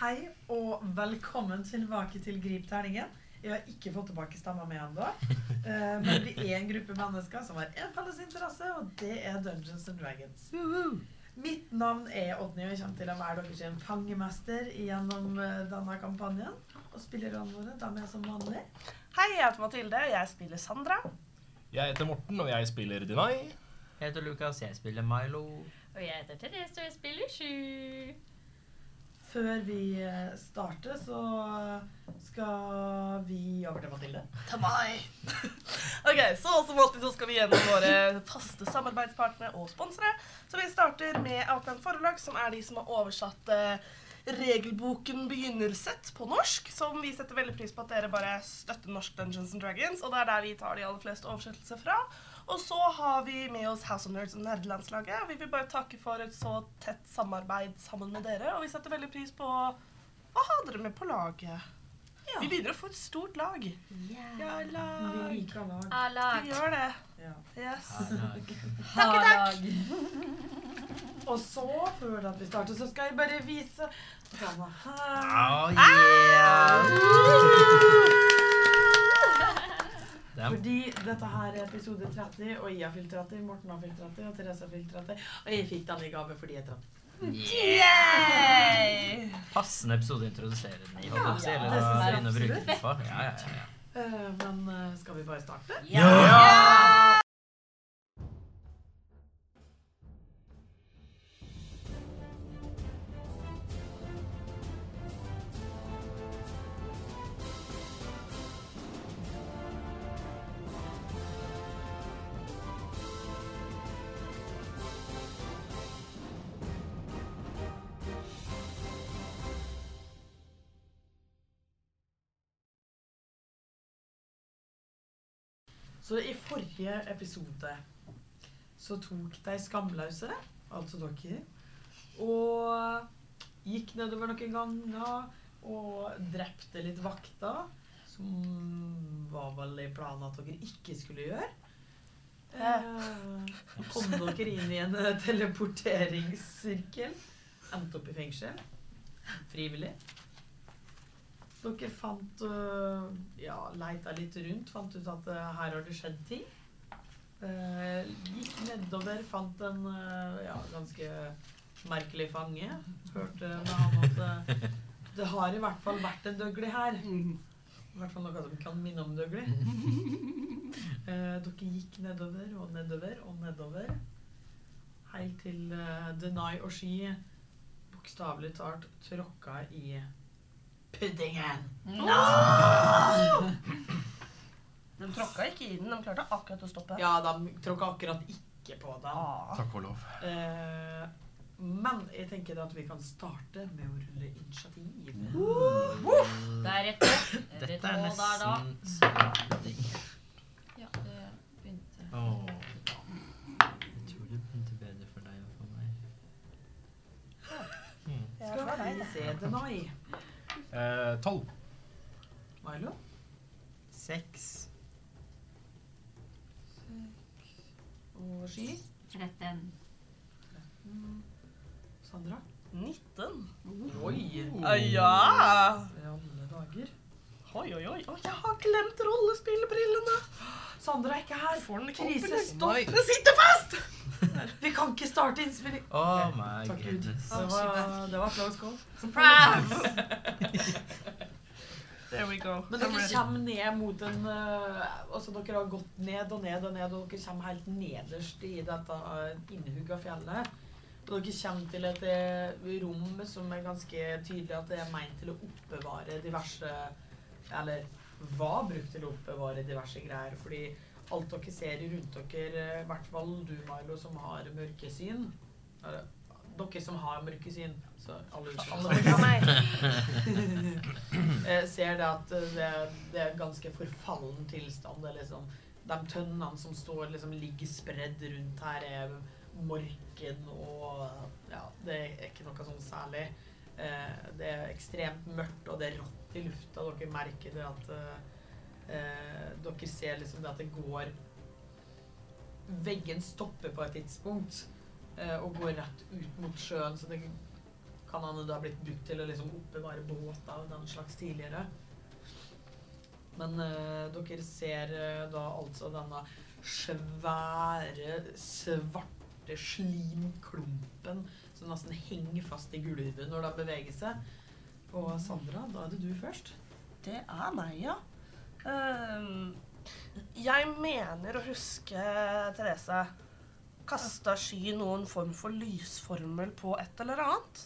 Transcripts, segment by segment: Hei og velkommen tilbake til Grip terningen. Jeg har ikke fått tilbake stemma mi ennå. eh, Men vi er en gruppe mennesker som har én felles interesse, og det er Dungeons and Dragons. Mitt navn er Odny, og jeg kommer til å være deres en fangemester gjennom eh, denne kampanjen. Og spillerne våre de er som vanlig. Hei, jeg heter Mathilde, og jeg spiller Sandra. Jeg heter Morten, og jeg spiller Denai. Jeg heter Lukas, jeg spiller Milo. Og jeg heter Therese, og jeg spiller sju. Før vi eh, starter, så skal vi over til Mathilde. Til meg. ok, så som alltid så skal vi gjennom våre faste samarbeidspartnere og sponsere. Så vi starter med Outland Forlag, som er de som har oversatt eh, regelboken Begynnersett på norsk, som vi setter veldig pris på at dere bare støtter norsk Dungeons and Dragons, og det er der vi tar de aller fleste oversettelser fra. Og så har vi med oss House of Nerds og Nerdelandslaget, og vi vil bare takke for et så tett samarbeid sammen med dere, og vi setter veldig pris på å ha dere med på laget. Ja. Vi begynner å få et stort lag. Ja, Vi lag. liker lag. Vi A-lag. gjør det. Ja. Yes. Takk, takk. Og så, før at vi starter, så skal jeg bare vise denne her. Oh, yeah! Det er Fordi dette her er episode 30, og jeg har fylt 30, Morten har fylt 30, og Therese har fylt 30. Og jeg fikk den i gave fordi jeg traff. Yay! en passende episode å introdusere den i. holdt jeg på å si, Ja, eller det synes jeg sånn å begynne å bruke absolutt. den på. Ja, ja, ja, ja. Eh, Men eh, skal vi bare starte? Så i forrige episode så tok de skamløse, altså dere, og gikk nedover noen ganger og drepte litt vakter, som var vel i planen at dere ikke skulle gjøre. Eh, kom dere inn i en eh, teleporteringssirkel, endte opp i fengsel, frivillig. Dere fant øh, Ja, leita litt rundt, fant ut at øh, her har det skjedd ting. Eh, gikk nedover, fant en øh, ja, ganske merkelig fange. Hørte med han at eh, det har i hvert fall vært en døgli her. I hvert fall noe som kan minne om døgli. Eh, dere gikk nedover og nedover og nedover. Helt til uh, Denai og Ski bokstavelig talt tråkka i puddingen. Mm. De tråkka ikke i den, de klarte akkurat å stoppe. Ja, de tråkka akkurat ikke på den. Ah. Takk og lov. Eh, men jeg tenker at vi kan starte med å rulle initiativ. Det er rett på. Rett Dette er på der, da. nesten slading. Ja, det begynte. Åh. Jeg tror det begynte bedre for deg enn for meg. Jeg får Skal deg, vi se Denai. Eh, tolv. Milo? Seks. Og Ski? 13. Sandra? 19. Oi! Ah, ja! I alle dager. Oi, oi, oi. Å, jeg har glemt rollespillbrillene. Sandra er ikke her! Får den ikke opp, Krise, eller? stopp! Den sitter fast! Vi kan ikke starte innspilling! Oh my Takk Gud. Det goodness. var, det var close call. Surprise! There we go. Men dere kommer ned mot en eh, Altså dere har gått ned og ned og ned, og dere kommer helt nederst i dette eh, innhugga fjellet. Og dere kommer til et eh, rom som er ganske tydelig at det er meint til å oppbevare diverse Eller var brukt til å oppbevare diverse greier. Fordi alt dere ser rundt dere, eh, i hvert fall du, Milo, som har mørkesyn eh, Dere som har mørkesyn, så alle utenom. Ja, meg. Jeg ser det at eh, det, det er ganske forfallen tilstand. Det er liksom, de tønnene som står, liksom, ligger spredd rundt her, er morken og Ja, det er ikke noe sånn særlig. Eh, Det er ekstremt mørkt, og det er rått i lufta. Dere merker det at eh, eh, Dere ser liksom det at det går Veggen stopper på et tidspunkt eh, og går rett ut mot sjøen, så det Kan han jo da ha blitt brukt til å liksom oppbevare båt av den slags tidligere. Men eh, dere ser eh, da altså denne svære, svarte slimklumpen som nesten henger fast i gulvet når det beveger seg. Og Sandra, da er det du først. Det er meg, ja. Ehm, jeg mener å huske, Therese, kasta sky noen form for lysformel på et eller annet?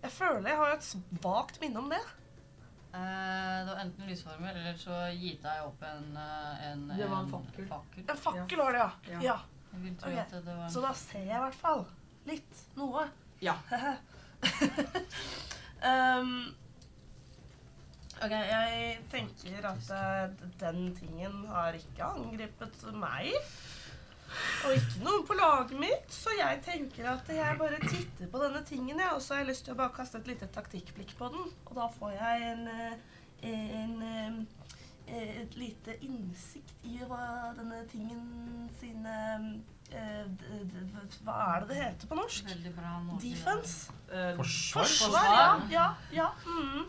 Jeg føler jeg har et svakt minne om det. Eh, det var enten lysformel, eller så gita jeg opp en, eh, en Det var en fakkel. fakkel. En fakkel var det, ja. Ja. ja. Jeg vil tro Ok, at det var en Så da ser jeg i hvert fall litt. Noe. Ja. Ehm, OK, jeg tenker at eh, d- den tingen har ikke angrepet meg. Og ikke noen på laget mitt, så jeg tenker at jeg bare titter på denne tingen. Jeg, og så har jeg lyst til å bare kaste et lite taktikkblikk på den. Og da får jeg en, eh, en, eh, et lite innsikt i hva denne tingen sine eh, d- d- Hva er det det heter på norsk? veldig bra måte. Defense? Eh, Forsvar? Forsvar, ja. ja, ja. Mm.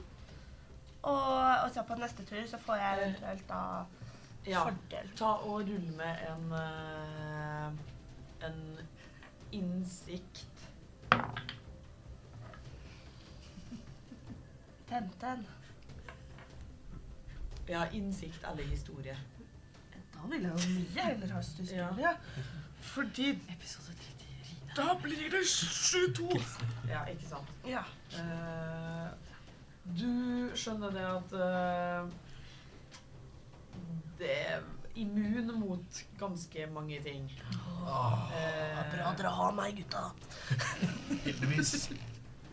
Og, og så på neste tur så får jeg eventuelt da ja. fordel. Ta og rulle med en eh, En innsikt. Tenten. Ja, innsikt eller historie. Da vil jeg jo mye heller ha historie. Fordi Episode 30. da blir det 22. Ja, ikke sant? Ja. Eh, du skjønner det at eh, Det er immun mot ganske mange ting. Eh, Ah, Bra dere har meg, gutta. Heldigvis.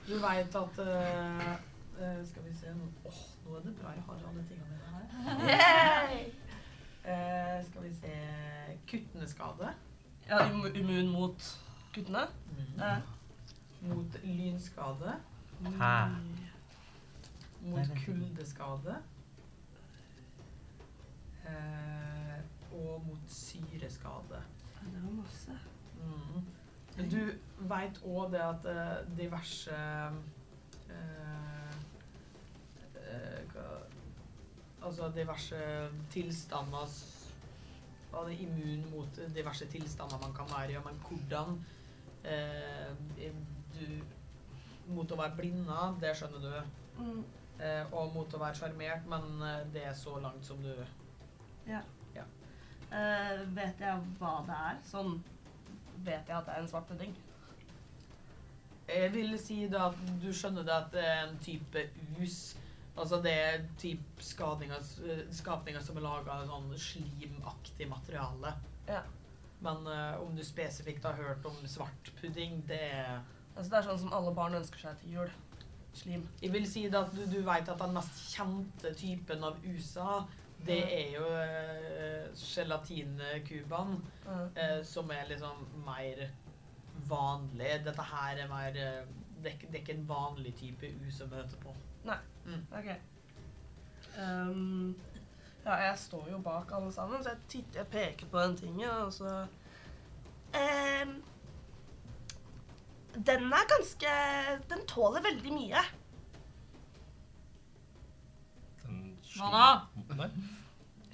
Du veit at eh, eh, Skal vi se nå- Åh, nå er det bra jeg har alle tingene mine her. Eh, skal vi se Kuttende skade Ja, im- immun mot guttene. Eh, mot lynskade. Hæ? Mot kuldeskade. Eh, og mot syreskade. det var masse. Mm. Men Du veit òg det at eh, diverse eh, eh, hva- Altså diverse tilstander s- Man er immun mot diverse tilstander man kan være i, men hvordan eh, du Mot å være blinda, det skjønner du. Mm. Eh, og mot å være sjarmert, men eh, det er så langt som du Eh, vet jeg hva det er? Sånn vet jeg at det er en svart pudding. Jeg vil si da at du skjønner det at det er en type us. Altså det er typ skadninger, eh, skapninger som er laga av sånn slimaktig materiale. Ja. Men eh, om du spesifikt har hørt om svart pudding, det er Altså, det er sånn som alle barn ønsker seg til jul. Slim. Jeg vil si det at du, du veit at den mest kjente typen av USA, det er jo uh, gelatinkubaen. Eh. eh, som er liksom mer vanlig. Dette her er mer eh, det, er ikke- det er ikke en vanlig type U som møter på. Ok. Ehm, ja, jeg står jo bak alle sammen, så jeg, titter, jeg peker på den tingen, og så Ehm, Den er ganske Den tåler veldig mye. Den sli- Hva da? Nei.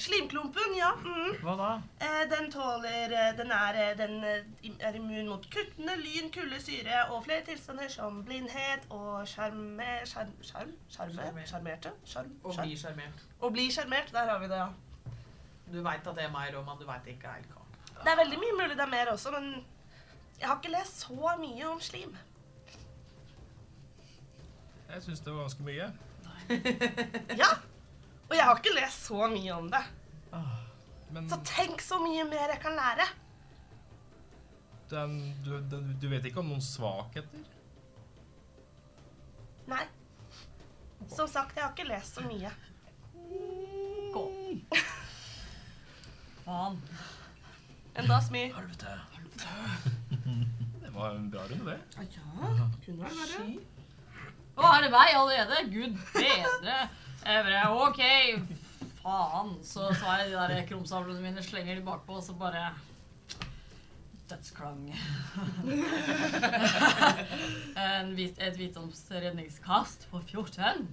Slimklumpen, ja. Mm. Hva da? Eh, den tåler eh, Den er, eh, den eh, im- er immun mot kuttene, lyn, kulde, syre og flere tilstander som blindhet og sjarme... sjarm- Sjarm? Sjarme? Sjarmer. Sjarmerte? Sjarm? Og sjarm- blir sjarmert. Å bli sjarmert. Der har vi det, ja. Du veit at det er mer òg, men du veit ikke helt hva. Det er veldig mye mulig det er mer også, men jeg har ikke lest så mye om slim. Jeg syns det var ganske mye. Ja, og jeg har ikke lest så mye om det. Men Så tenk så mye mer jeg kan lære. den, du, den, du vet ikke om noen svakheter? Nei. Som sagt, jeg har ikke lest så mye. Gå. Faen. En dass mye. Helvete. Det var en bra runde, det. Kunne det være? Sky. Å, er det vei allerede? Gud bedre. Jeg bare, ok, faen. Så tar jeg de der krumsablene mine, slenger de bakpå, og så bare dødsklang. en hvit, et visdomsredningskast på 14.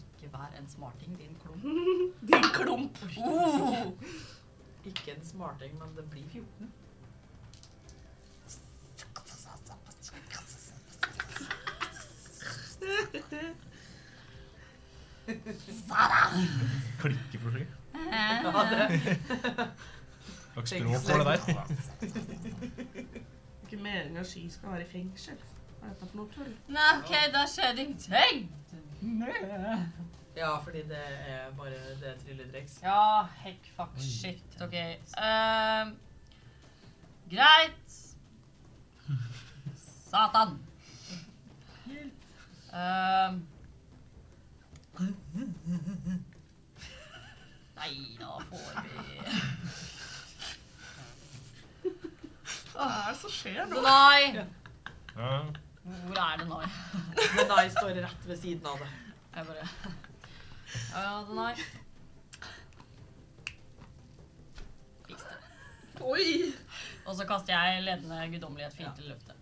Ikke vær en smarting, din klump. Din klump. Oh! Ikke en smarting, men det blir 14. Klikke for seg. Ja, det. Hva slags språk var det der? Ikke meningen at Sky skal være i fengsel. Hva er dette for noe tull? Nei, OK, da skjer det ingenting. ja, fordi det er bare det er trylledriks. Ja, heck, fuck, Oi. shit. OK. ehm, greit. Satan. Ehm. Nei, da får vi Hva er det som skjer nå? Nei! Ja. Hvor er det nå? Men da jeg står rett ved siden av det. Jeg bare Ja, ja, det nei. Fiks det. Oi! Og så kaster jeg ledende guddommelighet fint i luftet.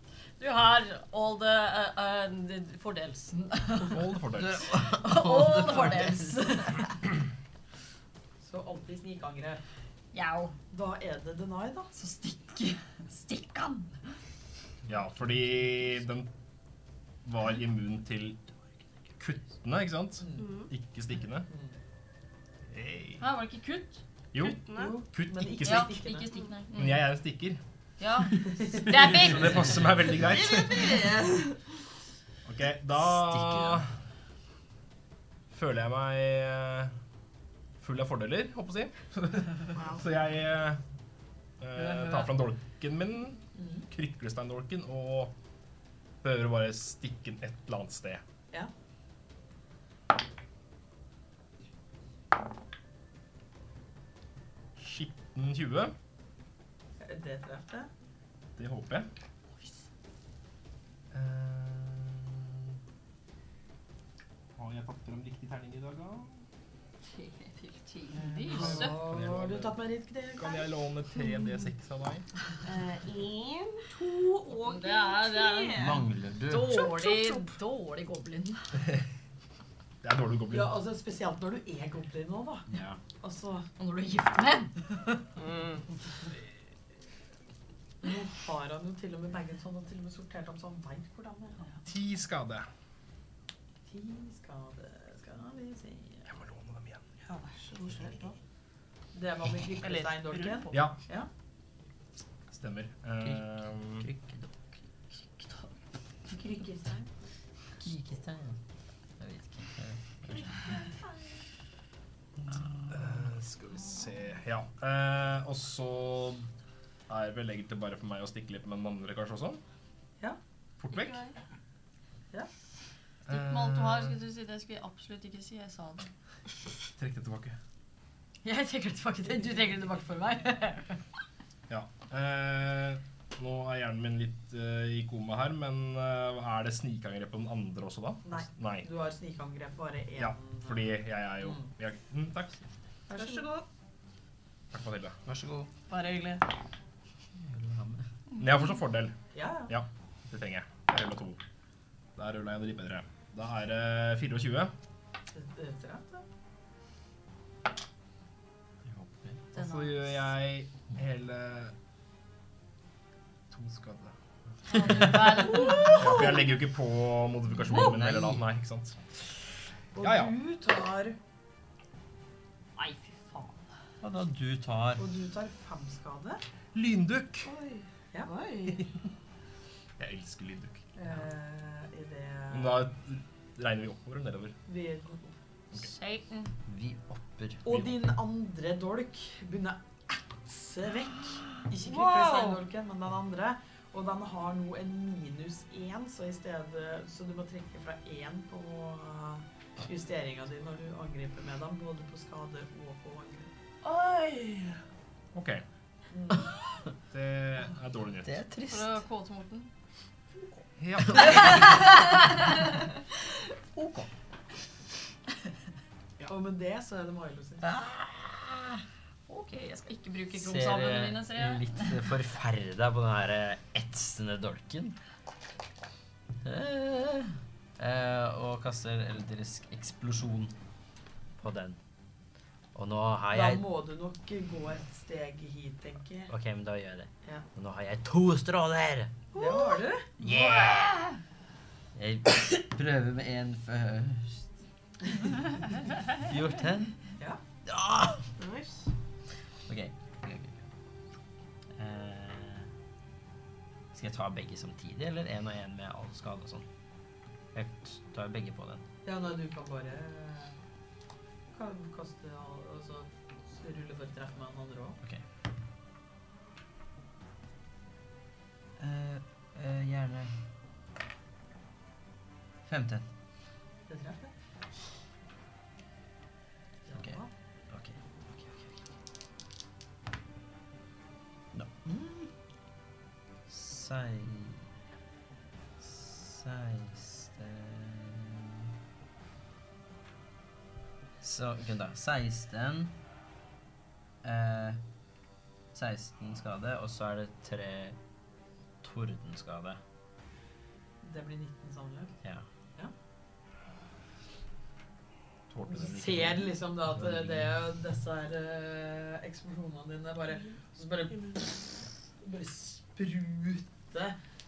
Du har all the, uh, uh, the fordels. All fordels. all the fordels. Så alltid snikangre. Jau. Da er det deny, da. Så stikk. Stikk han. Ja, fordi den var immun til kuttene, ikke sant? Ikke stikkende. Hey. Her var det ikke kutt. Jo, Kuttene. kutt, Men ikke ikke- Ja, stikk. stikkene. ikke stikk, nei. Mm. Men jeg er en stikker, Ja. Stab så det it! passer meg veldig greit. Ok, da føler jeg meg eh, full av fordeler, håper jeg å si. Så jeg eh, eh, tar fram dolken min, kryklesteindolken, og prøver å bare stikke den et eller annet sted. Ja. Skitten 20. Det traff det. Det håper jeg. Eh, har jeg tatt frem riktig terning i dag, da? Lyse. Har du tatt meg litt grep? Kan jeg låne 3D6 av deg? Én, Eh, to og Det er- det er- tre. Mangler du? Dårlig, dårlig goblin. Det er dårlig goblin. Ja, altså Spesielt når du er goblin nå, da. Ja. Altså, Og når du er gift med en. Mm. Nå har han jo til og med baget sånn og til og med sortert om, så han veit hvordan det er. Ti skade. Ti skader skal vi se Jeg må låne dem igjen. Ja, vær så god, kjør på. Det var med krykkesteindolken. Ja. Ja. Stemmer. Eh, Krykkestein. eh, skal vi se Ja. Eh, og så er det vel egentlig bare for meg å stikke litt med den andre, kanskje også? Ja. Fort vekk. Ja. Stikk med alt du har, skulle du si. Det skulle jeg absolutt ikke si. Jeg sa det. Eh, Trekk det tilbake. Jeg trekker det tilbake. til- Du trekker det tilbake for meg. Ja. Eh, nå er hjernen min litt eh, i koma her, men eh, er det snikangrep på den andre også, da? Nei. Nei. Du har snikangrep bare én. Ja, fordi jeg er jo Mm. jeg, mm, Takk. Vær så god. Takk, Mathilde. Vær så god. Bare hyggelig. Men jeg har fortsatt fordel. Ja, ja. Ja, det trenger jeg. Jeg ruller to. Der ruller jeg det litt bedre. Da er det 24. Det- det traff, det. Jeg håper. Og så gjør jeg hele to skader. Ja, for jeg legger jo ikke på modifikasjonen min heller da. Nei, ikke sant. Og Ja, ja. du tar Nei, fy faen. Hva da du tar Og du tar fem skade. Lyndukk. Oi. Ja. Oi. Jeg elsker lyndukk. Eh, I det Men da regner vi oppover eller nedover. vi Satan. Vi opper. Og din andre dolk begynner å etse vekk. Ikke Wow. krykkesteindolken, men den andre. Og den har nå en minus én, så i stedet Så du må trekke fra én på eh, justeringa di når du angriper med dem, både på skade og på angrep. Oi! OK. Det er dårlig nytt. er trist. For å kåte Morten. Ja. OK. Og med det så er det Milo sin. Å, Ok, jeg skal ikke bruke Ser krumsablene eh, mine, ser jeg. litt forferda på den her eh, etsende dolken. Eh, eh, og kaster eldrisk eksplosjon på den. Og nå har Da jeg må du nok gå et steg hit, tenker jeg. Ok, men da gjør jeg det. Ja. Og nå har jeg to stråler! Det har du. Yeah! Jeg prøver med en først. 14. Ja. Ah! Nice. Ok. ok, ok. Eh, skal jeg ta begge samtidig, eller én og én med all skade og sånn? Jeg tar begge på den. Ja, nei, du kan bare eh, Kan kaste all- og så rulle for å treffe med den andre òg. Eh, eh, gjerne 15. Det treffer. Ja, Ok. da. Ok. ok, ok, ok. Da. Sei... 16 Så, ok da. 16 eh, 16 skade, og så er det 3 tordenskade. Det blir 19 sammenlagt. Ja. Tålte Du den ikke. ser liksom da at det- det er jo disse her eh, eksplosjonene dine bare Så bare, bare spruter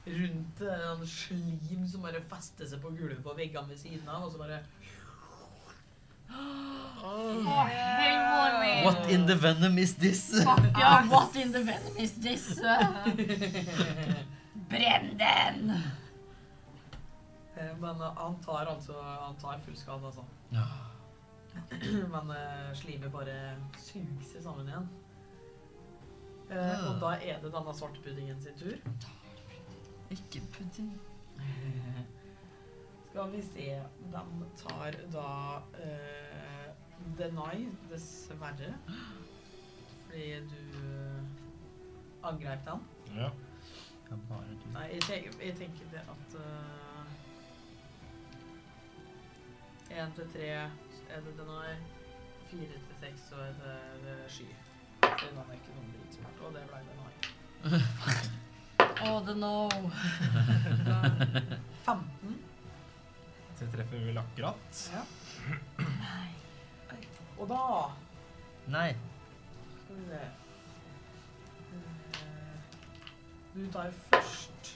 rundt eh, en slim som bare fester seg på gulvet på veggene ved siden av, og så bare Å, helvor min. What in the venom is this? Fuck ja, what in the venom is this? uh? Brenn den! Eh, Men eh, han tar altså Han tar full skade, altså. Ja. Men eh, slimet bare suger seg sammen igjen. Eh, og da er det denne svartepuddingen sin tur. Ikke pudding. Skal vi se De tar da eh, Deny, dessverre. Fordi du eh, angrep den. Ja. Kan bare du. Nei, jeg tenker, jeg tenker det at eh, Én til tre er det Deny. Fire til seks så er det, det Sky. Så den er ikke noen dritsmart, og det ble Deny. Oh, the no. Da- 15. Så jeg treffer vel akkurat. Ja. Og da Nei. Skal vi se. Eh, Du tar først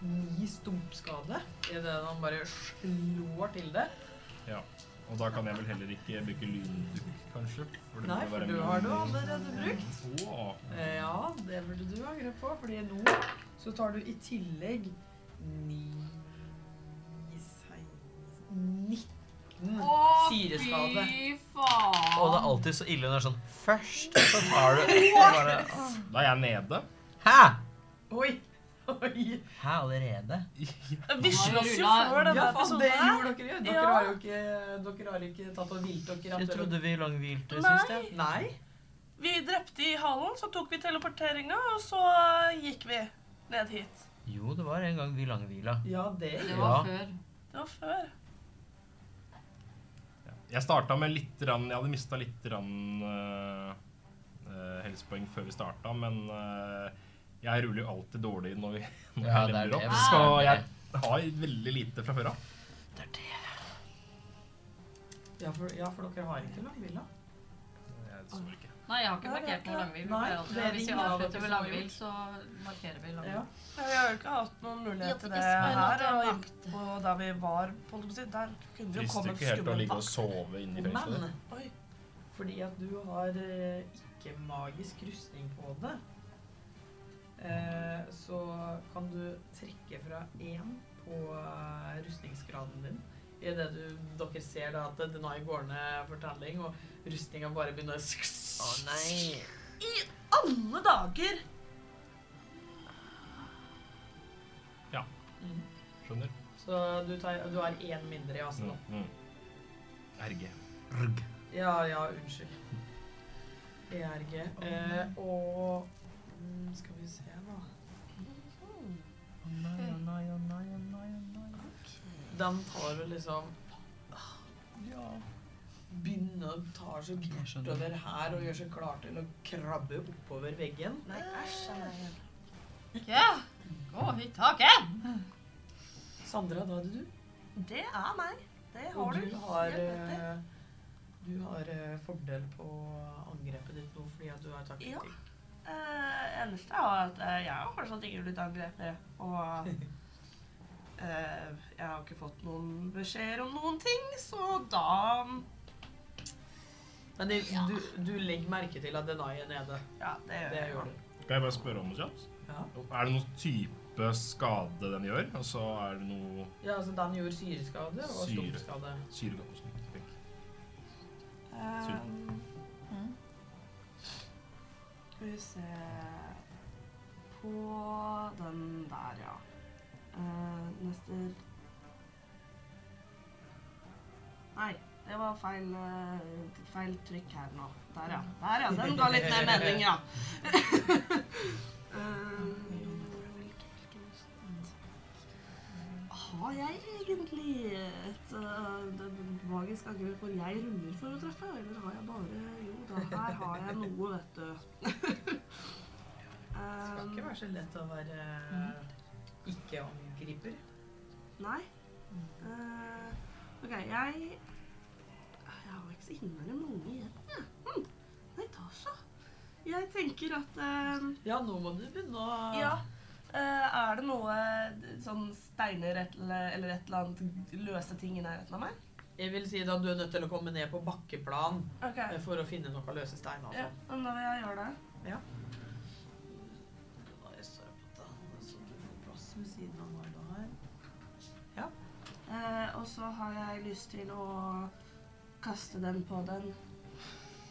ni stumpskade idet han bare slår til det. Og da kan jeg vel heller ikke bruke lyndukk, kanskje? For Nei, for du har eh, det allerede brukt. Åh, Eh, Ja, det burde du angre på, fordi nå så tar du i tillegg ni sei- 19 syreskade. fy faen. Og det er alltid så ille når det er sånn Først så tar du bare, da er jeg nede. Hæ? Oi! Oi! Hæ, allerede? Vi slåss jo Rulla- før denne Ja, faen, det sånn episoden her. gjorde dere jo. Dere Ja. har jo ikke, dere har ikke tatt og vilt dere. at Jeg dere- trodde vi langhvilte Nei. sist, ja. Nei. Vi drepte i halen, så tok vi teleporteringa, og så eh, gikk vi ned hit. Jo, det var en gang vi langhvila. Ja, det Det gjør var Ja. før. Det var før. Jeg starta med litt rann, Jeg hadde mista litt rann, øh, øh, helsepoeng før vi starta, men øh, jeg ruller jo alltid dårlig når, vi, når Ja, jeg det er lemmer det. opp. Så jeg har veldig lite fra før av. ja, for, ja, for dere har ikke langhvila. Jeg står ikke. Nei, jeg har ikke Nei, det er markert ikke- noe langvill. Vi nei, pleier alltid- det er Hvis vi ingen av avslutter dere med som har langvill, så markerer vi langvill. Ja. Ja, Vi har jo ikke hatt noen mulighet til det Jeg her. skal Og ha i- på der vi var, på holdt jeg på å si, der kunne det jo Frister komme ikke helt å skummel ligge vakt. og sove inne i fengselet. Men Oi. fordi at du har eh, ikke magisk rustning på det, eh, så kan du trekke fra én på eh, rustningsgraden din. I det du, dere ser da at Denai går ned for telling, og rustninga bare begynner å Å nei. Alle dager! Mm. Skjønner? Så du, tar, du har én mindre i AC nå. Mm. Mm. Erge. Ja, ja, unnskyld. ERG. Eh, og mm, Skal vi se, da. Å nei, å nei, å nei, å nei, å nei. Den tar vel liksom Ja. begynner å ta seg Jeg skjønner. bortover her og gjør seg klar til å krabbe oppover veggen. Nei, æsj. nei. Ikke gå i taket! Sandra, da er det du. Det er meg. Det Og har du. du har, helt rett i. eh, du har eh, fordel på angrepet ditt nå fordi at du har taktikk. Ja. Eh, eneste er at eh, jeg har fortsatt ikke blitt angrepet. Og eh, jeg har ikke fått noen beskjeder om noen ting, så da Men det, du, du legger merke til at Denai er nede. Ja, det gjør Det jeg. gjør du. Kan jeg bare spørre om noe kjapt? Ja. Er det noen type skade den gjør? Og så er det noe Ja, altså Den gjorde syreskade og Syre. stumpskade. syre Tenk. Sulten. Eh, mm. Skal vi se På den der, ja. Eh, neste Nei, det var feil, eh, feil trykk her nå. Der, ja. Der, ja. Den ga litt mer mening, ja. Eh, har jeg egentlig et eh, det magisk angrep hvor jeg ruller for å treffe, eller har jeg bare Jo da, her har jeg noe, vet du. Det skal Eh, ikke være så lett å være eh, ikke-angriper. Nei. Eh, ok, jeg Jeg har ikke så innmari mange igjen. jeg. Hm. Nei, da så. Jeg tenker at eh, Ja, nå må du begynne å Ja. eh, er det noe eh, sånn steiner et eller eller et eller annet løse ting i nærheten av meg? Jeg vil si da du er nødt til å komme ned på bakkeplan Ok, eh, for å finne noe løse steiner. ja, Altså. men Da vil jeg gjøre det. Da jeg står opp på den, så du får plass ved siden av meg da her. Eh, og så har jeg lyst til å kaste den på den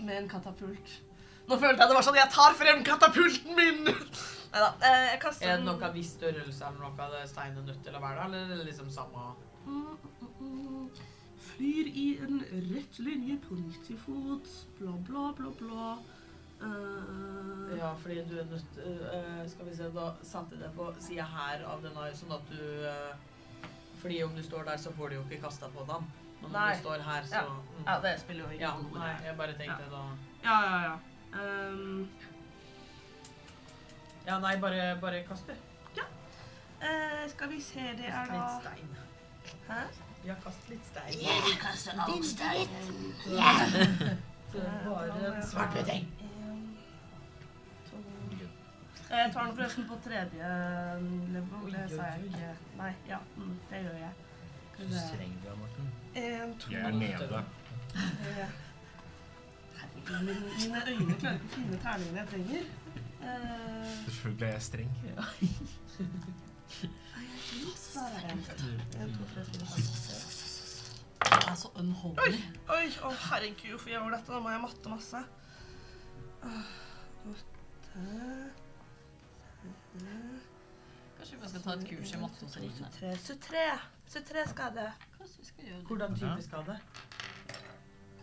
med en katapult. Nå følte jeg det var sånn Jeg tar frem katapulten min! Nei da. Eh, jeg kaster Er det den noe av viss størrelse eller noe av det steinen er nødt til å være der, eller er det liksom samme Mm, mm, mm. Flyr i en rett linje på 90 fot. Bla, bla, bla, bla. Eh, Ja, fordi du er nødt eh, Skal vi se, da satte jeg deg på sida her av den her, sånn at du eh, Fordi om du står der, så får du jo ikke kasta på den. Men om Nei. du står her, så mm. ja, det spiller jo Ja, ingen rolle. nei, jeg bare tenkte da Ja, ja, ja. Ehm, Ja, nei, bare, bare kast, du. eh, skal vi se, det er Kast litt da stein. Hæ? Ja, kast litt stein. Så Ja, Bare ja. en svart beteng. En, to Eh, Jeg tar den forresten på tredje eh, level. Det sa jeg ikke. Nei, ja, mm, det gjør jeg. Så streng du er, Morten. En, to, Jeg er nede. tre. Herregud, min- mine øyne klarer ikke å finne terningene jeg trenger. Eh, Selvfølgelig er jeg streng. der er den. En, to, tre, fire, fem, seks. Det er så unholy. Oi, å herregud, hvorfor gjør jeg dette? Nå må jeg matte masse. Åh, Åtte Kanskje vi bare skal ta et kurs i matte sånn. hos Rine. 23. 23. 23 skade. Kanskje vi skal gjøre det. Hvordan type skade?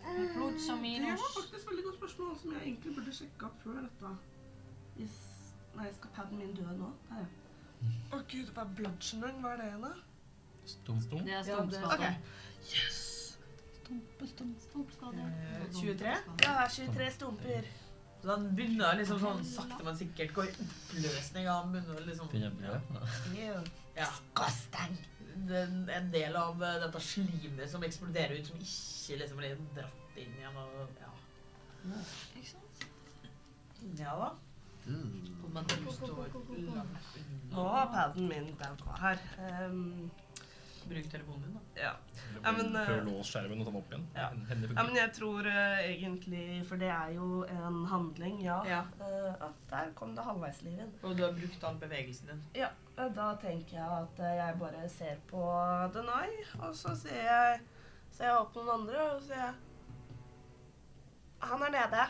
Blod som i Det var norsk. faktisk et veldig godt spørsmål som jeg egentlig burde sjekke opp før dette. Hvis, nei, skal paden min dø nå? Der, ja. Å gud, hva er bludgeoning? Hva er det igjen? Stump. Det er Ja, det- stumpskade. Yes! Stumpe, stump, stumpskade. Eh, 23? Ja, 23 stumper. Så den begynner liksom sånn sakte, men sikkert går i oppløsning. og Den begynner liksom Begynner å blø. Ja. Den, en del av eh, dette slimet som eksploderer ut, som ikke liksom blir dratt inn igjen. Og, ja. Ikke sant? ja da. Men du står langt unna. Nå har paden min daua her. Ehm, Bruk telefonen din, da. ja. Ja, men, eh, Prøv å låse skjermen og ta den opp igjen. ja. ja, Hender funker. men jeg tror eh, egentlig For det er jo en handling, ja. Eh, ah, der kom det halvveislivet. Og du har brukt all bevegelsen din. Ja, eh, da tenker jeg at eh, jeg bare ser på Denai, og så ser jeg, ser jeg opp på noen andre, og så ser jeg Han er nede.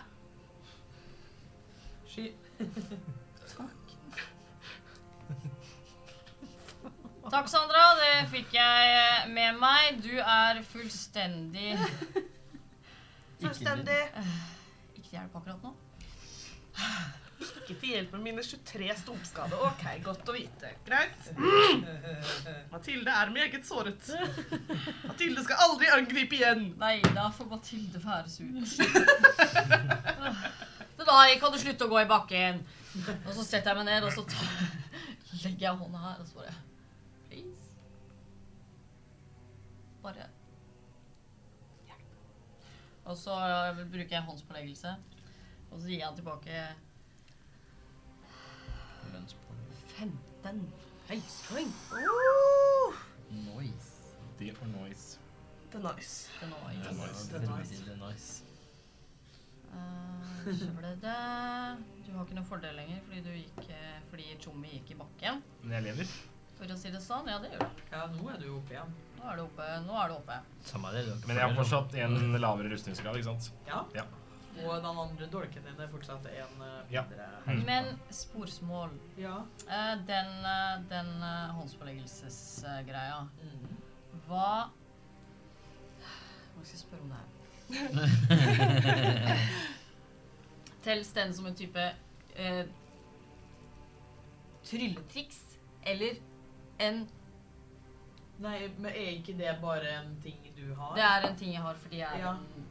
Sky. Takk, Sandra. Det fikk jeg eh, med meg. Du er fullstendig Ikke Fullstendig. Ikke til hjelp akkurat nå. Ikke til hjelp med mine 23 stumpskader. Ok, godt å vite. Greit. Mathilde er meget såret. Mathilde skal aldri angripe igjen. Nei, da får Mathilde være sur. Så da kan du slutte å gå i bakken. Og så setter jeg meg ned, og så tar, legger jeg hånda her, og så bare Please. Bare hjelp. Og så eh, bruker jeg håndspåleggelse, og så gir jeg tilbake Lønnspålegg. 15 høyspoeng. Nice. Det og noise. Det er nice. Det nå Det er er nice. veldig, veldig nice. Eh, så ble det Du har ikke noen fordel lenger fordi du gikk eh, Fordi Tjommi gikk i bakken, Men jeg lever. for å si det sånn. Ja, det gjør du. Ja, nå er du oppe igjen. Nå er du oppe. Nå er du oppe. Samme det, du har ikke Men jeg har fordel, da. fortsatt en lavere rustningsgrad, ikke sant? Ja. Ja. Og den andre dolken din er fortsatt en eh, Ja. mindre Mm. Men sporsmål Ja. Eh, Den, eh, den eh, håndspåleggelsesgreia Mm. Hva Hva skal jeg spørre om det her? Telles den som en type eh, trylletriks? Eller en Nei, men er ikke det bare en ting du har? Det er en ting jeg har fordi jeg er Ja. en-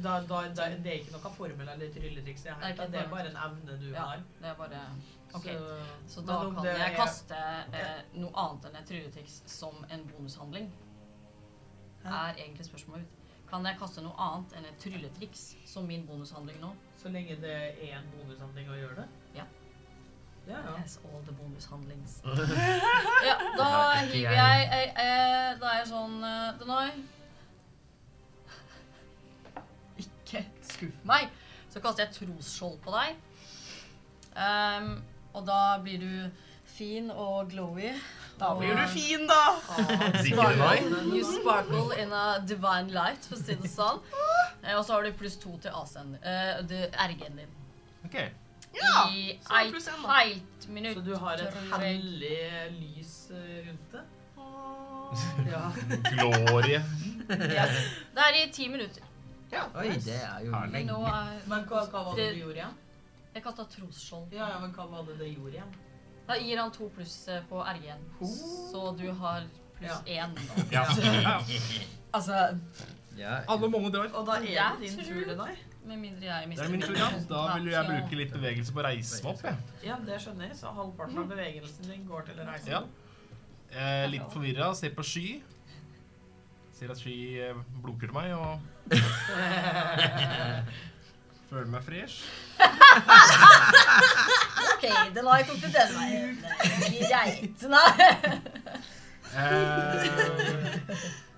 Da, da, da, det er ikke noe formel eller trylletriks. jeg Det er har. ikke en Det er formel. bare en evne du Ja. har. Det er bare OK. Så, Så, da men om kan det jeg er- kaste eh, noe annet enn et trylletriks som en bonushandling? Hæ? Er egentlig spørsmålet mitt. Kan jeg kaste noe annet enn et trylletriks som min bonushandling nå? så lenge det er en bonushandling å gjøre det. Ja. Ja, ja. Yes, all the bonushandlings. ja, da hiver jeg eh, eh, Da er jeg sånn eh, Denai Ikke skuff meg! Så kaster jeg trosskjold på deg. Ehm, og da blir du fin og glowy. Da og- blir du fin, da. Digger du meg? You sparkle in a divine light, for å si det sånn. Eh, Og så har du pluss to til AC-en eh, du- RG-en din. Ok. Ja, I så eit pluss en, da. heilt minutt. Så du har et tror jeg. hellig lys eh, rundt det? Åh. Ja. Glorie. Det er i ti minutter. sånn. Oi, det er jo Herlig. Men nå lenge. er Men hva, hva var det Det- du gjorde igjen? Jeg kasta trosskjold. Ja, ja, men hva var det det gjorde igjen? Da gir han to pluss eh, på RG-en. Så du har pluss én. nå. Ja. Ja. Altså Ja, Alle måneder drar. Og da er Jeg det din tur, tror- Denai. Med mindre jeg Det mister er min tur, ja. Da vil jeg bruke litt bevegelse på å reise meg opp, jeg. Ja, det skjønner jeg. Så halvparten av bevegelsen din går til reisen. Ja. Eh, litt forvirra, ser på Sky. Ser at Sky eh, blunker til meg og føler meg fresh. OK, Denai tok det den veien. Greit. Nei. Eh,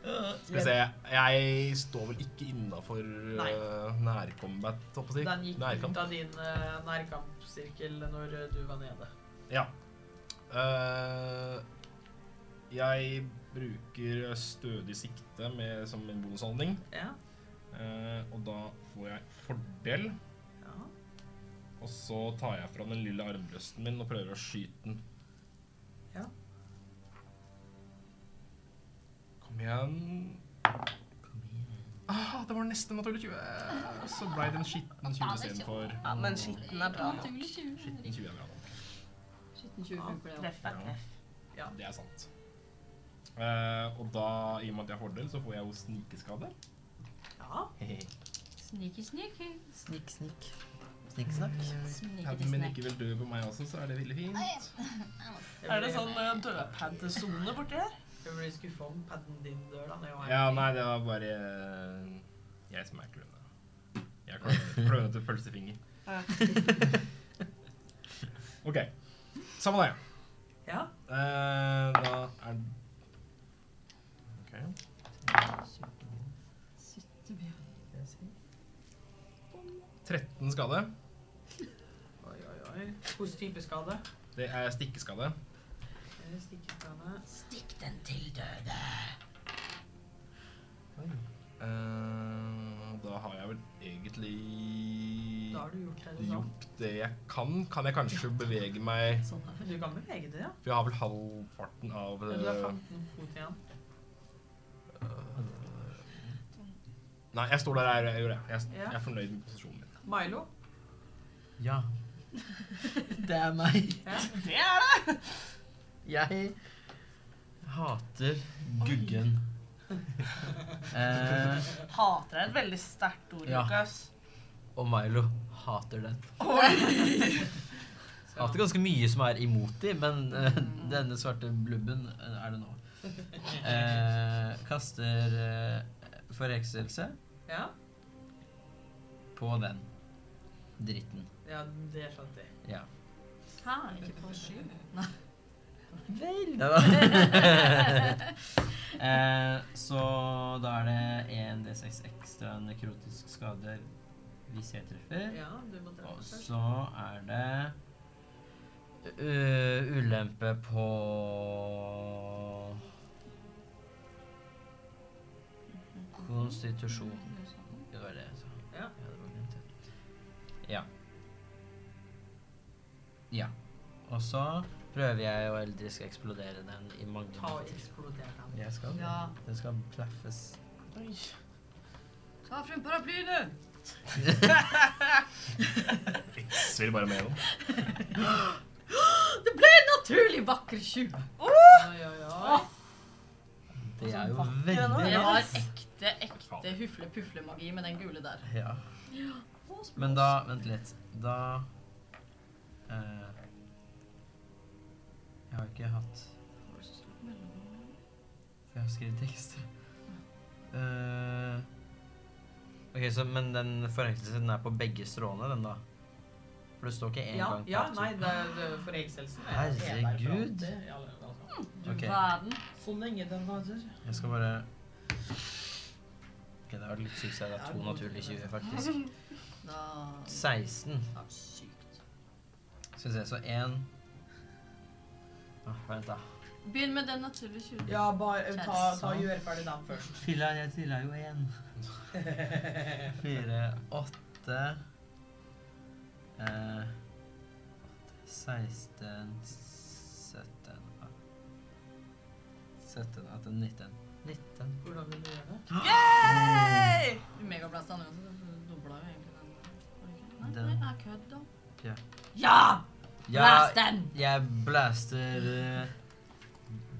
skal vi se Jeg står vel ikke innafor eh, nærcombat, holdt på å Den si. gikk Nærkamp. ut av din eh, nærkampsirkel når eh, du var nede. Ja. Eh, jeg bruker stødig sikte med, som en bonushandling. Ja. Eh, og da får jeg fordel. ja. Og så tar jeg fra den lille armbrøsten min og prøver å skyte den. Ja. Kom igjen. Ah, det var nesten naturlig 20. Så ble det en skitten 20 istedenfor. Ja, men skitten er bra. nok. Skitten 20 er bra nok. 17-20 funker det jo. Treff er treff. Ja. Det er sant. Eh, og da, i og med at jeg har fordel, så får jeg jo snikeskade. ja. Sneaky, sneaky. Snikk, snikk. Snikksnakk. Sneaky, Hadde min sneaky. ikke vel død på meg også, så er det veldig fint. Jeg Er det blir- sånn eh, dødpaddesone borti her? Jeg blir skuffa om paden din dør, da. Det er jo her. Ja, nei, det var bare eh, jeg som er klønete. Jeg er klønete- klønete pølsefinger. Ja. OK. Samme det. ja. Eh, da er OK. Syttebjørn. 13 skade. Oi, oi, oi. Hos type skade. Det er stikkeskade. Eller Stikkeskade. Stikk den til døde. Eh, da har jeg vel egentlig Da har du gjort det du sa. gjort det jeg kan. Kan jeg kanskje bevege meg Sånn er det. Du kan bevege deg, ja. For jeg har vel halvparten av Men du har eh, 15 fot igjen. Nei, jeg står der jeg gjør det. Jeg, Ja. jeg er fornøyd med posisjonen min. Milo, Ja. Det er meg. Det er det! Jeg Hater guggen. Eh, Hater er et veldig sterkt ord, Ja. Lukas. og Milo hater den. Hater ganske mye som er imot de, men eh, denne svarte blubben eh, er det nå. Eh, kaster eh, forhekselse Ja, på den dritten. ja det skjønte jeg. Ja. Hæ, ikke på sju? Nei. Vel da. eh, så da er det 1 D6 ekstra nekrotisk skade hvis jeg treffer. Ja, du må Og treffe først. så er det u- ulempe på Konstitusjon. Ja, det var det jeg sa. Ja. det var glemt, ja. ja. Ja. Og så prøver jeg å eldrisk eksplodere den Ta i og magnetisk. eksplodere den. Jeg skal det. Ja. Den skal klaffes. Oi. Ta frem paraplyen! Svir bare med den. Det ble en naturlig vakker 20. Oi, oi, oi. Åh, Det vakker den er jo var. veldig det Ja. var ekte, ekte hufle-pufle-magi med den gule der. Ja. Men da Vent litt. Da eh, Jeg har ikke hatt For jeg har skrevet tekst. Eh, ok, så, Men den forhektelsen er på begge strålene, den, da? For det står ikke én Ja, gang på ja, to. nei, det er det- for eggselsen. er det hele Herregud. der fra- det- ja, det- altså. Du Ok. verden. Så Sånn lenge den varer. Jeg skal bare Ok, Det var litt sykt. så Jeg har to naturlige 20, faktisk. Da 16. Ja, Sykt. Skal vi se, så én ah, Vent, da. Begynn med den naturlige 20. Ja, bare eh, ta- ta, ta gjør ferdig den først. Filla, jeg trilla jo én. Fire, åtte eh, Seksten, sytten ah, Sytten, atten, nitten. Nitten. Hvordan vil du gjøre det? Yay! Megablast andre gangen, så dobla jo egentlig den. Var det ikke? Nei, Den. nei, jeg kødd da. Ja. Ja! Jeg, Blast den! jeg blaster eh,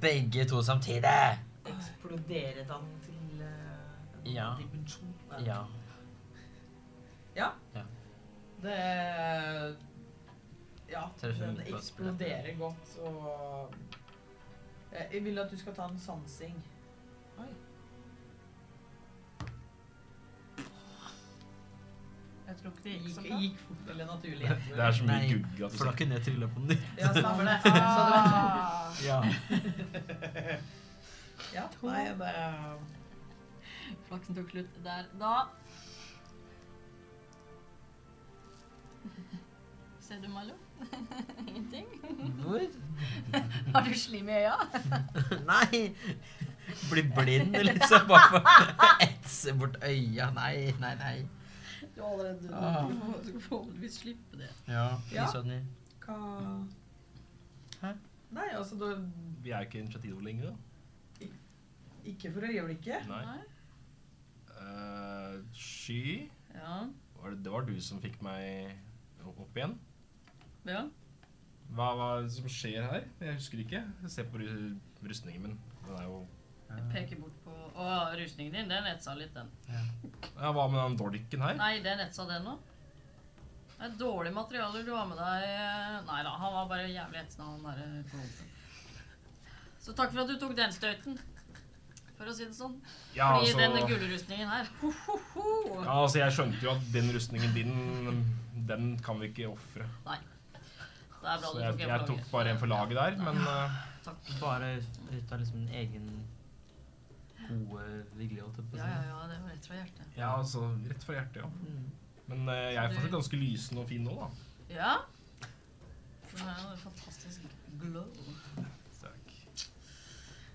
begge to samtidig. Eksplodere den til eh, en Ja. dimensjon. Ja. Det Ja, Treffer den midt på eksploderer godt, og Eh, Jeg vil at du skal ta en sansing. Oi. Jeg tror ikke det gikk Gikk, så bra. gikk fort eller naturlig. etter Det er så mye Nei, gugg at du For da kunne jeg trilla på nytt. Ja, stemmer det. Så det var Ah. Ja. Ja, nei, det er Flaksen tok slutt der. Da Ser du, Malo? Ingenting? Hvor? Har du slim i øya? Nei! Bli blind, liksom. Bare for å etse bort øya. Nei, nei, nei. Du har allerede dødd. Ah. Du skal forhåpentligvis slippe det. Ja. Ja. Sonny. Hva Hæ? Nei, altså da Vi er jo ikke initiativ lenger, da. Ikke for øyeblikket. Nei. Eh, sky Ja. var det, det var du som fikk meg opp igjen. ja. Hva, hva er det som skjer her? Jeg husker ikke. Jeg ser på ru- rustningen min. Den er jo Jeg peker bort på Å, rustningen din, den etsa litt, den. ja, Hva med den dordiken her? Nei, den etsa den nå. Det er dårlige materialer du har med deg. Nei da, han var bare jævlig etsende, han derre klumpen. Så takk for at du tok den støyten, for å si det sånn. Ja, Fordi denne altså, gule rustningen her ho, ho, ho. ja, altså Jeg skjønte jo at den rustningen din, den kan vi ikke ofre. Det er Så bra du jeg, tok en jeg tok bare en for laget der, men eh, Bare ut av liksom en egen gode vilje, holdt jeg på å Ja, ja, si. ja, det var rett fra hjertet. ja, altså Rett fra hjertet, ja. Mm. Men eh, jeg er fortsatt ganske lysen og fin nå, da. Ja. Den er jo en fantastisk glow. Takk.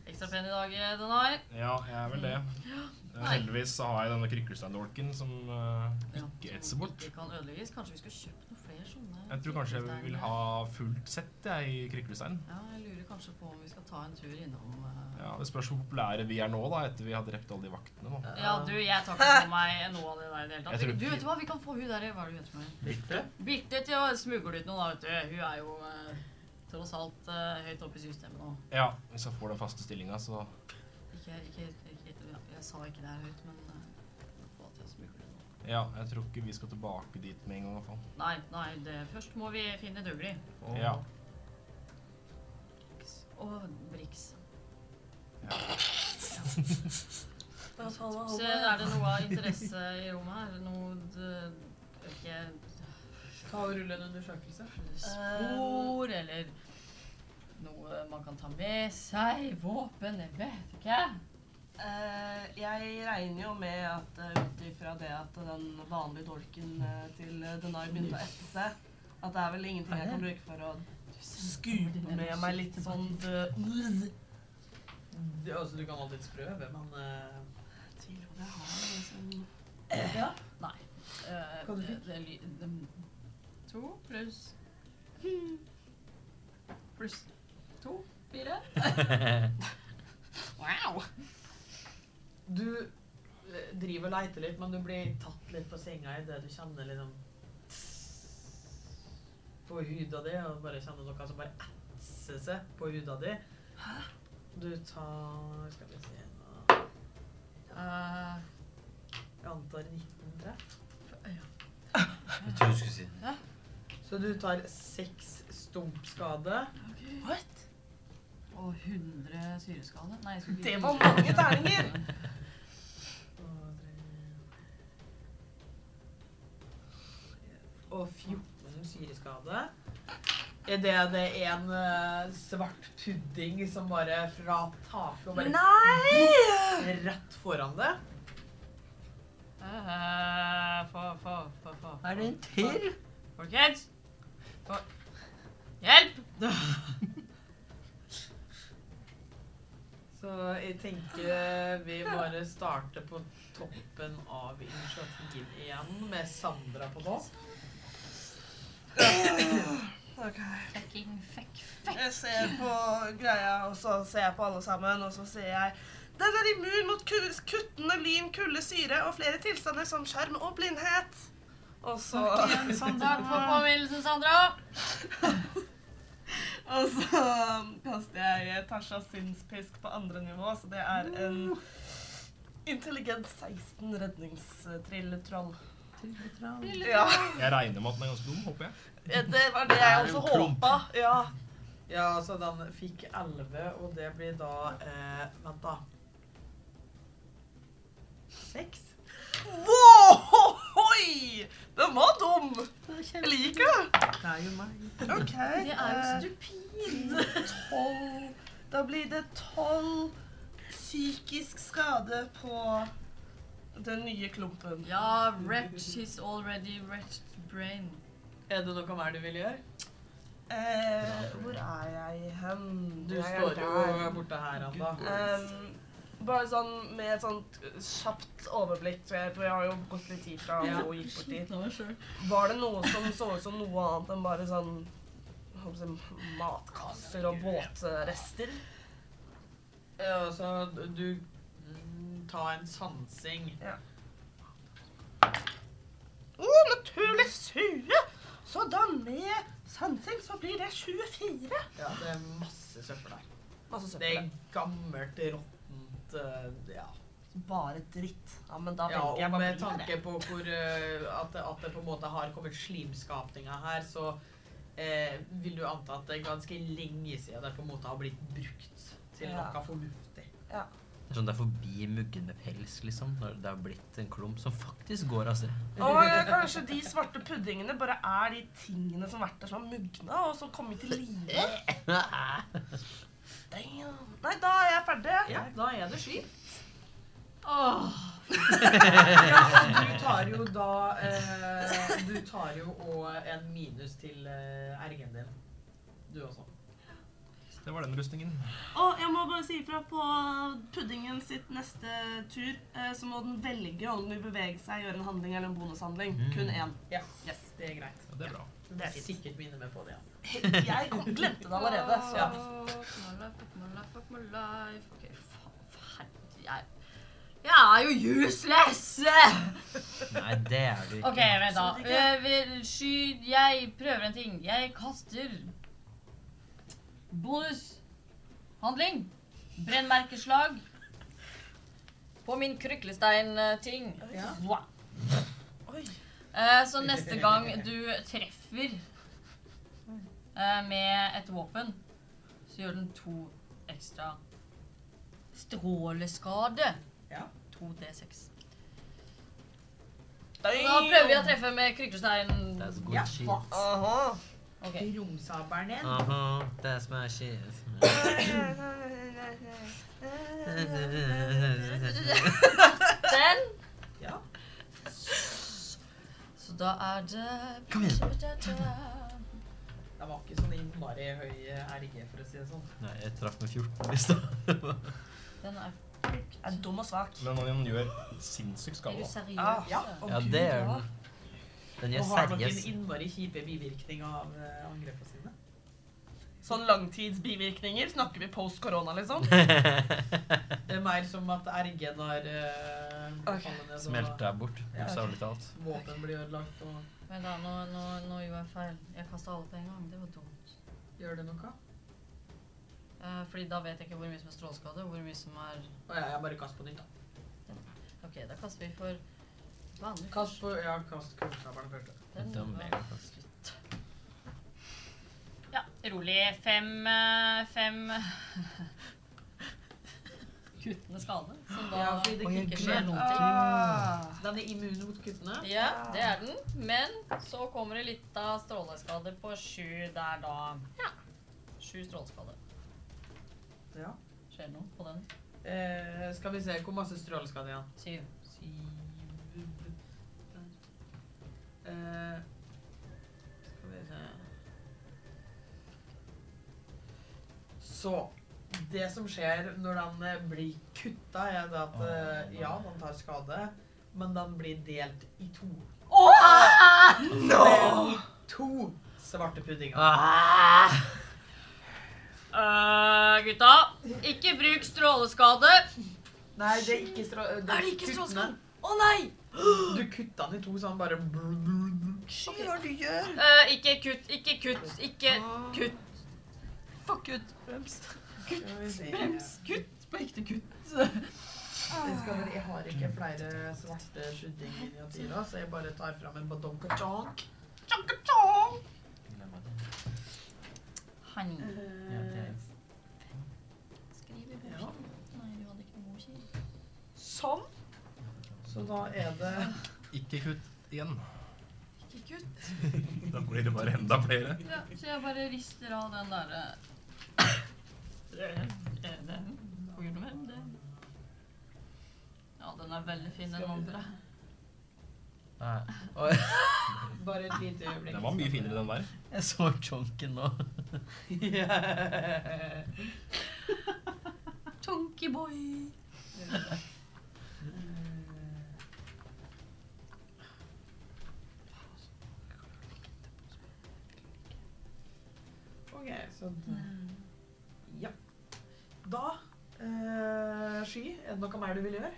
Ekstra pen i dag, eh, Denai. Ja, jeg er vel det. Eh, Mm. Nei. Heldigvis så har jeg denne krykkelsteindolken som eh, Ja, ikke som etser bort. Ikke kan ødelegges. Kanskje vi skulle kjøpt noen flere sånne? Jeg tror kanskje jeg vil ha fullt sett jeg, i krykkelsteinen. Ja, jeg lurer kanskje på om vi skal ta en tur innom eh, Ja, det spørs hvor populære vi er nå, da, etter vi har drept alle de vaktene. Da. Ja, du, jeg tar ikke på meg noe av det der i det hele tatt. Jeg tror Du, ikke- vet du hva, vi kan få hun der Hva er det hun heter for noe? Birte til å smugle ut noe, da, vet du. Hun er jo eh, tross alt eh, høyt oppe i systemet nå. Ja, hvis jeg får den faste stillinga, så Ikke, ikke, ikke, ikke ja, Jeg sa ikke det her høyt, men eh, få til å smugle noe. Ja, jeg tror ikke vi skal tilbake dit med en gang, i hvert fall. Nei, nei, det, først må vi finne Dougley. Og- Ja. Og Brix. La oss holde, Så holde. er det noe av interesse i rommet her? Noe d- ikke Kan du rulle en undersøkelse? spor, eller noe man kan ta med seg? Våpen? Jeg vet ikke. Eh, jeg regner jo med at eh, ut ifra det at den vanlige dolken eh, til eh, Denai begynte å etse seg, at det er vel ingenting jeg kan bruke for å skupe med meg litt sånn død Det, altså, du kan alltids prøve, men eh, Jeg tviler på det. Jeg har noe altså. som- Nei. Eh, Hva du det, fikk? det, ly- dem- to pluss Pluss to? Fire? Wow! Du eh, driver og leiter litt, men du blir tatt litt på senga i det du kjenner liksom på huda di, og bare kjenner noe som bare etser seg på huda di. Du tar Skal vi se nå. Eh, Jeg antar 19 treff. Jeg tror du skulle si det. Så du tar seks stumpskade. What? og 100 syreskade? Nei, jeg skulle Det var mange terninger! Og 14 syreskade. Er det det er en eh, svart pudding som bare fra taket og bare Nei! rett foran det? Eh, Få, få, få, få. Er det en til? Folkens! Få. Hjelp! Så jeg tenker vi bare starter på toppen av initiativet igjen med Sandra på nå. Ok. Fucking fuck, fuck. Jeg ser på greia, og så ser jeg på alle sammen, og så sier jeg Den er immun mot ku kuttende lyn, kulde, syre og flere tilstander som skjerm og blindhet. Og så, sånn Takk for påminnelsen, Sandra. og så kaster jeg Tasha sinnspisk på andre nivå, så det er en intelligent 16 redningstrilletroll. Ja, Jeg regner med at den er ganske dum, håper jeg. det var det jeg også håpa. Ja. Ja, så den fikk 11, og det blir da eh, Vent, da. 6? Wow! Oi! Den var dum! Jeg liker det. Det er jo meg. OK. Det er jo eh, stupid. tolv Da blir det tolv psykisk skade på den nye klumpen. Ja, wretch is already wretched brain. Er det noe mer du vil gjøre? Eh, hvor er jeg hen? Du Jeg er står jo der. borte her, Anda. Ehm, bare sånn med et sånt kjapt overblikk, tror jeg, for jeg har jo gått litt tid fra Ja. og gikk bort dit. Ta meg sjøl. Var det noe som så ut som noe annet enn bare sånn jeg holdt på å si, matkasser og båtrester? Ja, så Eh, altså, du mm, Ta en sansing. Å, naturlig 20! Så da med sansing så blir det 24. Ja, det er masse søppel der. Masse Det søppel. er gammelt, råttent eh, Ja. Bare dritt. Ja, men da ja tenker og jeg bare med blir det. tanke på hvor eh, at, det- at det på en måte har kommet slimskapninger her, så eh, vil du anta at det er ganske lenge siden det på en måte har blitt brukt til Ja. noe fornuftig. Det er sånn det er forbi muggen med pels, liksom. Når det har blitt en klump som faktisk går av sted. Og eh, kanskje de svarte puddingene bare er de tingene som har vært der som har mugna, og så kommet til live. Damn. Nei, da er jeg ferdig. Ja, da er det sky. Åh, Ja, du tar jo da eh, Du tar jo òg en minus til eh, ergen din. Du også. Det var den rustningen. Og jeg må bare si ifra på puddingen sitt neste tur, eh, så må den velge om den vil bevege seg, gjøre en handling eller en bonushandling. Mm. Kun én. Ja. Yes, det er greit. Ja, det er bra. Det er fint. Sikkert minner meg på det. Ja. Jeg kom- glemte det allerede. Så ja. Fuck my life, fuck my life, fuck my life. Ok, faen, for helvete. Jeg, jeg er jo useless! Nei, det er du ikke. Ok, vent da. Så det Jeg vil sky... Jeg prøver en ting. Jeg kaster bonushandling. Brennmerkeslag. På min eh, kryklestein-ting. Ja. Wow. Oi. Eh, Så neste gang du treffer eh, med et våpen, så gjør den to ekstra stråleskade. Ja. 2D6. Da prøver vi å treffe med kryklestein. That's good Ja. shit. Ah. Aha. Ok. Romsabelen din. Aha, that's my shit. Den. Ja. Så da er det Kom igjen. Den var ikke sånn innmari høy eh, RG, for å si det sånn. Nei, jeg traff med 14 i stad. Den er Jeg er dum og svak. Men han gjør sinnssykt Er skade. du da. seriøs? Ah, ja. Å, Ja, Gud, det gjør ja. den. Den Og gjør har nok en seriøst. innmari kjipe bivirkning av eh, angrepene sine. Sånn langtidsbivirkninger snakker vi post korona, liksom. Det er mer som at RG-en har eh, blitt Ok. fallende, så Smelter deg bort, Ja. bokstavelig talt. Våpen blir ødelagt, og Vent da, nå, nå, nå gjorde jeg feil. Jeg kasta alle på en gang. Det var dumt. gjør det noe? Eh, fordi da vet jeg ikke hvor mye som er stråleskade, og hvor mye som er Å ja, jeg bare kast på nytt, da. OK, da kaster vi for vanlig. Kast på, ja, kast kullsabelen først. da. Den Det var var megafast. slutt. Ja, rolig. Fem eh, Fem Kuttende skade, som da Ja, fordi det Å, jeg kutter skjer den. noen ting. Ah. Den er immun mot kuttene. Ja, det er den. Men så kommer det litt av stråleskade på sju der, da. Ja. Sju stråleskade. Ja. Skjer det noe på den? Eh, skal vi se, hvor masse stråleskade igjen? Syv. Syv der. Eh, Skal vi se Så Det som skjer når den eh, blir kutta, er det at eh, ja, den tar skade, men den blir delt i to. No! To svarte puddinger. Ah! Eh, gutta, ikke bruk stråleskade. Nei, det er ikke strå... Er det ikke stråleskade? Å nei! Du kutta den i to, så han bare Sky, hva er det du gjør? Eh, ikke kutt, ikke kutt, ikke kutt. Fuck ut. Brems. Brems. Kutt på ekte kutt. Jeg, skal, vel- jeg har ikke flere svarte skyddingminiatyrer, så jeg bare tar fram en badonka-chonk. Glem det. Han Ja, det er- skriver Ja. Nei, du hadde ikke noe kjell. Sånn. Så da er det Ikke kutt igjen. Ikke kutt. Da blir det bare enda flere. Ja, så jeg bare rister av den eh. derre Den. Hva gjør du med den? Ja, den er veldig fin, den andre. Nei. Oi, bare et lite øyeblikk. Den var mye finere, den der. jeg så chonken nå. Chunky boy. OK, så da Ja. Da eh, Sky, er det noe mer du vil gjøre?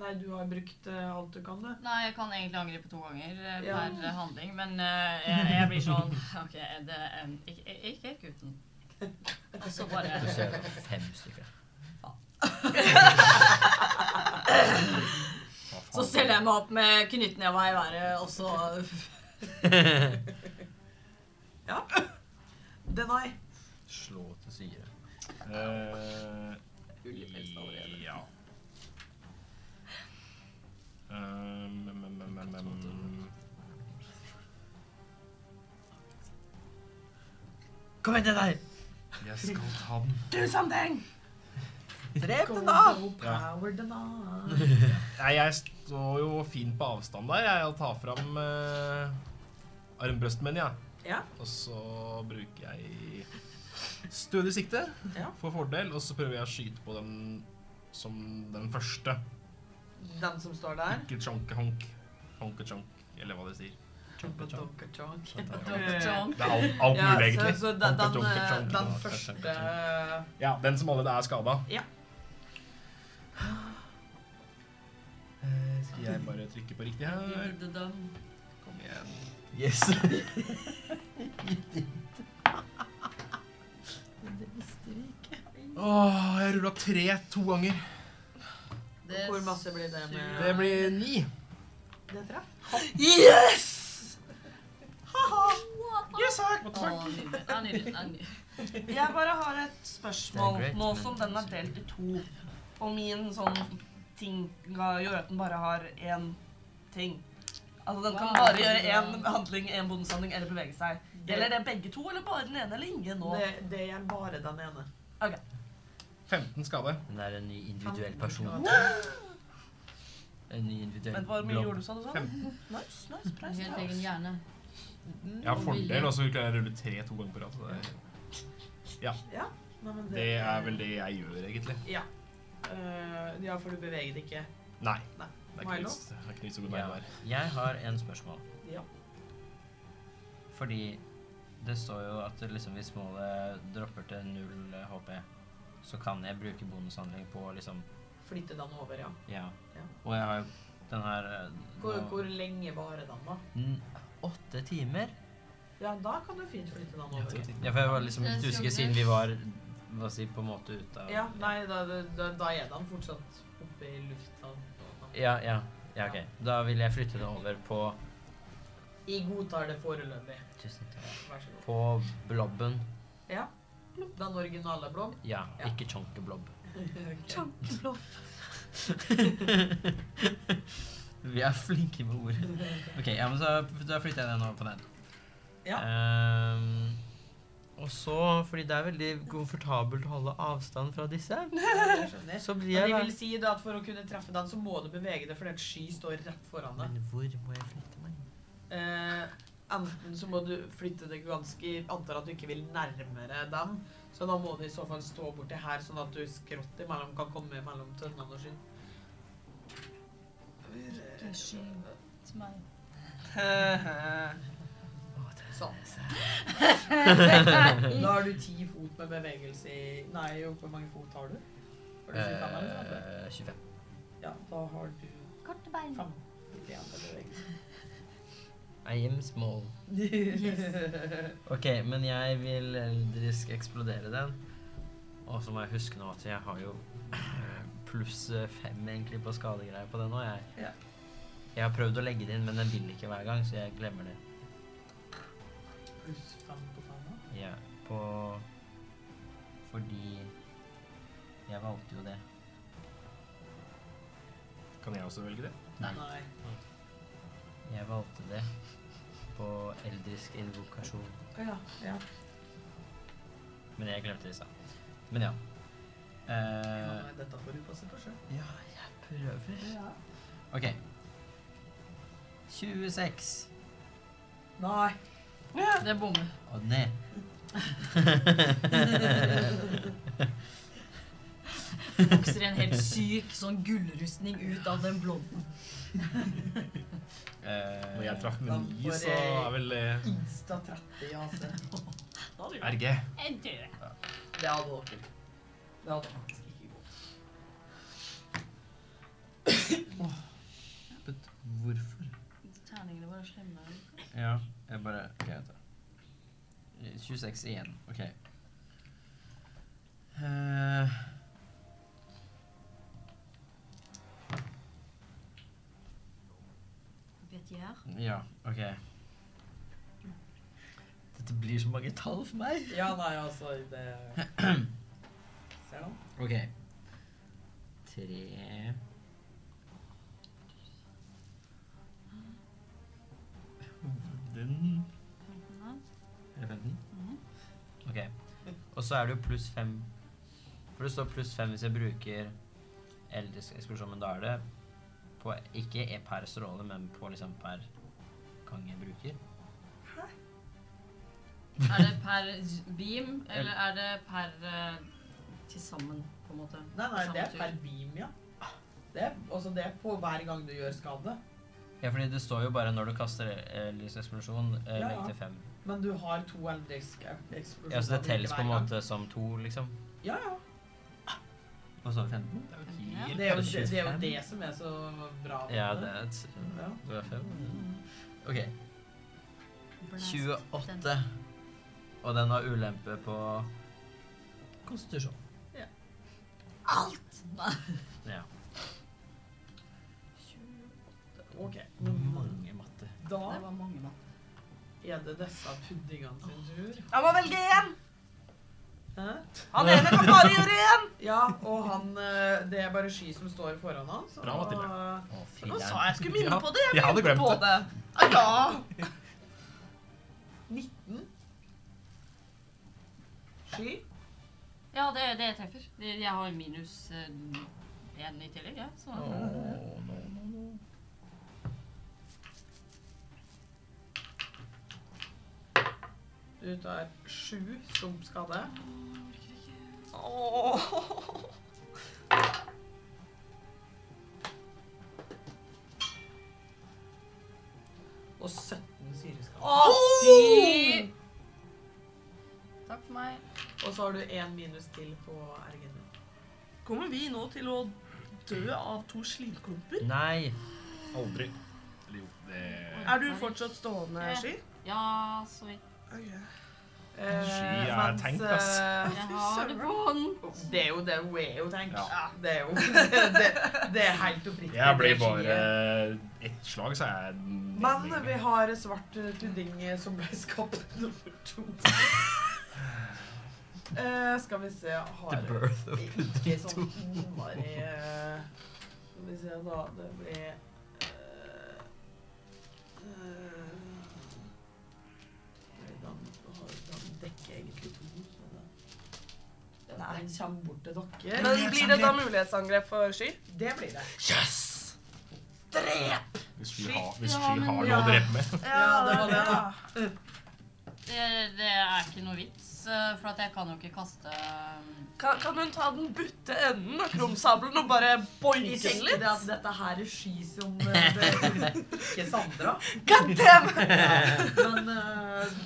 Nei, du har brukt eh, alt du kan, du. Nei, jeg kan egentlig angripe to ganger eh, Ja. per handling, men eh, jeg, jeg blir sånn OK, det er Ikke, ikke gutten. Og så bare Du ser fem stykker. Hva faen? Så steller jeg meg opp med knyttneva i været, og så Denai. Slå til syre. Eh, Ullpels allerede. Ja. Eh, men, men, men, men, men. Kom igjen til deg! Jeg skal ta den. Du, Sandeng! Go, Drep go, power Denai. Nei, jeg står jo fint på avstand der. Jeg tar fram eh, armbrøsten min, ja. Ja. Og så bruker jeg Stødig sikte Ja. får fordel, og så prøver jeg å skyte på den som den første. Den som står der. Ikke chonk-honk. Honk-chonk, eller hva de sier. Chonk-chonk. Dr. John. Det er alt, alt Ja, mulig, så, egentlig. så den, den, Honk-chonk, eh, chonk, den chonk, chonk, første eh, chonk. Ja, den som allerede er skada. Ja. Eh, Skal jeg bare trykke på riktig Vi her? bidde dem. Kom igjen. Yes. Det visste vi ikke. Åh, jeg rulla tre to ganger. Det Hvor masse blir det med- suger. Det blir ni. Det traff. Yes! What Yes, takk! the fuck? Å, nydelig. Det er nydelig. Det er nydelig. Jeg bare har et spørsmål, Det er great, nå men- som den er delt i to. Og min sånn ting ga- gjør at den bare har én ting. Altså Den kan Wow. bare gjøre én handling, én bonushandling eller bevege seg. Gjelder det begge to, eller bare den ene eller ingen nå? Det, det er bare den ene. 15 skade. Den er en ny individuell Femten person. Mm. En ny individuell Vent, hvor mye blå. gjorde du, sa du sånn? Nice, nice, En price, Helt egen hjerne. Jeg har fordel, og så klarer jeg å rulle tre to ganger på rad. så det er- Ja. Nei, men Det er vel det jeg gjør, egentlig. Ja. Eh, ja, for du beveger det ikke. Nei. Nei. Det er ikke Milo? vits- det er ikke vits å gå Ja. nærmere. Jeg har en spørsmål. Ja. Fordi det står jo at det liksom hvis målet dropper til null eh, HP, så kan jeg bruke bonushandling på liksom Flytte den over, ja. Ja. Ja. Og jeg har jo den her eh, Hvor, nå- hvor lenge varer den, da? N- Åtte timer? Ja, da kan du fint flytte den over. Ja, for jeg var liksom Det litt er usikker siden vi var hva si, på en måte ute av Ja, nei, da, da, da er den fortsatt oppe i lufta. ja, ja. Ja, ok. Da vil jeg flytte det over på Jeg godtar det foreløpig. Tusen takk. Vær så god. På blobben. Ja. Den originale blom. Ja, Ja. ikke chonkeblob. Ok. Vi er flinke med ord. Ok, ja, men så, da flytter jeg den over på den. Ja. Ehm, og så, fordi det er veldig komfortabelt å holde avstand fra disse, Jeg skjønner. så blir Og jeg det vil si da at for å kunne treffe den, så må du bevege deg, fordi et sky står rett foran deg. Men hvor må jeg flytte meg? Eh, enten så må du flytte deg ganske Antar at du ikke vil nærmere dem. Så da må du i så fall stå borti her, sånn at du skrått imellom kan komme mellom tønnene og skinn. Ikke skyt meg. Sånn. da har du ti fot med bevegelse i Nei, jo, hvor mange fot har du? Har du 25 eller noe sånt? Eh, 25. Ja, da har du Korte bein. fem fot igjen til bevegelse. I am small. Ok, men jeg vil eldrisk eksplodere den. Og så må jeg huske nå at jeg har jo pluss eh, fem egentlig på skadegreier på den nå, jeg. Ja. Jeg har prøvd å legge det inn, men den vil ikke hver gang, så jeg glemmer det. Pluss fem på fem, da. Ja, på Fordi jeg valgte jo det. Kan jeg også velge det? Nei. Nei. Jeg valgte det på eldrisk invokasjon. Ja, ja. Men jeg glemte det i stad. Men ja. Eh, Nei, Dette får du passe på sjøl. ja, jeg prøver. OK. 26. Nei. Det bommer. Og ned. Vokser en helt syk sånn gullrustning ut av den blonden. Når jeg traff Da med ni, får så jeg- er vel eh, Insta altså. 30 i AC. RG. Det hadde dere. Det hadde faktisk ikke gått. Hvorfor? Terningene våre er slemme. Ja, jeg bare Ok, vent da. 26 igjen. Ok. Eh, Vet jeg. ja, ok. Dette blir så mange tall for meg. Ja, nei, altså det Ser du? Ok. Tre Den Er det 15? Mhm. Ok. Og så er det jo pluss 5 For det står pluss 5 hvis jeg bruker eldrisk eksplosjon, men da er det på, ikke e- per stråle, men på liksom per gang jeg bruker. Hæ? Er det per z- beam, eller er det per eh, til sammen, på en måte? Nei, nei, Samme det er tur. per beam, ja. Det er, altså, det er på hver gang du gjør skade. Ja, fordi det står jo bare når du kaster eh, lyseksplosjon, eh, Ja, ja. legg til fem. Men du har to elektriske eksplosjoner. Ja, så det telles på en hver gang. måte som to, liksom. Ja, ja. Og så 15? Det er jo jo helt- Det er jo det, Kanskje det, er jo 25? det som er så bra med Ja, det det. er et Ja. Det Mm. er fem. OK. Blast. 28. Og den har ulempe på konstitusjon. Alt! Nei. Ja. Ok. Mm. Mange matte. Da Det var mange mann. er det disse puddingene sin tur. Jeg må velge én! Hæ? Han ene kan bare gjøre én! Ja, og han eh, Det er bare sky som står foran han. Så Bra, Mathilde. Å, Nå sa filler'n. jeg jeg skulle minne på det. Jeg hadde glemt på det. det. Ah, ja. 19. Sky. Ja, det, det treffer. Det- Jeg har minus én i tillegg, jeg. Så Å, no. Du tar sju stump skade. Åh. Og 17 syreskade. Åtti! Takk for meg. Og så har du én minus til på RG-en. din. Kommer vi nå til å dø av to slimklumper? Nei. Aldri. Eller jo, det Er du fortsatt stående, Ja. Sky? Ja, så vidt. Eh, Sky er mens, tank, ass. eh, Jeg har det vondt. Det er jo det hun er jo tenkt. Ja. Det er jo det, det er helt oppriktig. Det Jeg blir er eh. bare skyet. ett slag, så er jeg Men vi har svart eh, pudding eh, som ble skapt nummer to. Eh, skal vi se Har The birth of ikke sånn innmari eh, Skal vi se, da. Det blir eh, eh, Hvordan hvordan dekker jeg egentlig to? Den kommer bort til dere. Men blir det da mulighetsangrep for Sky? Det blir det. Yes! Drep! Hvis vi har, hvis Ja, vi men har ja. noe å drepe med. Ja, det var det, da. Det, det er ikke noe vits, eh, for at jeg kan jo ikke kaste eh, Kan, kan hun ta den butte enden av krumsabelen og bare boinke Ikke den si litt? det at dette her er sky som eh, det- Ikke Sandra. God damn! Men eh,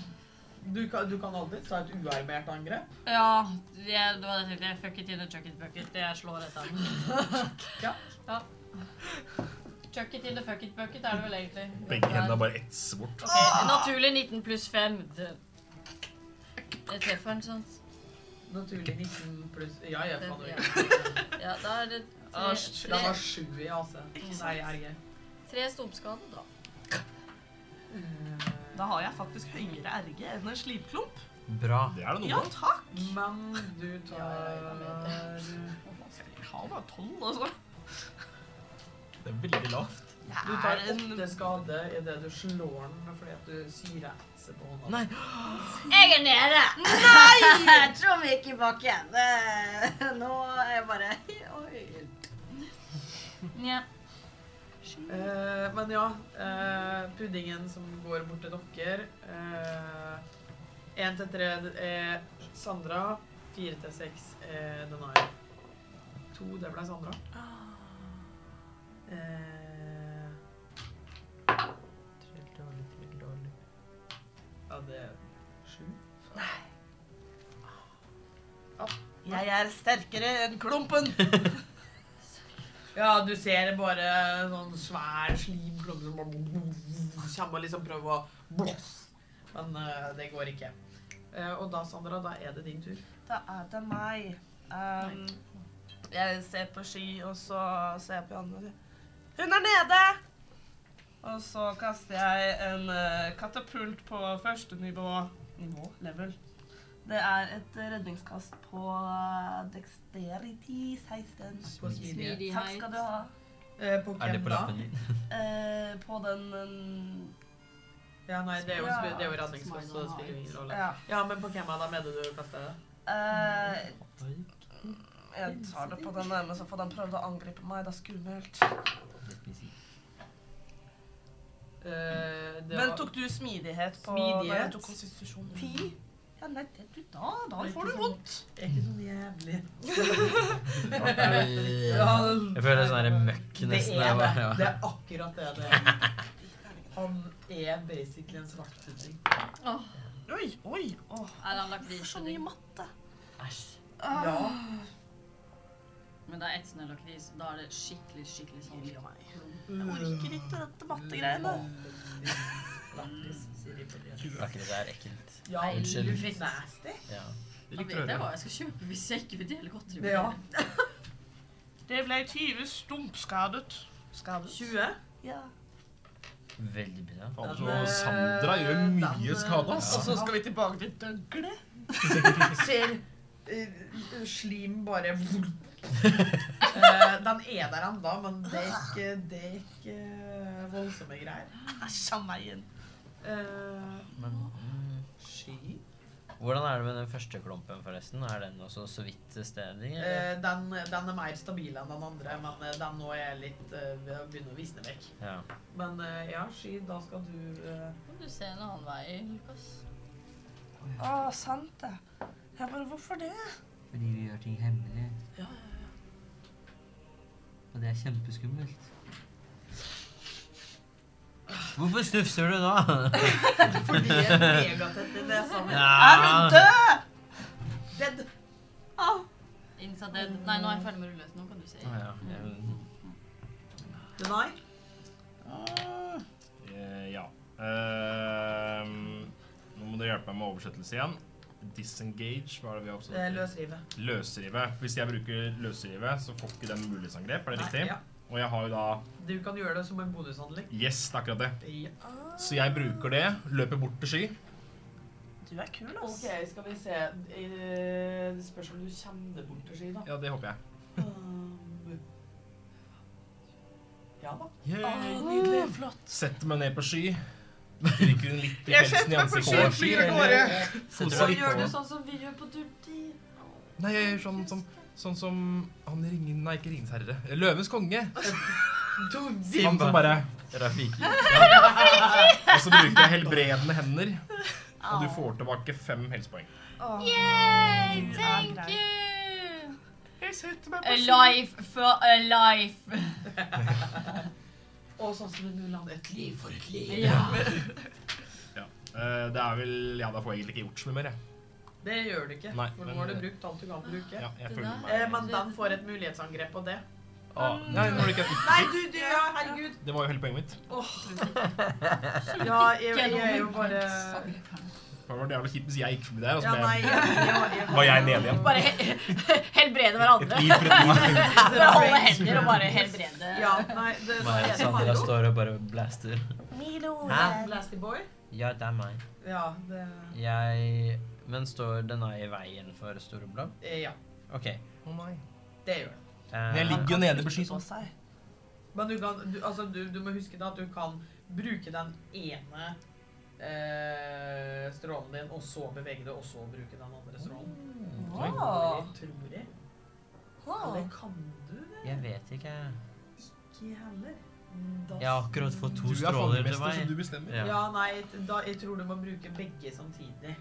du, kan, du kan alltid ta et uarmert angrep. Ja, det, det var det jeg tenkte. Fuck it in the chuck it bucket. Det jeg slår etter. Ja. ja. Chuck it in the fuck it bucket er det vel egentlig. Begge hendene er bare ett bort. Ok, Naturlig 19 pluss 5. Det, det treffer den, sant? Naturlig 19 pluss Ja, jeg faen Ja. ikke. Ja, da er det Ah, tre, shit. Det var tre, sju i AC. Nei, RG. tre stumpskader, da. Eh, Da har jeg faktisk høyere RG enn en slimklump. Bra. Det er det Ja noe. takk! Men du tar Jeg har bare tolv, altså. Det er veldig lavt. Du tar Jeg er en åtte skade idet du slår den fordi at du syrer etset på hånda. Nei. Jeg er nede! Nei! Trond gikk i bakken. Nå er jeg bare Nja. Eh, men ja, eh, puddingen som går bort til dere Én til tre er Sandra. Fire til seks er Denai. To, det ble Sandra. Ah. Eh, Trell dårlig, trell dårlig. Ja, det er sju. Jeg er sterkere enn klumpen. Ja, du ser bare sånn svær slimklump som bare kommer og liksom prøver å blåse. Men eh, det går ikke. Eh, og da, Sandra, da er det din tur. Da er det meg. Um, jeg ser på sky, og så ser jeg på Janne og sier Hun er nede! Og så kaster jeg en eh, katapult på første nivå. Nivå? Level. Det er et redningskast på eh, dexterity 16. På smidighet. Smidighet. Takk skal du ha. Eh, på Er det hvem på da? lappen din? Eh, på den eh, Ja, nei, det er jo, sp- det er jo redningskast, så det Smile spiller jo ingen rolle. Ja. Ja, men på hvem av dem er det du kaster det? Eh, jeg tar det på den nærmeste, for den prøvde å angripe meg. Det er skummelt. Eh, det Men var tok du smidighet på Eh, Smidighet. Nei, jeg tok konstitusjon. ti. Ja, nei, det, du, da, da får du vondt. Jeg er ikke sånn jævlig. Jeg føler det er sånn her møkk det nesten. er jeg det. bare, ja. Det er akkurat det det er. Han er basically en svarthuting. Åh, Oi, oi. Åh, er han lagt så mye matte. Ah, Æsj. Ja. Men det er ett snøllakris. Da er det skikkelig, skikkelig sånn Gir meg. Jeg orker ikke dette mattegreiene. Lattis, sier de på det. Det er ikke det der ekkelt. Ja, Unnskyld. du fikk nasty. Ja. Det Da likte vet du jeg høre. hva jeg skal kjøpe hvis jeg ikke vil dele godteri med Ja. dere. Det ble 20 stumpskadet. Skadet? 20. Ja. Veldig bra. Faen, Den, eh, så Sandra gjør mye den, skade, Og ass. så skal vi tilbake til døgle. Ser eh, slim bare Eh, Den er der ennå, men det er ikke, det er ikke eh, voldsomme greier. Æsj av meg igjen. Eh, Men mm, sky. hvordan er det med den første klumpen, forresten? Er den også så vidt til stede? eller? Eh, den, den er mer stabil enn den andre, men eh, den nå er litt eh, begynner å visne vekk. Ja. Men eh, ja, Sky, da skal du eh, Kan du se en annen vei, Lukas? Å, sant det. Jeg bare, hvorfor det? Fordi vi gjør ting hemmelig. Ja, ja, Og det er kjempeskummelt. Hvorfor snufser du nå? Fordi en megatett i nesa mi Er hun død? Dead! Innsa dead. Nei, nå er jeg ferdig med rulleløs. Nå kan du se. Å, ja. Jeg- Denai? Eh, ja. Ehm, nå må dere hjelpe meg med oversettelse igjen. Disengage, hva er det vi har Det er oppsatt? løsrive. Løsrive. Hvis jeg bruker løsrive, så får ikke den mulighetsangrep, er det Nei, riktig? ja. Og jeg har jo da Du kan gjøre det som en bonushandling. Yes, det er akkurat det. Ja. Så jeg bruker det, løper bort til Sky. Du er kul, ass. Ok, skal vi se. Eh, Det spørs om du kommer deg bort til Sky, da. Ja, det håper jeg. Um, Ja da. Ah, Å, nydelig. Flott. Setter meg ned på Sky. Drikker hun litt i pelsen i ansiktet. flyr av gårde. Setter deg Gjør du på. sånn som vi gjør på Durdi? Nei, jeg gjør sånn som Sånn som han i ringen Nei, ikke Ringens herre. Løvens konge. Han som bare Rafiki. Og så bruker jeg helbredende hender, og Ah. du får tilbake fem helsepoeng. Yay, Du er thank grei. you! Jeg setter meg på Alive for alive. Og sånn som det nå lander. Et liv for et liv. Ja. Eh, det er vel Ja, da får jeg egentlig ikke gjort så mye mer, jeg. Det gjør du ikke. Nei, For nå men- eh, har du brukt alt du kan bruke. Ja, jeg Det føler der- Eh, meg men den får et mulighetsangrep på det. ah, Nei, nå var det ikke Nei, du, du ja, herregud. Det var jo hele poenget mitt. Ja, jeg, jeg er jo bare Det var jævlig kjipt hvis jeg gikk forbi der, og Ja, så nei. ble jeg Jeg, jeg, jeg, altså, Var jeg nede igjen? Bare he- helbrede hverandre. et liv for et liv. Bare holde hender og bare helbrede. Ja, nei, det, nå er Meg og det Sandra Milo. står og bare blaster. Milo. Hæ? Blasty boy. Ja, det er meg. Ja, det Jeg Men står denne i veien for Storeblad? eh, Ja, OK. Å, nei. det gjør det. eh, Jeg ligger jo nede på Sky. På seg. Men du, kan, du, altså, du, du må huske da at du kan bruke den ene eh, strålen din, og så bevege det, og så bruke den andre strålen. Oi. Åh. Det tror jeg. Åh. Eller kan du det? Jeg vet ikke. Ah. Ikke heller. Da- Jeg har akkurat fått Du to er stråler til fangemester, så meg. du bestemmer. Ja, Ja. nei, t- da, jeg tror du må bruke begge samtidig.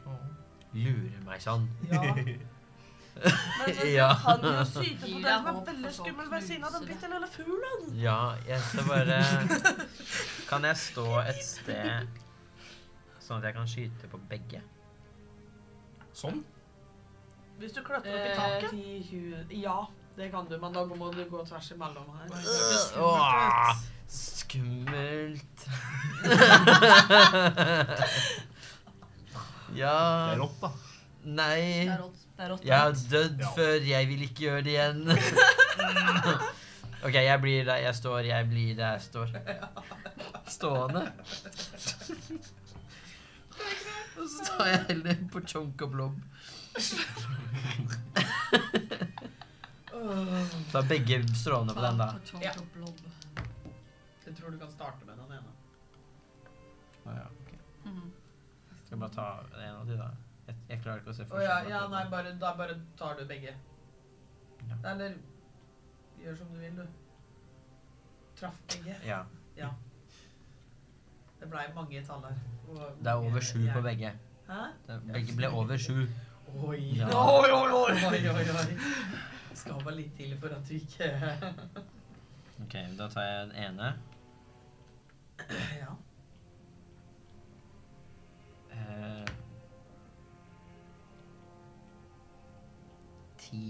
Lurer meg sånn. Ja. Men du Ja. kan jo syte på Gi den deg som er håp for veldig så skummel ved siden av den knuser bitte lille fuglen. Ja, jeg skal bare Kan jeg stå et sted sånn at jeg kan skyte på begge? Sånn. Hvis du klatrer opp i Eh, taket. ti, tjue- ja, det kan du, men da må du gå tvers imellom her. Åh, Skummelt. Det Ja er rått, da. Nei. Det er rått. Det er rått. Jeg har dødd Ja. før, jeg vil ikke gjøre det igjen. ok, jeg blir der jeg står, jeg blir der jeg står. Stående. Og så tar jeg heller på chonk og blob. Ta begge strålene på den, da. Ja. Chomp og blob. Jeg tror du kan starte med den ene. Mhm. Skal jeg bare ta en av de, da? Jeg, jeg klarer ikke å se Å ja, forskjellen. ja, nei, bare, da bare tar du begge. Ja. Eller gjør som du vil, du. Traff begge. Ja, Det blei mange tall her. og Det er mange- over sju på jeg- begge. Hæ? Det, begge ble over sju. Oi. Ja. Oi, oi, oi. oi, oi, oi. Skal bare litt til for at du ikke Ok, da tar jeg den ene. Ja. Eh, Ti.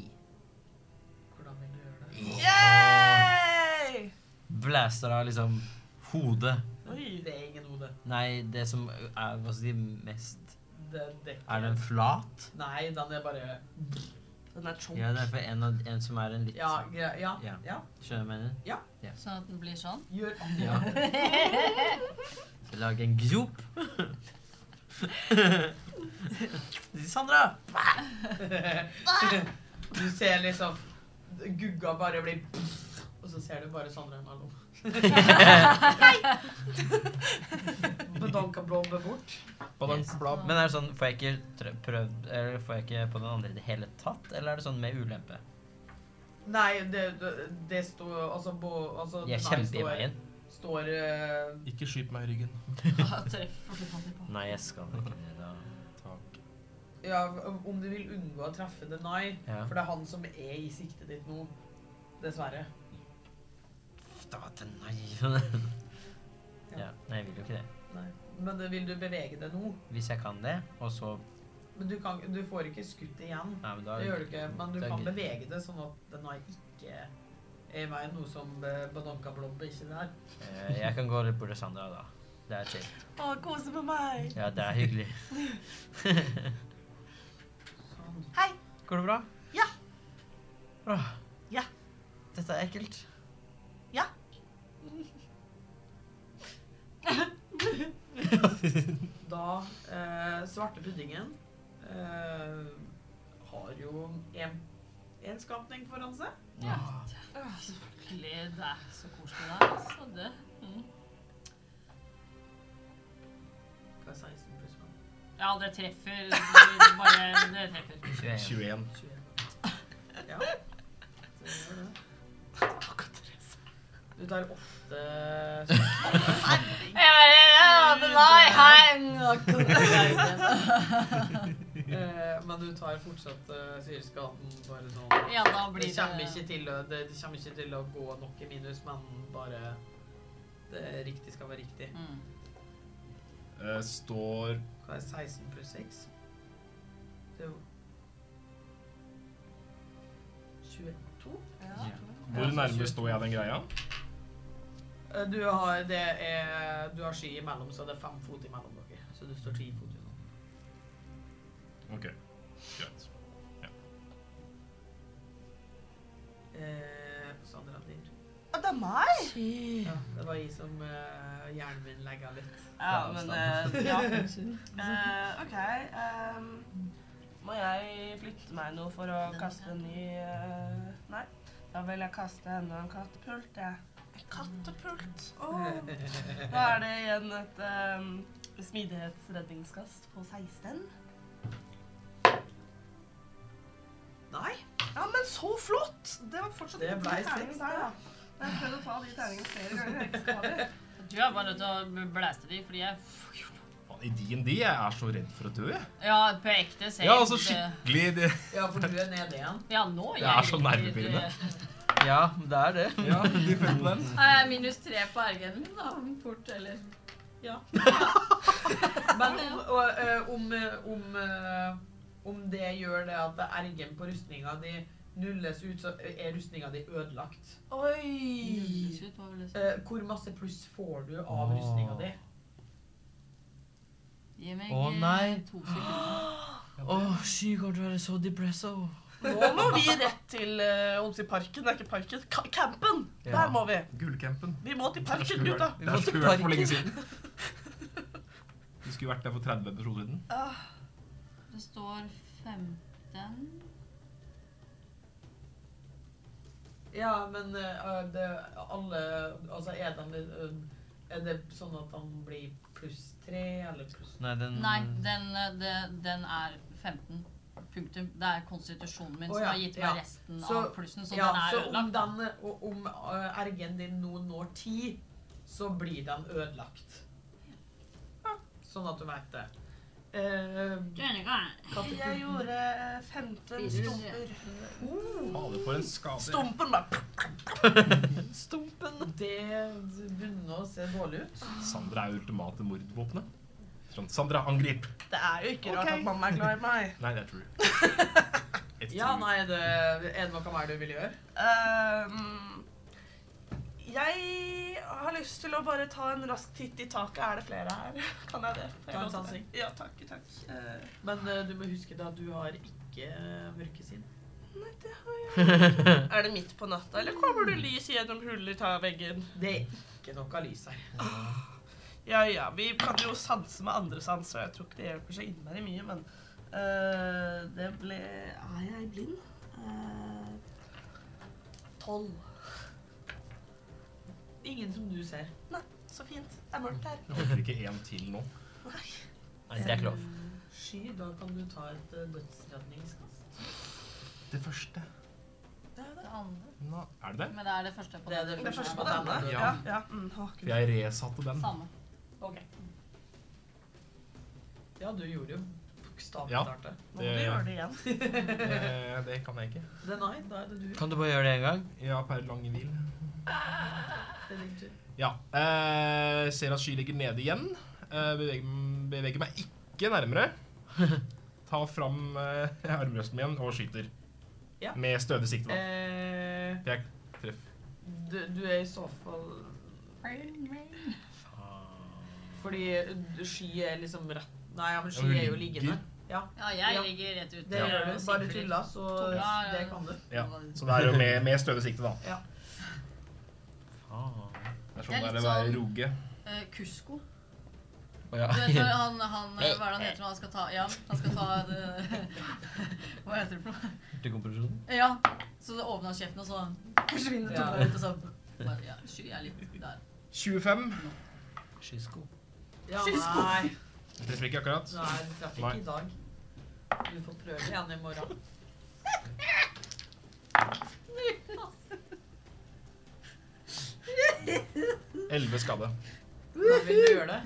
Hvordan vil du gjøre det? Yay! Blaster av liksom hodet. Oi. Det er ingen hode. Nei, det som er hva skal jeg si, mest Det dekker Er den flat? Nei, den er bare Den er chonk. Ja, det er for en, av- en som er en litt Ja, ja, ja. Ja. ja. Skjønner du hva jeg mener? Sånn at den blir sånn. Gjør Ja. akkurat Så Lage en grop. Sandra! Du ser liksom Gugga bare blir Og så ser du bare Sandra og Malo. Bedanka blobbe bort. Balanse blab. Men er det sånn, får jeg ikke trø- prøvd Eller får jeg ikke på den andre i det hele tatt? Eller er det sånn med ulempe? Nei, det, det, det står Altså, bo, altså Jeg er nei, kjempe i står- veien. Står eh, Ikke skyt meg i ryggen. Da treffer du han i baken. Nei, jeg skal ikke det. da. Takk. Ja, om du vil unngå å treffe Denai. Ja. For det er han som er i siktet ditt nå. Dessverre. Da, den- nei. ja, nei, jeg vil jo ikke det. Nei. Men det- vil du bevege deg nå? Hvis jeg kan det, og så Men du, kan, du får ikke skutt igjen. Nei, men da Det gjør du ikke, men du da- kan bevege det sånn at Denai ikke er i veien. Noe som eh, Badanka blobbe ikke er. Eh, Jeg kan gå litt bort til Sandra, da. Det er chill. Å, kose med meg. Ja, det er hyggelig. Sånn. Går det bra? Ja. Åh. Ja. Dette er ekkelt. Ja. Da eh, Svarte puddingen eh, har jo en, en skapning foran seg. Ja. Øh, Selvfølgelig. Det er så koselig der. Altså. Det. Mm. Hva er 16 pluss 5? Ja, det treffer. Det bare det treffer. 21. 21. 21. Ja. Det gjør det. Du tar åtte Ja, ja, ja, det- nei, hei. eh, Men du tar fortsatt eh, syreskaden bare sånn. Ja, da blir Det det kommer, ikke til å, det, det kommer ikke til å gå noe minus, men bare det riktig skal være riktig. Mm. Eh, står Hva er 16 pluss 6? Det er jo 22? Ja. Hvor nærme står jeg den greia? Eh, Du har, det er, du har sky imellom, så det er fem fot imellom dere. Så du står ti fot unna. OK. Greit. Eh, Sandra din. Å, det er meg? Ja, det var jeg som eh, hjernen min legga litt. Ja, men eh, ja. Eh, OK. ehm, må jeg flytte meg nå for å kaste en ny eh, Nei. Da vil jeg kaste enda en kattepult, jeg. Eh, Kattepult? Åh. Da er det igjen et ehm, smidighetsredningskast på 16. Nei. Ja, men så flott! Det var fortsatt Det en ble god terning seks, der, det. da. Jeg har prøvd å ta de terningene flere ganger. jeg ikke skal ha det. Du er bare nødt til å blæste de, fordi jeg Faen, I DND jeg er så redd for å dø, jeg. Ja, på ekte ser Ja, altså det- skikkelig det. Ja, for du er nede igjen. Ja, nå Det jeg er så nervepirrende. Ja, det er det. Ja, de følte den. Nei, jeg er minus tre på RG-en min, da. Fort, eller Ja. Men Men om, og, eh, om, eh, om, eh, om det gjør det at ergen på rustninga di nulles ut, så er rustninga di ødelagt. Oi! Lyset var vel det. Eh, hvor masse pluss får du av Åh. rustninga di? Gi meg Å, eh, nei. to sekunder. Åh, sky kommer til å være så depresso. Nå må vi rett til eh, holdt på å si parken. Det er ikke parken. Ka campen! Ja. Der må vi. Gullcampen. Vi må til Det parken, skulle gutta. vært- det skulle vært for lenge siden. Du skulle vært der for 30 episoder siden. Det står 15 Ja, men eh, det, alle Altså, er, de, eh, er det sånn at han blir pluss tre, eller pluss Nei, Mm. den Nei, den, eh, det- den er 15. Punktum. Det er konstitusjonen min Å, som ja, har gitt meg ja. resten Så- av plussen, så Ja, Sånn den er så om, ødelagt. da. den, og om eh, ergen din nå når ti, så blir den ødelagt. Sånn at du vet det. Eh, Jeg gjorde 15 Virus. stumper. Fader, for en skade. Stumpen bare stumpen! Det begynner å se dårlig ut. Sandra er ultimate mordvåpenet. Sånn, Sandra, angrip! Det er jo ikke rart Ok. at mamma er glad i meg. Nei, det er true. It's Ja, true. nei, det, er det noe mer du vil gjøre? Ehm, jeg har lyst til å bare ta en rask titt i taket. Er det flere her? Kan jeg det? Får jeg Ta en lov til sansing. det? Ja, takk. takk. Eh, Men eh, du må huske da, du har ikke eh, mørkesinn. nei, det har jeg ikke. Er det midt på natta, eller kommer det lys gjennom hull i ta- veggen? Det er ikke noe lys her. Ja ja, vi kan jo sanse med andre sanser. Jeg tror ikke det hjelper så innmari mye, men eh, det ble Er jeg blind? Eh, Tolv. Ingen som du ser. så fint. Det er mørkt her. Jeg orker ikke en til nå. Nei, det er ikke lov. Sky, da kan du ta et eh, dødsredningskast. Det første Det andre. Nå, Er det det? Men det er det første på Det er det den. Det er første først på på denne. denne. Ja. Ja, ja. Mm, å, Gud. For jeg resatte den. Samme. Ok. Ja, du gjorde jo bokstavelig Ja. klart det. Nå må du gjøre det igjen. Eh, det kan jeg ikke. Det er nei, da er det du. Kan du bare gjøre det én gang? Jeg har per lange hvil. Det er din tur. Ja. Eh, ser at sky ligger nede igjen. Eh, beveger, beveger meg ikke nærmere. Tar fram eh, armbrøsten min og skyter. Ja. Med stødig sikte, da. Eh, For jeg treff. du, du er i så fall Fordi eh, sky er liksom rett Nei, ja, men Ja, sky men er jo ligger. liggende. Ja, Ja, Ja. jeg ligger rett ute. det gjør og du. Bare sikler. tulla, så Ja, ja, det ja. kan du. Ja. Så det er jo med, med stødig sikte, da. Faen. Det er Det er sånn det er å litt være sånn- roge. Eh, Kusko. Å, ja. Du vet når han, han eh, Hva er det han heter når han skal ta Ja, han skal ta det, Hva heter det for noe? Hurtigkompresjon. Ja. Så det åpner han kjeften, og så forsvinner Ja. tunga ut, og så bare, ja, Sky er litt der. 25. Skysko. Ja, Skysko. nei. Jeg treffer ikke akkurat. Nei, du traff ikke Nei. i dag. Du får prøve igjen i morgen. Elleve skade. Da vil du gjøre det.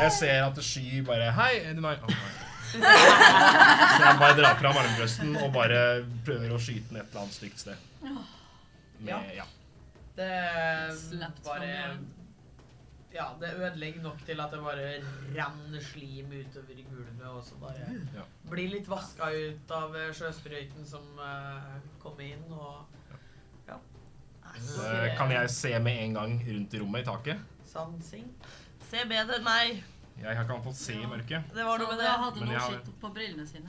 Jeg ser at Sky bare Hei, er det meg? Å, nei. Så jeg bare drar fram armbrøsten og bare prøver å skyte den et eller annet stygt sted. Med, ja. Det mm, Slapt bare hånd, Ja, det ødelegger nok til at det bare renner slim utover i gulvet, og så bare Ja. blir litt vaska ut av eh, sjøsprøyten som eh, kom inn, og Så eh, kan jeg se med en gang rundt i rommet i taket. sansing. Se bedre enn meg. Jeg kan iallfall se i mørket. Det var noe Så med da det. hadde Men noe jeg har- skitt på brillene sine.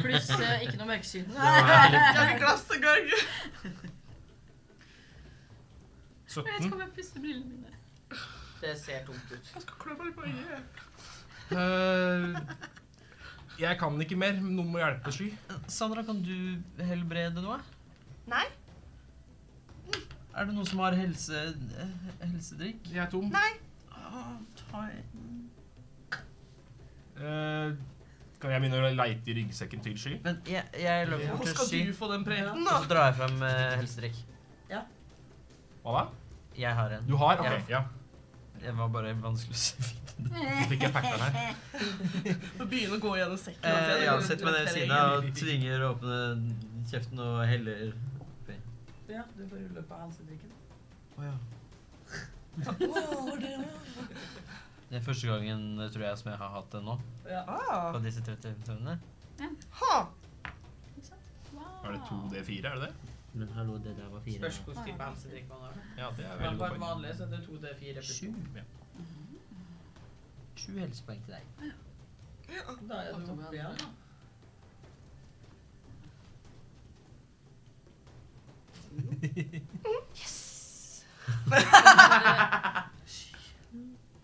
Pluss eh, ikke noe mørkesyn. Jeg har ikke glass engang. 17. om jeg pusser brillene mine. Det ser tungt ut. Jeg skal klø meg på øyet. Eh, jeg kan ikke mer. men Noen må hjelpe Sky. Sandra, kan du helbrede noe? Mm. Nei. Er det noen som har helse, eh, helsedrikk? Jeg er tom. Nei. Eh, kan jeg begynne å leite i ryggsekken til Sky? Men jeg, jeg løper Hvor bort til skal Sky, du få den preten, og da? så drar jeg frem eh, helsedrikk. Hva da? Jeg har en. Du har? Ok, ja. Jeg var bare vanskelig å se. Så fikk jeg packeren her. Du begynner å gå gjennom sekken. og se Eh, det ja, rundt setter meg ned ved terrenget. siden av og tvinger å åpne kjeften og heller Ja, du får rulle på helsedrikken. Å ja. Det er første gangen eh, tror jeg som jeg har hatt det nå, Ja. Ah. på disse 30 minuttene. Ha. Er det 2D4, er det det? Men hallo, det der var fire. Spørs hvilken type helsedrikk man har. Ja, det er Men på veldig en godt poeng. vanlig så er det 2D4 pluss Sju. Ja. Sju helsepoeng til deg. Da er du oppe igjen. da.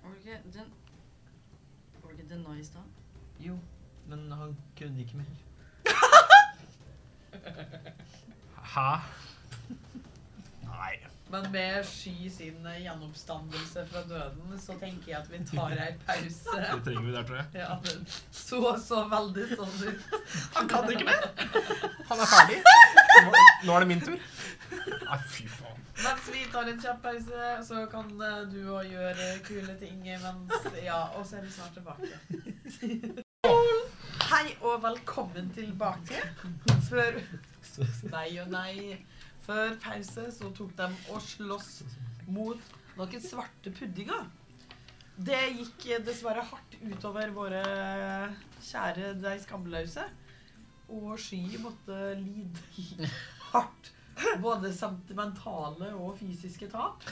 Var det ikke den Var det ikke den nå i stad? Jo, men han kunne ikke mer. Hæ? Nei. Men med Sky sin eh, gjenoppstandelse fra døden, så tenker jeg at vi tar ei pause. Det trenger vi der, tror jeg. Ja, det så så veldig sånn ut. Han kan ikke mer. Han er ferdig. Nå, nå er det min tur. Nei, fy faen. Mens vi tar en kjapp pause, så kan eh, du òg gjøre kule ting mens Ja, og så er vi snart tilbake. Hei og velkommen tilbake. Før Nei og nei. Før pause så tok de og sloss mot noen svarte puddinger. Det gikk eh, dessverre hardt utover våre kjære de skamløse. Og Sky måtte lide hardt både sentimentale og fysiske tap.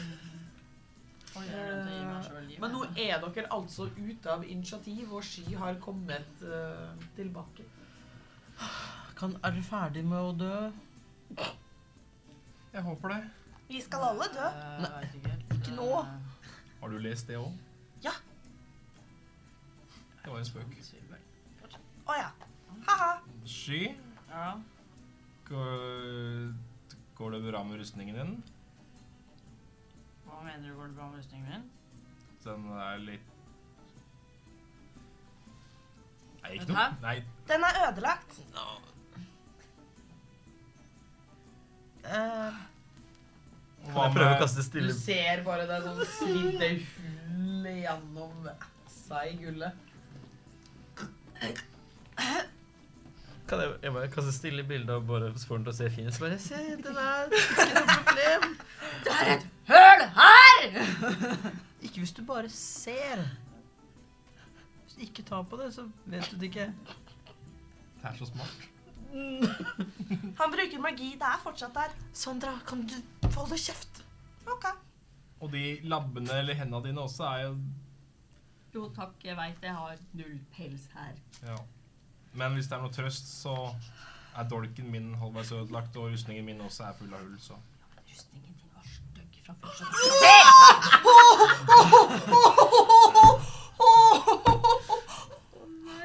Oi, jeg glemte å gi meg selv liv. Men nå er dere altså ute av initiativ, og Sky har kommet eh, tilbake. Kan, er du ferdig med å dø? Jeg håper det. Vi skal alle dø. Eh, Ikke nå. Har du lest det òg? Ja. Det var en spøk. Å ja. Ha-ha. Sky, Ja. går, går det bra med rustningen din? Hva mener du går det bra med rustningen min? Den er litt Nei, ikke Den noe. her? Nei, Den er ødelagt. Eh, hva Jeg prøver å med kaste du stille ser bare det sånn svidde hull gjennom etsa i gullet. Kan jeg, jeg bare kaste stille bilde av bare så får den til å se fin ut? Så bare se, den er Det er et høl her! Ikke hvis du bare ser. Hvis du ikke tar på det, så vet du det ikke. Det er så smart. Han bruker magi. Det er fortsatt der. Sandra, kan du holde kjeft? Ok. Og de labbene eller hendene dine også er jo Jo takk, jeg veit jeg har null pels her. ja. Men hvis det er noe trøst, så er dolken min halvveis ødelagt, og rustningen min også er full av hull, så Rustningen din var stygg fra før. så-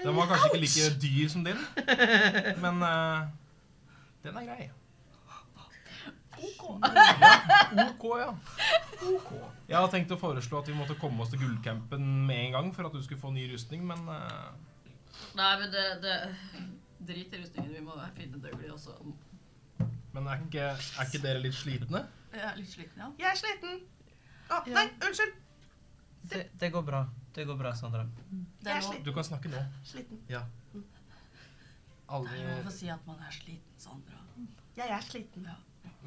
Den var kanskje ikke like dyr som din, men eh, den er grei. OK. Ja, OK, ja. OK. Jeg hadde tenkt å foreslå at vi måtte komme oss til gullcampen med en gang for at du skulle få ny rustning, men eh, Nei, men det, det Drit i rustningen. Vi må finne Dougley også. Men er ikke, er ikke dere litt slitne? Jeg er litt sliten, ja. Jeg er sliten. Å, Ja. nei, unnskyld. Det, det går bra. Det går bra, Sandra. Det Jeg er er lov. sliten. Du kan snakke nå. Sliten. Ja. Det er lov å Alle si at man er sliten, Sandra. Jeg er sliten.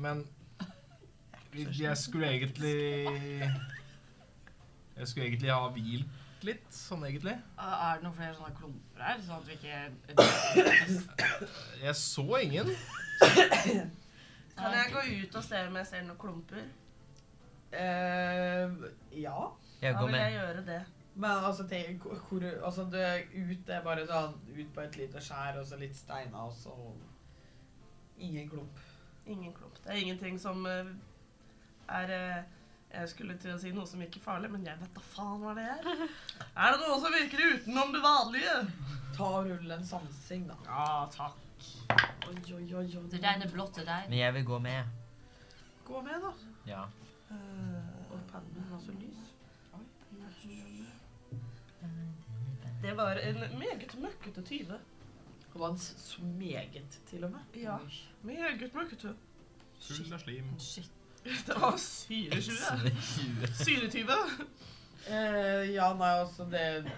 Men jeg skulle egentlig Jeg skulle egentlig ha hvilt litt, sånn egentlig. Er det noen flere sånne klumper her, sånn at vi ikke Jeg så ingen. Kan jeg gå ut og se om jeg ser noen klumper? Eh, ja. Jeg Da går vil jeg med. gjøre det. Men altså, tenk, hvor, altså det er ut er bare sånn ut på et lite skjær, og så litt steiner, og så Ingen klump. Ingen klump. Det er ingenting som eh, er eh, Jeg skulle til å si noe som ikke er farlig, men jeg vet da faen hva det er. Er det noe som virker utenom det vanlige? Ta og rull en sansing, da. Ja, takk. Oi, oi, oi, oi. Det regner blått til deg. Men jeg vil gå med. Gå med, da. Ja. Eh, Og pennen min var så lys. Det var en meget møkkete tyve. Det var en s- meget, til og med. Ja. Meget møkkete. Full av slim. Shit. Det var syretyve. Syretyve. Eh, ja, nei, altså det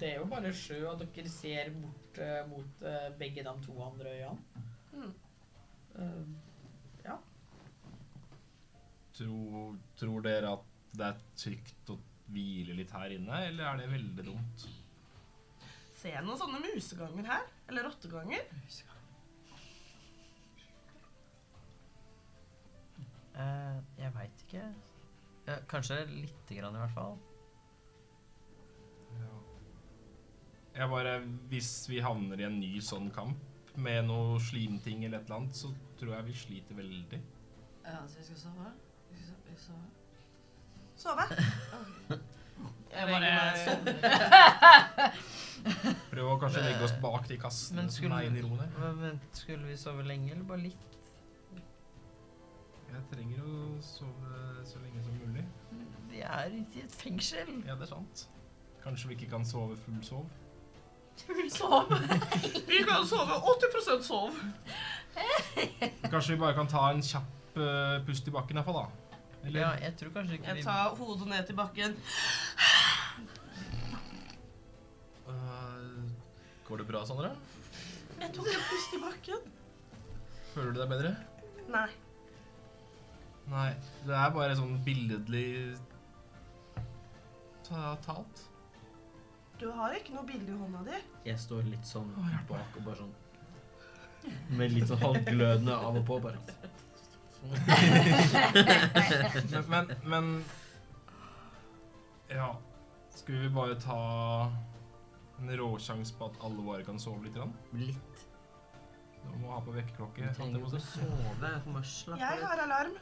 Det er jo bare sjø, og dere ser bort eh, mot eh, begge de to andre øyene. Mm. Eh, Tror, tror dere at det er trygt å hvile litt her inne, eller er det veldig dumt? Ser jeg noen sånne museganger her? Eller rotteganger? Eh, jeg veit ikke. Ja, kanskje lite grann, i hvert fall. Jeg bare, Hvis vi havner i en ny sånn kamp med noe slimting eller et eller annet, så tror jeg vi sliter veldig. Ja, så vi skal sove? Vi skal sove- vi skal sove. Sove? Jeg bare Prøv å kanskje legge oss bak de kassene Men som skulle, er inni roene. men, men skulle vi sove lenge, eller bare litt? Jeg trenger å sove så lenge som mulig. Vi er ikke i et fengsel. Ja, det er sant. Kanskje vi ikke kan sove full sov? Sove. Vi kan sove 80 sov. Kanskje vi bare kan ta en kjapp dyp eh, pust i bakken, iallfall. da. Eller Ja, jeg tror kanskje ikke Jeg tar hodet ned til bakken. Øh, Går det bra, Sandra? Jeg tok en pust i bakken. Føler du deg bedre? Nei. Nei, det er bare sånn billedlig ta talt. Du har ikke noe bilde i hånda di. Jeg står litt sånn bak og bare sånn Med litt sånn halvglødende av og på, bare. Men, men, men Ja. Skal vi bare ta en råsjanse på at alle bare kan sove litt? Grann? Litt. Du må ha på Du vekkerklokke. holdt trenger jeg på ikke å å si. sove. Jeg kan bare slappe Jeg av. har alarm.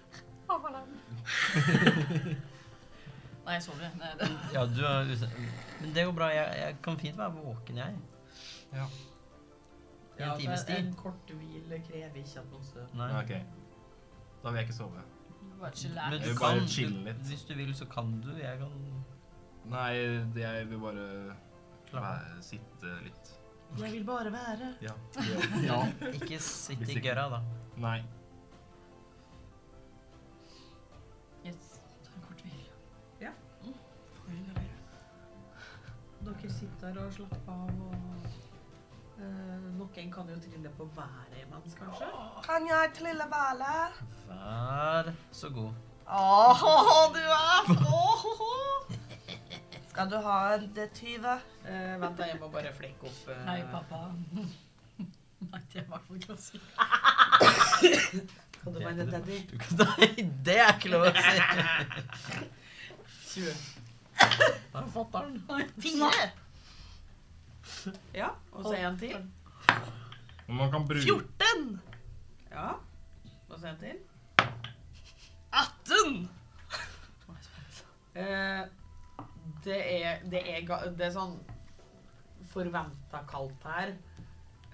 Nei, jeg sover. Nei, det- Ja, du er ute. Men det går bra. Jeg, jeg kan fint være våken, jeg. Ja. I en for altså, times altså, En tid. kort hvile krever ikke at man sover. Nei. Ja, ok. Da vil jeg ikke sove. Bare Men chillax. Jeg du vil bare kan chille litt. Hvis du vil, så kan du. Jeg kan Nei, det- jeg vil bare Slappe av. være- sitte litt. Jeg vil bare være. Ja. Ikke sitte Hvis i ikke- gørra, da. Nei. Yes. Ta en kort hvil. Dere sitter og slapper av og eh, Noen kan jo trille på været imens, kanskje. Kan jeg trille hvale? Vær så god. Åh, du er Åh, Skal du ha en D20? Eh, vent, da, jeg må bare flekke opp eh, Nei, pappa. Nei, det var for klassisk. Kan du være daddy? Du kan- Nei, det er ikke lov å si! 20. Da fatter han. Fire! Ja, og så en til. Men man kan bruke 14! Ja, og så en til. 18! Eh, det, er, det, er, ga- det er sånn forventa kaldt her.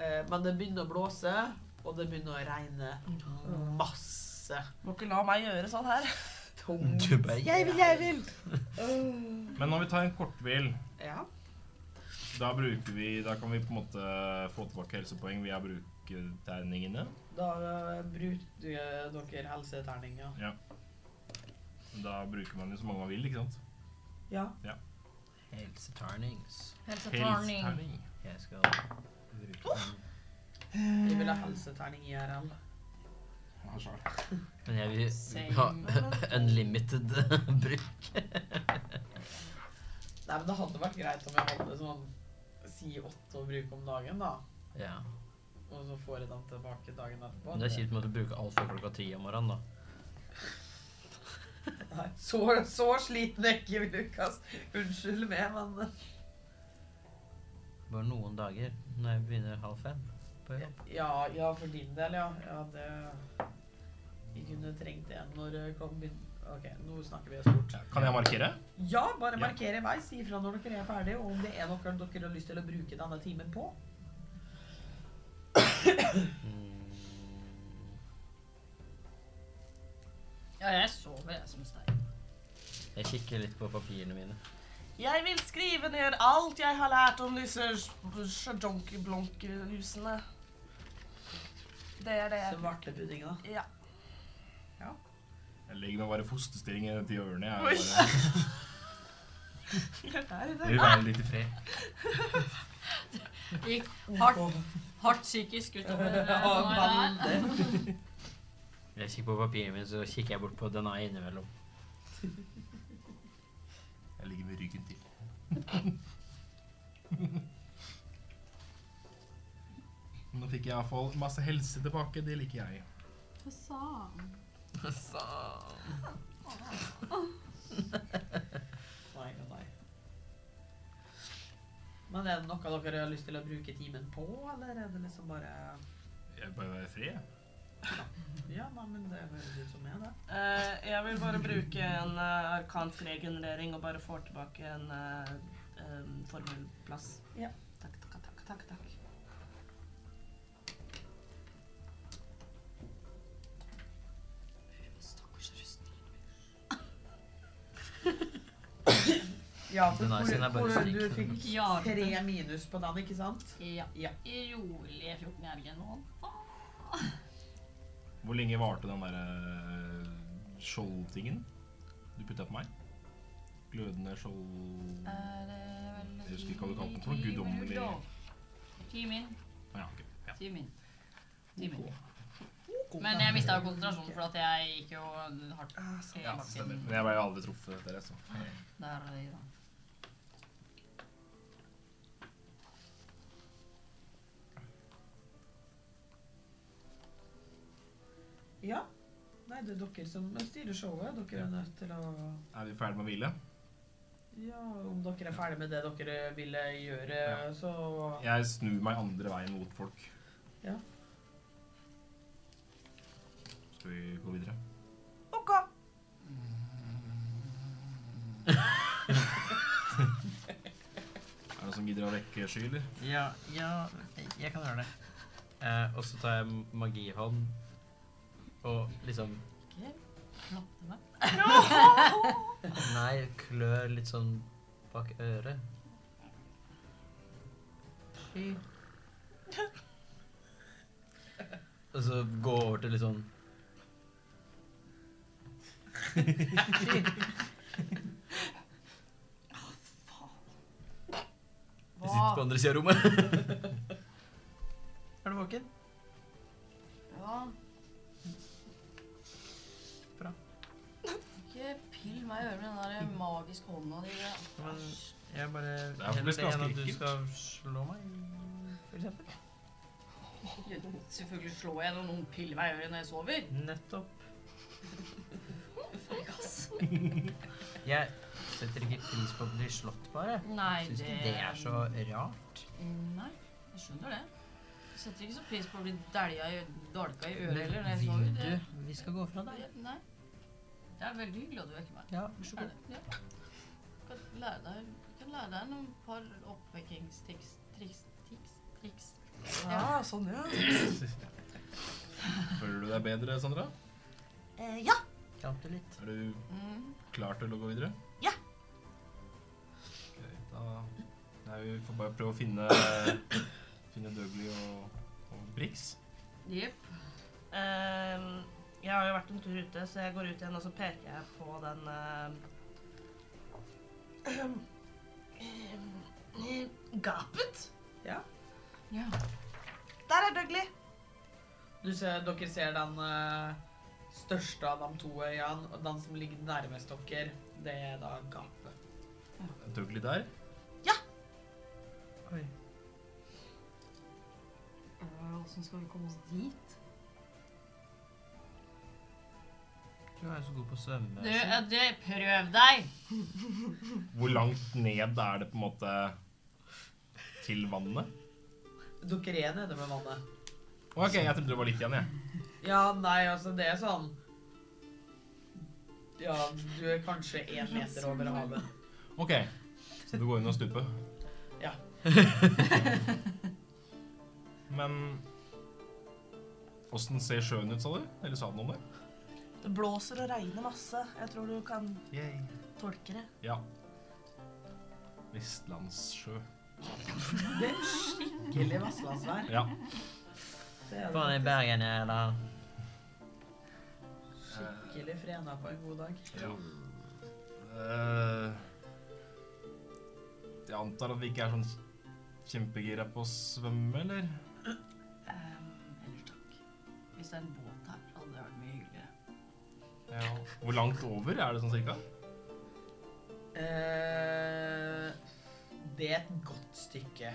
Eh, men det begynner å blåse, og det begynner å regne masse. Må ikke la meg gjøre sånn her. Tung Du bare, «Jeg vil, jeg vil! Men når vi tar en korthvil Ja. Da bruker vi, da kan vi på en måte få tilbake helsepoeng via bruketerningene. Da eh, bruker dere helseterninger. Da bruker man jo så mange man vil, ikke sant? Ja. Helse turnings. Helse turning. Jeg skal bruke den. Vi vil ha helseterning i RL. Men jeg vil Same. ha unlimited bruk. Nei, men det hadde vært greit om jeg hadde sånn si åtte å bruke om dagen, da. Ja. Og så får jeg dem tilbake dagen etterpå. Men det er kjipt med å bruke alt før klokka ti om morgenen, da. Nei, så, så sliten er ikke vi, Lukas. Unnskyld meg, men Bare noen dager når jeg begynner halv fem. på jobb. Ja, ja for din del, ja. ja det, vi kunne trengt en når det kom inn. Ok, nå snakker vi oss bort. Kan jeg markere? Ja, bare Ja. marker i vei. Si ifra når dere er ferdige, og om det er noe dere har lyst til å bruke denne timen på. Mm. Ja, jeg sover, jeg, som en stein. Jeg kikker litt på papirene mine. Jeg vil skrive ned alt jeg har lært om disse sjadonkblonk-husene. Det er det jeg Svartepuddinga. Ja. Jeg ligger med bare fosterstilling i den tida ørene. Jeg er bare, jeg vil være litt i fred. Gikk hardt, hardt psykisk utover eh, den her. Jeg kikker på papirene mine, så kikker jeg bort på denne innimellom. Jeg ligger med ryggen til. Nå fikk jeg iallfall masse helse tilbake. Det liker jeg. Hva sa han? Nei og nei. Men er det noe dere har lyst til å bruke timen på, eller er det liksom bare Jeg vil bare være i fred. Ja, nei, men det høres ut som meg, det. Eh, jeg vil bare bruke en uh, arkansk regenerering og bare få tilbake en eh, em, formelplass. Ja. Takk, takk, takk, takk, takk. Stakkars rusten. Ja, Den er sin er bare du stryk. fikk Ja, tre minus på den, ikke sant? Ja. Ja. I rolige 14 erger nå. Hvor lenge varte den der eh, skjoldtingen du putta på meg? Glødende skjold... Er det vel Jeg husker ikke hva du kalte den for ti- noe, ti guddommelig. minutter da? Ti min. Ja, ok. Ja. Ti min. Ti min. Men jeg mista konsentrasjonen for at jeg gikk jo hardt Ah, så- helt siden Men jeg ble jo aldri truffet dere, så. der. i dag. Ja. Nei, det er dere som styrer showet. Dere er nødt til å Er vi ferdig med å hvile? Ja, om dere er ferdig med det dere ville gjøre, Ja. så Jeg snur meg andre veien mot folk. Ja. Skal vi gå videre? Ok. Er det noen som gidder å vekke sky, eller? Ja, ja, jeg kan gjøre det. Eh, og så tar jeg magihånd og liksom Ikke klappe meg. Nei, klør litt sånn bak øret. Sky. Og så gå over til litt sånn Jeg sitter på andre sida av rommet. Er du våken? Ja. Bra. Ikke pill meg i øret med den der magiske hånda di. det er- Men jeg bare er for det skal Heller det enn at du skrike. skal slå meg, for eksempel. Selvfølgelig slår jeg når noen piller meg i øret når jeg sover. Nettopp. Fuck, ass. Jeg setter ikke pris på å bli slått, bare. Nei, Syns ikke det er så rart. Mm, Nei, jeg skjønner det. Jeg setter ikke så pris på å bli dælja i dalka i øret heller når jeg sover. Vil Det, du? Vi skal gå fra deg. det, nei. det er veldig hyggelig at du vekker meg. Ja, vær så Er god. det? Ja. Kan lære deg, kan lære deg noen par oppvekkingstiks, triks, tiks, triks. Ja, sånn, ja. Føler du deg bedre, Sandra? ja! Kram til litt. Er du Mm. klar til å gå videre? Ja. Ok, da Nei, vi får bare prøve å finne Finne Dougley og, og Brix. Jepp. Ehm, jeg har jo vært en tur ute, så jeg går ut igjen og så peker jeg på den ehm, ehm, ehm, Gapet. Ja. Der er Dougley. du ser, Dere ser den eh, største av de to øyene, og den som ligger nærmest dere, det er da gapet. Dougley der. Oi. Åssen skal vi komme oss dit? Du er jo så god på å svømme. Du, du, prøv deg! Hvor langt ned er det på en måte til vannet? Dere er nede med vannet. OK, jeg trodde det var litt igjen, jeg. Ja, nei, altså, det er sånn Ja, du er kanskje én meter over havet. OK. Så du går inn og stuper? Ja. Men Åssen ser sjøen ut, sa du? Eller sa den noe om det? Det blåser og regner masse. Jeg tror du kan tolke det. Ja. Vestlandssjø. Det er skikkelig vestlandsvær. Ja. Det er Faen, i det Bergen er da faktisk. skikkelig frena på en god dag. Ja. Eh, jeg antar at vi ikke er sånn kjempegira på å svømme, eller? ellers Eh, takk. Hvis det er en båt her, hadde det vært mye hyggeligere. Ja. Hvor langt over er det sånn cirka? Eh, det er et godt stykke.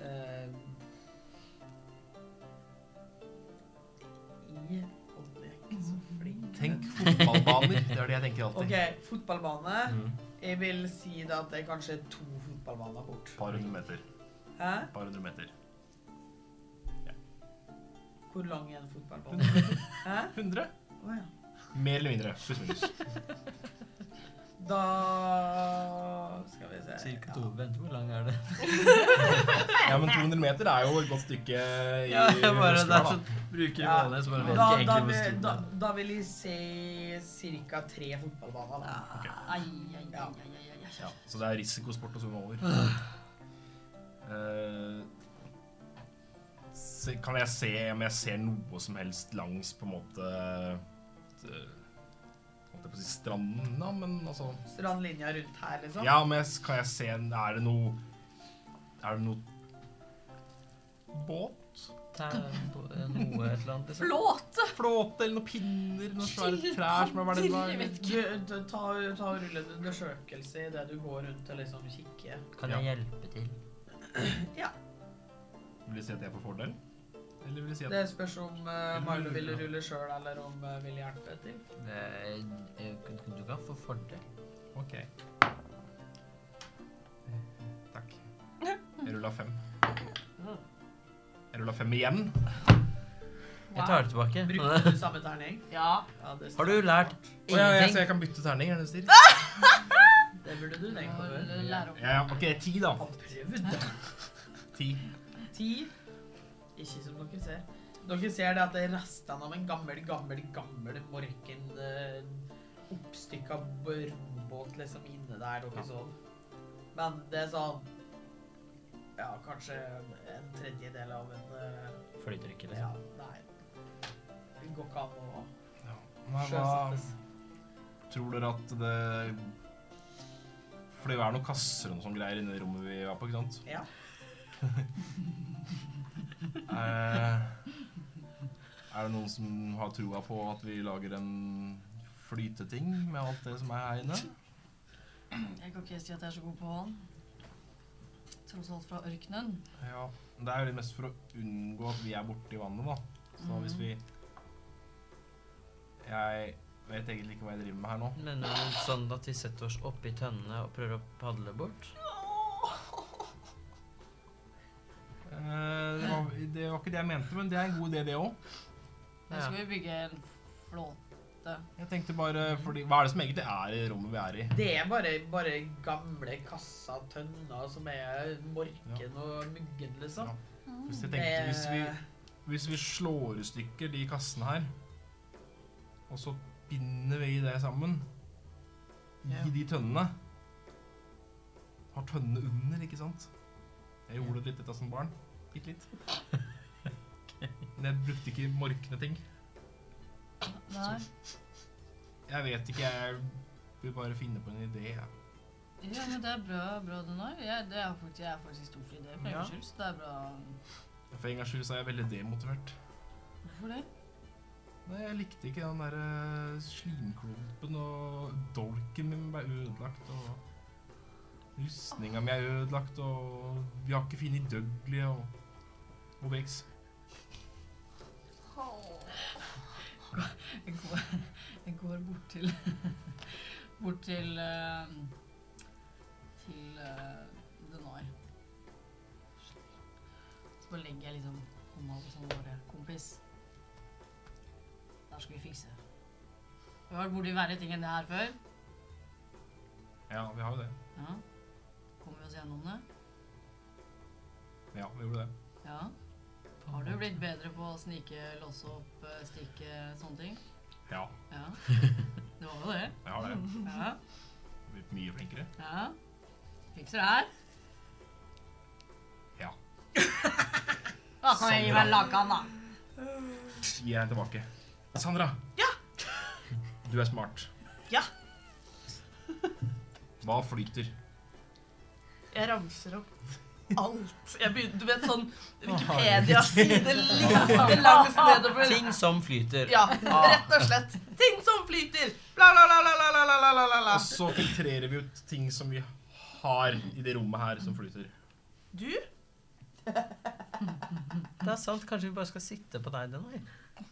Eh, I Og det er ikke så flink. Tenk fotballbaner. Det er det jeg tenker alltid. OK, fotballbane. Mm. Jeg vil si da at det er kanskje to fotballbaner bort. Par hundre meter. Hæ? Par hundre meter. Hvor lang er en fotballbane? Hæ? 100? Å ja. Mer eller mindre. Pluss minus. Da skal vi se cirka to. Vent, hvor lang er det? Ja, men 200 meter er jo et godt stykke i Ja, jeg bare muskler, der da. så bruker Ja. vannet, så bare Da, vet da, jeg egentlig hvor vil, stor da, den er. da vil jeg si ca. tre fotballbaner. Da. Ai, ai, ai, Ja. ai, ai, ai, Ja, ai. så det er risikosport å svømme over. Eh, se, kan jeg se om jeg ser noe som helst langs på en måte eh, Holdt jeg på å si stranden, da, men altså Strandlinja rundt her, liksom? Ja, men jeg s- kan jeg se Er det noe Er det noe båt? noe et eller annet. liksom. Flåte! Flåte eller noen pinner? Noen svære trær som har vært Jeg vet Du, du, ta, ta og rulle en undersøkelse idet du går rundt og liksom kikker. Kan jeg hjelpe til? Vil du si at jeg får fordel? Eller vil du si at Det spørs om eh, Milo vil rulle sjøl, eller om uh, vil hjelpe til. Eh, eh, Du kan få fordel. Ok. Eh, Takk. Jeg rulla fem. Mm. Jeg rulla fem igjen. Jeg tar det tilbake. Brukte du samme terning? Ja. Ja, det Har du lært Å ja, ja, så ingenting? jeg kan bytte terning? er det det du sier? Det burde du tenkt på før. Lære opp. Ja, ja, ok, ti, da. Han prøvde. Ti. Ti. Ikke som dere ser. Dere ser det at det er restene av en gammel, gammel, gammel morken eh, oppstykka rombåt liksom inne der dere sov. Men det er sånn Ja, kanskje en tredjedel av en eh, Flytrykke, Ja, liksom. nei. Det går ikke an å Hva, sjøsettes. tror dere at det For det er noen kasser og noe sånt greier inne i rommet vi var på, ikke sant? Ja. Eh, er det noen som har trua på at vi lager en flyteting med alt det som er her inne? Jeg kan ikke si at jeg er så god på hånd. Tross alt fra ørkenen. Ja, men Det er jo litt mest for å unngå at vi er borte i vannet, da. Så hvis vi Jeg vet egentlig ikke hva jeg driver med her nå. Mener du sånn at vi setter oss oppi tønnene og prøver å padle bort? Eh, det, var, det var ikke det jeg mente, men det er en god idé, det òg. Nå skal vi bygge en flåte. Jeg tenkte bare fordi Hva er det som egentlig er i rommet vi er i? Det er bare, bare gamle kassa, tønner som er morken og muggen, liksom. Ja. Hvis jeg tenkte hvis vi, hvis vi slår i stykker de kassene her, og så binder vi det sammen Ja. i de tønnene Har tønnene under, ikke sant? Jeg gjorde det litt dette som barn. Bitte litt. Men jeg brukte ikke morkne ting. Nei. Jeg vet ikke, jeg vil bare finne på en idé. jeg. Ja, men det er bra, bra du nå. Jeg, det er faktisk, jeg er faktisk stor for idé, for Ja. ja. skyld, så det er bra. For en gangs skyld så er jeg veldig demotivert. Hvorfor det? Nei, Jeg likte ikke den der eh, slimklumpen, og dolken min ble ødelagt, og rustninga mi er ødelagt, og vi har ikke funnet Dougley og OBX. Jeg går, jeg går bort til Bort til eh, Til uh, Denai. Så bare legger jeg liksom hånda på sånn bare Kompis. Det her skal vi fikse. Vi har vært borti verre ting enn det her før. Ja, vi har jo det. Ja. Kommer vi oss gjennom det? Ja, vi gjorde det. Ja. Har du blitt bedre på å snike, låse opp, eh, stikke, sånne ting? Ja, Ja. Det var jo det. vi har det. Ja. Vi er mye flinkere. Ja. Fikser det her. Ja. Da kan jeg gi meg lakan, da. Gi deg tilbake. Sandra! Ja? Du er smart. Ja. Hva flyter? Jeg ramser opp alt. Jeg begynner, du vet sånn Wikipedia-side liste langs sånn nedover. Ting som flyter. Ja, rett og slett. Ting som flyter! Bla, bla, bla, bla, bla, bla, bla, bla, bla, bla. Og så filtrerer vi ut ting som vi har i det rommet her, som flyter. Du? Det er sant, kanskje vi bare skal sitte på deg den veien?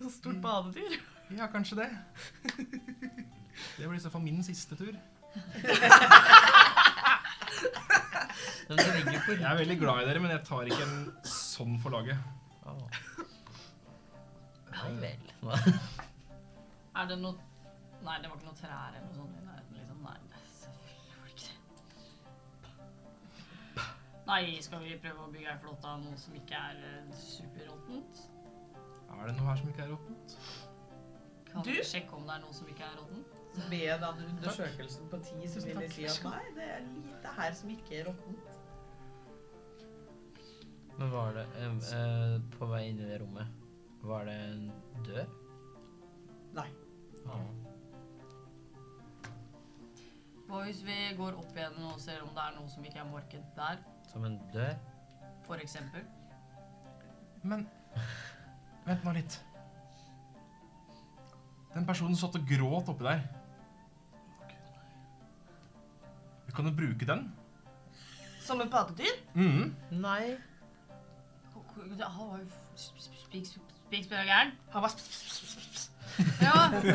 Så stort badedyr. Ja, kanskje det. Det blir i så fall min siste tur. Den ligger jo Jeg på ryggen. er veldig glad i dere, men jeg tar ikke en sånn for laget. Å. Nei vel. Er det noe Nei, det var ikke noe trær eller noe sånt i nærheten, liksom. Nei, det er selvfølgelig var det ikke det. Nei, skal vi prøve å bygge ei flåte av noe som ikke er eh, superråttent? Eh, Er det noe her som ikke er råttent? Du? Kan vi sjekke om det er noe som ikke er råttent? Med den undersøkelsen på ti, så vil jeg si at nei, det er lite her som ikke er råttent. Men var det eh, eh, På vei inn i det rommet, var det en dør? Nei. Ah. Hva hvis vi går opp igjen og ser om det er noe som ikke er marked der, Som en dør? for eksempel? Men Vent nå litt. Den personen satt og gråt oppi der. Vi kan jo bruke den. Som en pattedyr? Mhm. Nei. Han var jo spikspiller gæren. Han var sp- sp- sp- sp- sp- sp- Ja. Det er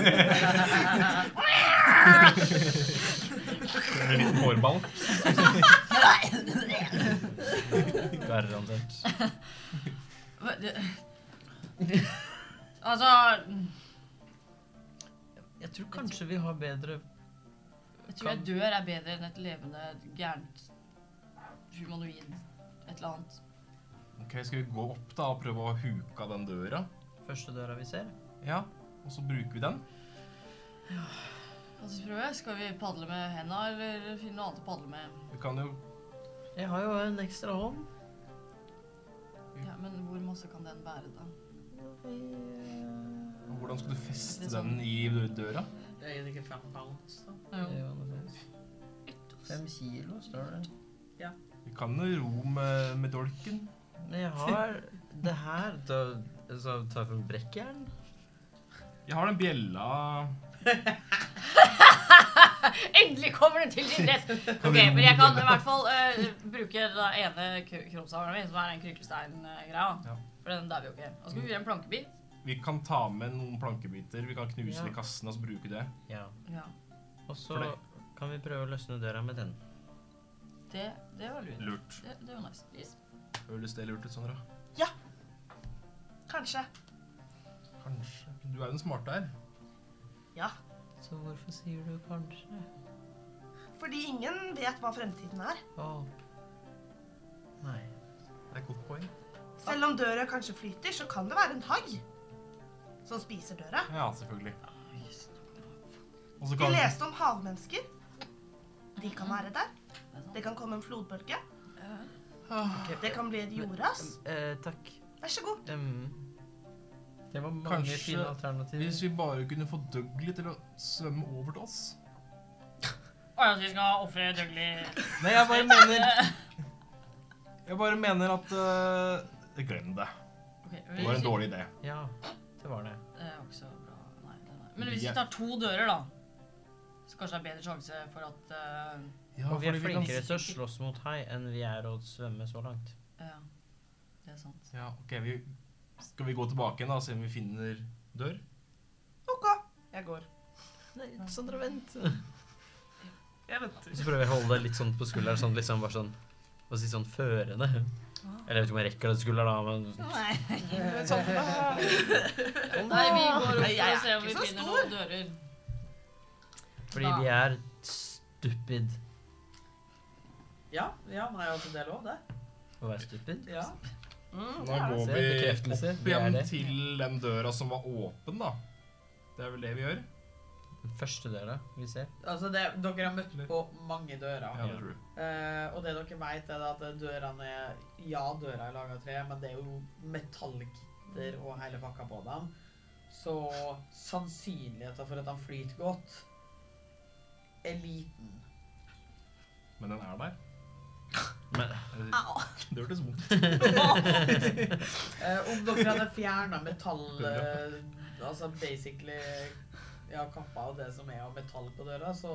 En liten hårball. Garantert. Hva- det- Altså Jeg tror kanskje vi har bedre Jeg tror jeg dør er bedre enn et levende gærent humanoid et eller annet. Ok, Skal vi gå opp da og prøve å huke av den døra? første døra vi ser. Ja, Og så bruker vi den? Og så prøver jeg, Skal vi padle med henda, eller finne noe annet å padle med? Vi kan jo Jeg har jo en ekstra hånd. Ja, Men hvor masse kan den bære, da? Hvordan skal du feste den i døra? Det er ikke fem pounds, da. Det var noe sånt. Fem kilo, står det. Vi kan jo ro med, med dolken. Men jeg har det her. Da, så tar jeg fram brekkjern. Jeg har den bjella Endelig kommer den til sin rett! Ok, Men jeg kan i hvert fall eh, bruke den ene krumsaveren min, som er den kryklestein-greia. Ja. For den der vil jo ikke. Og så skal vi gjøre en plankebit. Vi kan ta med noen plankebiter. Vi kan knuse Ja. det i kassen og så bruke det. Ja. Ja. Og så For det. kan vi prøve å løsne døra med den. Det, det var lurt. Lurt. Det, det var nice. Yes. Føles det lurt ut, Sandra? Kanskje. Kanskje. Du er jo den smarte her. Så hvorfor sier du kanskje? Fordi ingen vet hva fremtiden er. Å. Nei. Det er et godt poeng. Selv om døra kanskje flyter, så kan det være en hai som spiser døra. Ja, selvfølgelig. yes. Og så Vi kan leste om havmennesker. De kan være der. Det kan komme en flodbølge. Det kan bli et jordras. Eh, takk. Vær så god. Em, det var mange Kanskje- fine alternativer. Hvis vi bare kunne få Dougley til å svømme over til oss. Å ja, så vi skal ofre Dougley Nei, jeg bare mener Jeg bare mener at eh, Glem det. okay, Det var en dårlig idé. Ja, det var det. Det er også bra. Nei, det er nei. Men hvis vi tar to dører, da, så kanskje det er bedre sjanse for at eh, Ja, Og vi er fordi kan- flinkere til å slåss mot hai enn vi er å svømme så langt. Ja. Det er sant. Ja, ok, vi... Skal vi gå tilbake igjen da og se om vi finner dør? OK. Jeg går. Nei, Sandra, vent. Jeg venter. Så prøver jeg å holde deg litt sånn på skulderen, sånn liksom bare sånn Hva skal jeg si, sånn førende. Eller jeg vet ikke om jeg rekker det til skulderen, da, men Sånn Nei, vi går opp Nei, jeg er for å se om vi ikke så finner noen dører. Fordi vi er stupid. Ja, ja, nei, altså, det er lov, det. Å være stupid? Ja. Mm, Da går Se, vi bekreftelse. opp Vi er igjen det. til den døra som var åpen, da. Det er vel det vi gjør? Den første døra vi ser. Altså, det, dere har møtt på mange dører. Ja, det tror du. Eh, og det dere vet, er da at dørene er Ja, døra er laga av tre, men det er jo metallgitter og hele pakka på dem. Så sannsynligheten for at de flyter godt, er liten. Men den er der. Men Det hørtes vondt ut. Eh, om dere hadde fjerna metall eh, Altså basically Ja, kappa av det som er av metall på døra, så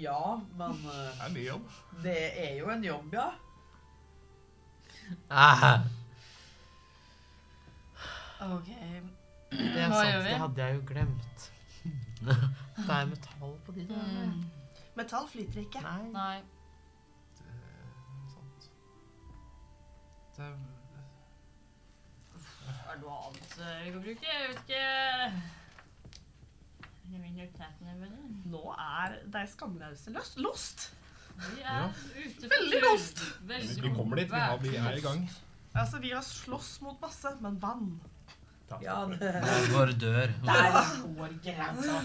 Ja, men eh, Det er mye jobb. det er jo en jobb, ja. ah, Ok. Det er Hva sant, gjør vi? det hadde jeg jo glemt. Det er metall på de dørene. Mm. Metall flyter ikke. Nei. Nei. Det er sant. Det er... Hva er det noe annet eh, vi kan bruke? Jeg vet ikke. Jeg vil nok ta den med den. Nå er de skamløse løs- lost. Vi er Ja. ute på Veldig tur. lost. Veldig Vi kommer dit. Vi, har, vi er i gang. Altså, vi har slåss mot masse, men vann. Ja, det Det er vår dør. Der går grensa.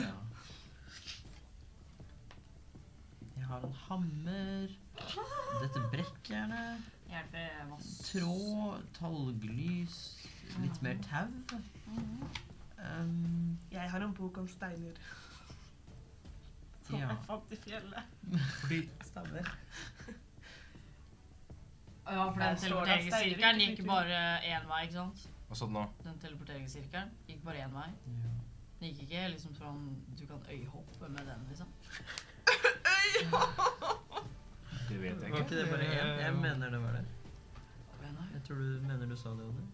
Jeg har en hammer. Dette brekkjernet. Hjelper masse. Tråd, talglys, litt mer tau. Um, Jeg har en bok om steiner. Som Ja. jeg fant i fjellet. Fordi Stammer. Ja, for Der den står det at steiner teleporteringssirkelen ikke gikk flyter. bare én vei, ikke sant? Hva sa du nå? Den teleporteringssirkelen gikk bare én vei. ja. Den gikk ikke liksom sånn Du kan øyhoppe med den, liksom. Det vet jeg ikke. Var ikke det bare én? Jeg mener det var det. Hva mener jeg? Jeg tror du mener du sa det, Odde.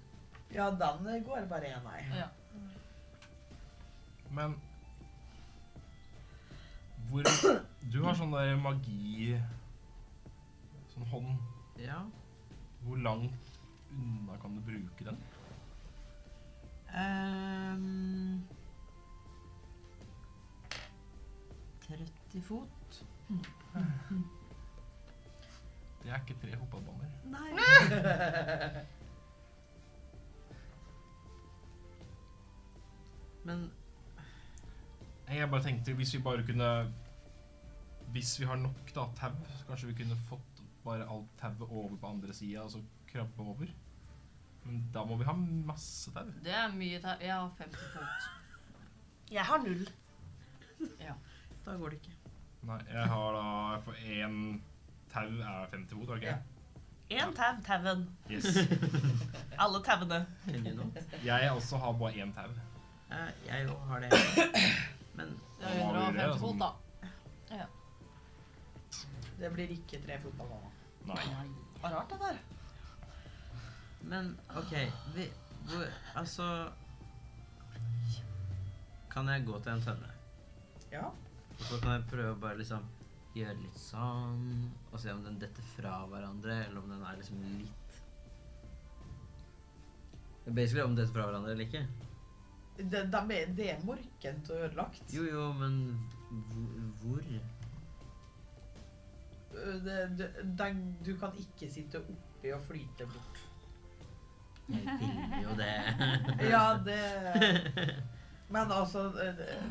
Ja, den går bare én vei. Ja. Men hvor Du har sånn der magi Sånn hånd. Ja. Hvor langt unna kan du bruke den? Um, Ehm, 30 fot. Det er ikke tre fotballbaner. Nei. Men Nei, Jeg bare tenkte hvis vi bare kunne Hvis vi har nok da, tau, så kanskje vi kunne fått bare alt tauet over på andre sida og så krabbe over. Men da må vi ha masse tau. Det er mye tau. Jeg har 50 fot. Jeg har null. da går det ikke. Nei, jeg har da jeg får én tau er 50 fot, er det ikke? Én tau, tauen. Yes. Alle tauene. Heldig nå. Jeg også har bare én tau. Eh, Jeg òg har det. Men Det er Ja, vi gjør det, 150 fot, altså. da. Det blir ikke tre fotballbaner. Nei. Nei. Hva rart det der. Men OK vi, hvor, Altså Kan jeg gå til en tønne? Ja. Og så kan jeg prøve å bare liksom gjøre litt sånn Og se om den detter fra hverandre, eller om den er liksom litt Det er Basically om den detter fra hverandre eller ikke. Det, da ble- det er morkent og ødelagt. Jo, jo, men hvor- hvor? Eh, Det, det, den- du kan ikke sitte oppi og flyte bort. Jeg vil jo det. Ja, det Men altså eh,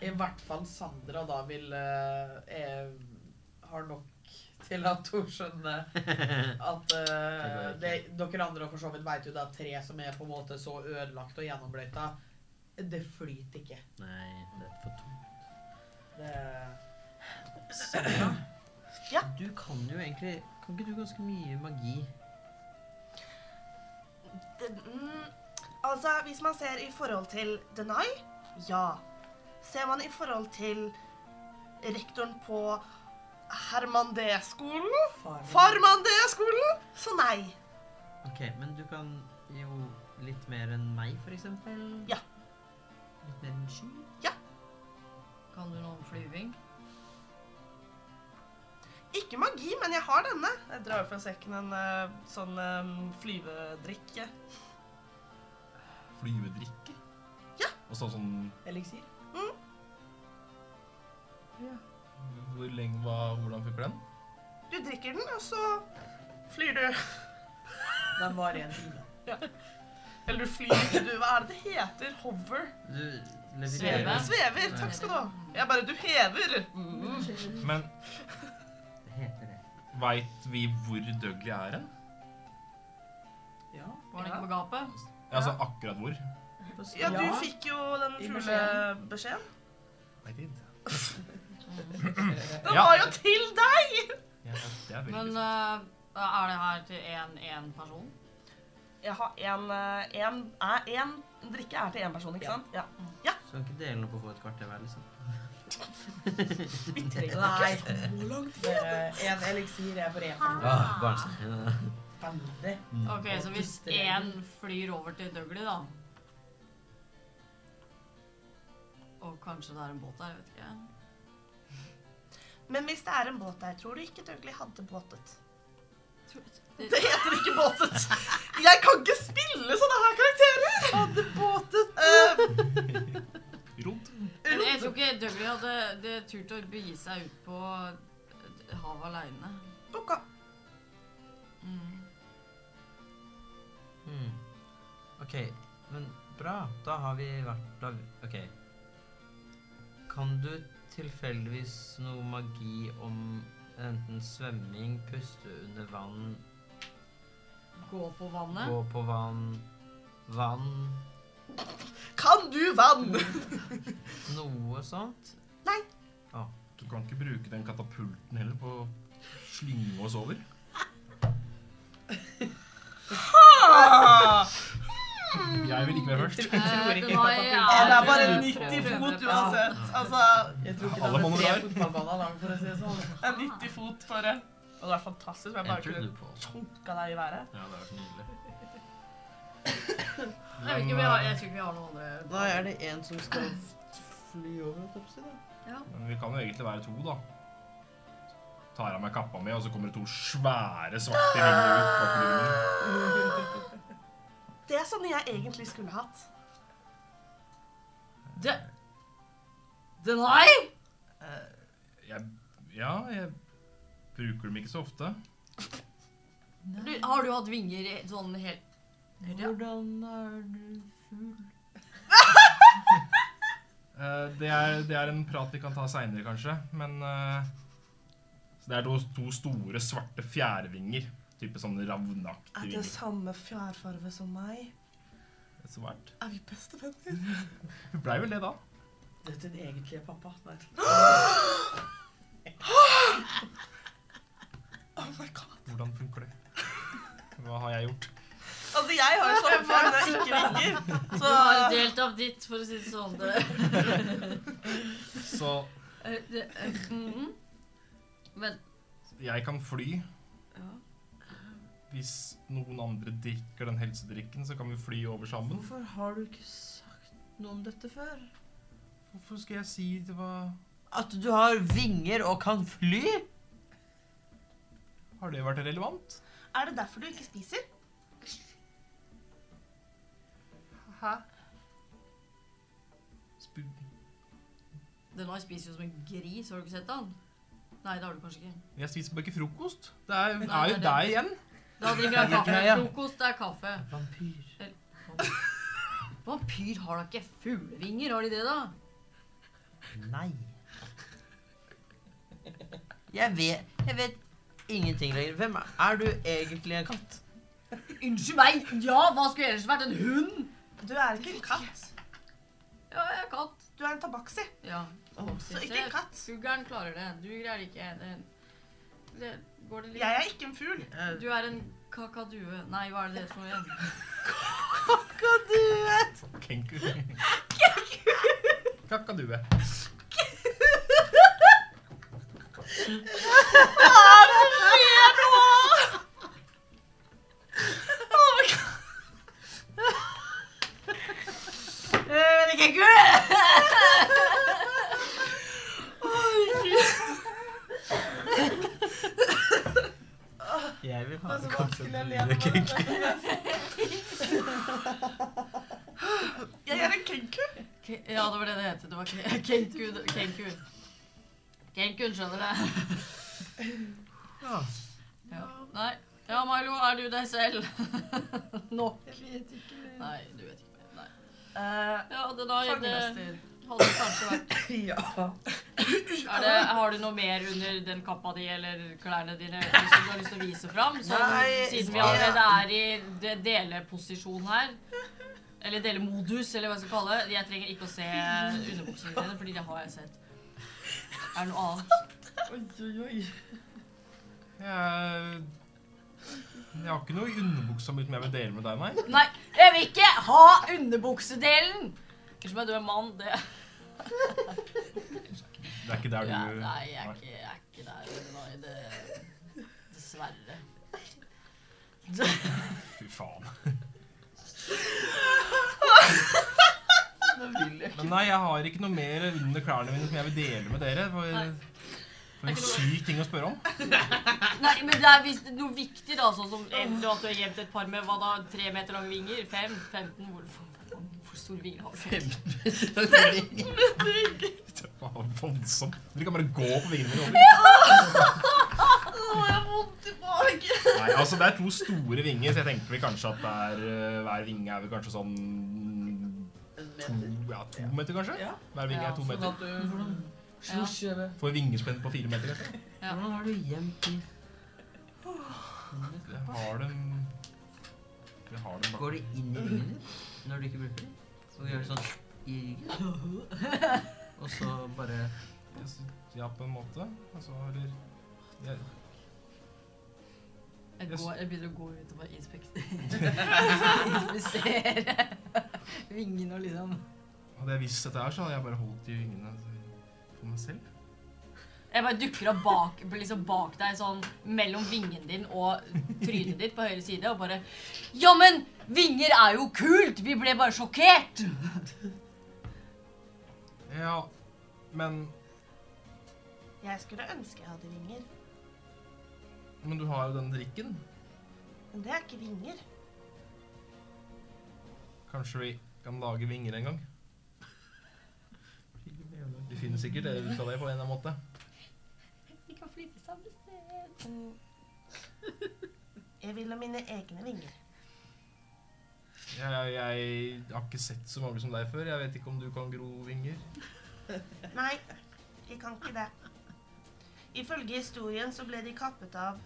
I hvert fall Sandra da vil eh, er, Har nok til at hun skjønner at eh, det, dere andre for så vidt vet jo det at tre som er på en måte så ødelagt og gjennombløyta, det flyter ikke. Nei, det er for tungt. Det, Sandra, Ja? du kan jo egentlig Kan ikke du ganske mye magi? Det, mm, altså, hvis man ser i forhold til Denai, ja. Ser man i forhold til rektoren på Hermandé-skolen far, Farmandé-skolen! Så nei. Ok, men du kan jo litt mer enn meg, for eksempel? Ja. Litt mer enn sky? Kan du noe om flyving? Ikke magi, men jeg har denne. Jeg drar fra sekken en eh, sånn eh, flyvedrikke. Flyvedrikke. Ja. Og så sånn Eliksir? Hvor lenge hva, Hvordan funker den? Du drikker den, og så flyr du. Den varer en time. Eller du flyr ikke, du. Hva er det det heter? Hover? Du Sveve. leviterer. Svever. Takk skal du ha. Jeg bare Du hever. Mm. Men Det heter det. veit vi hvor Dougley er hen? Ja. Var den ikke på gapet? Altså akkurat hvor? Ja, du Ja. fikk jo den I fuglebeskjeden. I did. Den Ja. var jo til deg! Ja, det er veldig Men sant. eh, er det her til én én person? Jeg har en, eh, en, er en drikke er til én person, ikke Ja. sant? Ja. Så kan ikke dele noe på å få et kvarter hver, liksom? Vi trenger Nei. ikke så langt. Det, en eliksir er for én time. Ah, barnslig. Veldig. Ok, så hvis én flyr over til Dougley, da Og kanskje det er en båt der, jeg vet ikke. Men hvis det er en båt der, tror du ikke Dougley hadde båtet? Det- Det heter ikke båtet. Jeg kan ikke spille sånne her karakterer. Hadde båtet uh, Rodd. eh, Men jeg tror ikke Dougley hadde det turt å begi seg ut på eh, havet aleine. Boka. Mm. Hmm. Ok, men bra. Da har vi vært da, Ok. Kan du tilfeldigvis noe magi om enten svømming, puste under vann Gå på vannet. Gå på vann Vann Kan du vann? Noe sånt. Du kan ikke bruke den katapulten heller på å slynge oss over. Jeg vil ikke være først. Jeg tror ikke Eh, Dunai jeg er- kan Det er bare prøve- 90 prøve- fot ja. uansett. Altså, Jeg tror ikke Alle det mann var tre drar. fotballbaner lang, for å si det sånn. det er 90 fot for det. Og det var fantastisk. men Jeg bare Jeg trodde kunne du på oss. chunka deg i været. Ja, det var så nydelig. Jeg vet ikke, vi har, jeg tror ikke vi har noen andre. Da er det en som skal fly over, holdt jeg på å si. da. Men vi kan jo egentlig være to, da. Tar av meg kappa mi, og så kommer det to svære svarte vinger ut bak ryggen. Det er sånn jeg egentlig skulle hatt. Det Denai! Jeg Ja, jeg bruker dem ikke så ofte. Du, har du hatt vinger i sånn helt Ja. Hvordan er du full? Eh, det, er, det er en prat vi kan ta seinere, kanskje, men eh, Så det er to, to store, svarte fjærvinger. Type sånne ravnaktige Er det vinger. samme fjærfarve som meg? Svært. Er vi bestevenner? Hun blei vel det, da. Dette er den egentlige pappa. Nei. Oh my god. Hvordan funker det? Hva har jeg gjort? Altså, jeg har jo sånne fjær, men jeg ikke ringer. Du Så har en delt av ditt, for å si det sånn. Det, Så eh, det, eh, mhm. Men jeg kan fly. ja. Hvis noen andre drikker den helsedrikken, så kan vi fly over sammen. Hvorfor har du ikke sagt noe om dette før? Hvorfor skal jeg si det var At du har vinger og kan fly? Har det vært relevant? er det derfor du ikke spiser? Sp Denai spiser jo som en gris, har du ikke sett han? Nei, det har du kanskje ikke. jeg spiser bare ikke frokost. Det er, Nei, er jo det er deg igjen. Da drikker han kaffe. Ja, ja. Frokost er kaffe. Vampyr. Vampyr har da ikke fuglevinger, har de det, da? Nei. Jeg vet, jeg vet ingenting lenger. Hvem er, er du egentlig en katt? Unnskyld meg! Ja, hva skulle jeg ellers vært? En hund? Du er ikke en katt. Ja, jeg er katt. Du er en tabaksi. Ja. Så ikke en katt. Fuglen klarer det. Du greier det ikke. Det, det, går det litt Jeg er ikke en fugl. Eh, Du er en kakadue. Nei, hva er det det for noe igjen? Kakadue. Kenku. Kakadue. Jeg vil ha Det er så vanskelig å le av meg. Jeg er en kenku. Ke- Ja, det var det det het. Det var ke- kenku. det- Kenku. Kenkun, skjønner du? Ja. Ja. Nei. Ja, Milo, er du deg selv? Nå. Jeg vet ikke. Nei, du vet ikke. mer. Nei. Eh, Ja, det da det Fangemester. hadde kanskje vært Ja. er det, Har du noe mer under den kappa di eller klærne dine som du har lyst til å vise fram? Så, Nei, siden vi ja. allerede er i de- deleposisjon her. Eller delemodus, eller hva jeg skal kalle det. Jeg trenger ikke å se underbuksene dine, fordi det har jeg sett. Er det noe annet? Oi, oi, oi. Jeg, jeg har ikke noe i underbuksa mi som jeg vil dele med deg, nei. Nei, jeg vil ikke ha underbuksedelen! Unnskyld meg, du er mann. Det Det er ikke der du Ja, nei, jeg er ikke, jeg er ikke der. Nei, det, dessverre. Fy faen. Nå vil jeg. Men nei, jeg har ikke noe mer under klærne mine som jeg vil dele med dere. For, for Nei. en syk ting å spørre om. Nei, men det er visst noe viktig, da. Sånn som en, at du har gjemt et par med hva da, tre meter lange vinger? Fem? 15? Hvor, hvor, hvor store vinger har du? Det var voldsomt. Dere kan bare gå på vingene mine. over. Å, jeg har vondt i magen. Nei, altså Det er to store vinger, så jeg tenker vel kanskje at det er, eh, hver vinge er vel kanskje sånn to, ja, to meter, kanskje? Ja. Hver vinge Ja, er to sånn meter. at du slosjer det. Får vingespenn på fire meter. kanskje? Ja. Hvordan har du gjemt de? Jeg har dem Vi har den bak. Går det inn Mhm. i ringen din når du ikke bruker den? Og gjør det sånn i ryggen? Og så bare Jeg sy- Ja, på en måte. Altså, eller jeg, Jeg, Yes. går, jeg begynner å gå ut og bare inspektere. Inspisere vingene og liksom Hadde jeg visst dette her, så hadde jeg bare holdt de vingene for meg selv. Jeg bare dukker opp bak, liksom bak deg, sånn mellom vingen din og trynet ditt på høyre side, og bare Ja, men vinger er jo kult! Vi ble bare sjokkert! Ja, men Jeg skulle ønske jeg hadde vinger, Men du har jo den drikken. men det er ikke vinger. Kanskje vi kan lage vinger en gang? De finner sikkert det ut av det på en eller annen måte. Vi kan flytte samme sted. Jeg vil ha mine egne vinger. Jeg, jeg, jeg har ikke sett så mange som deg før. Jeg vet ikke om du kan gro vinger. Nei, jeg kan ikke det. Ifølge historien så ble de kappet av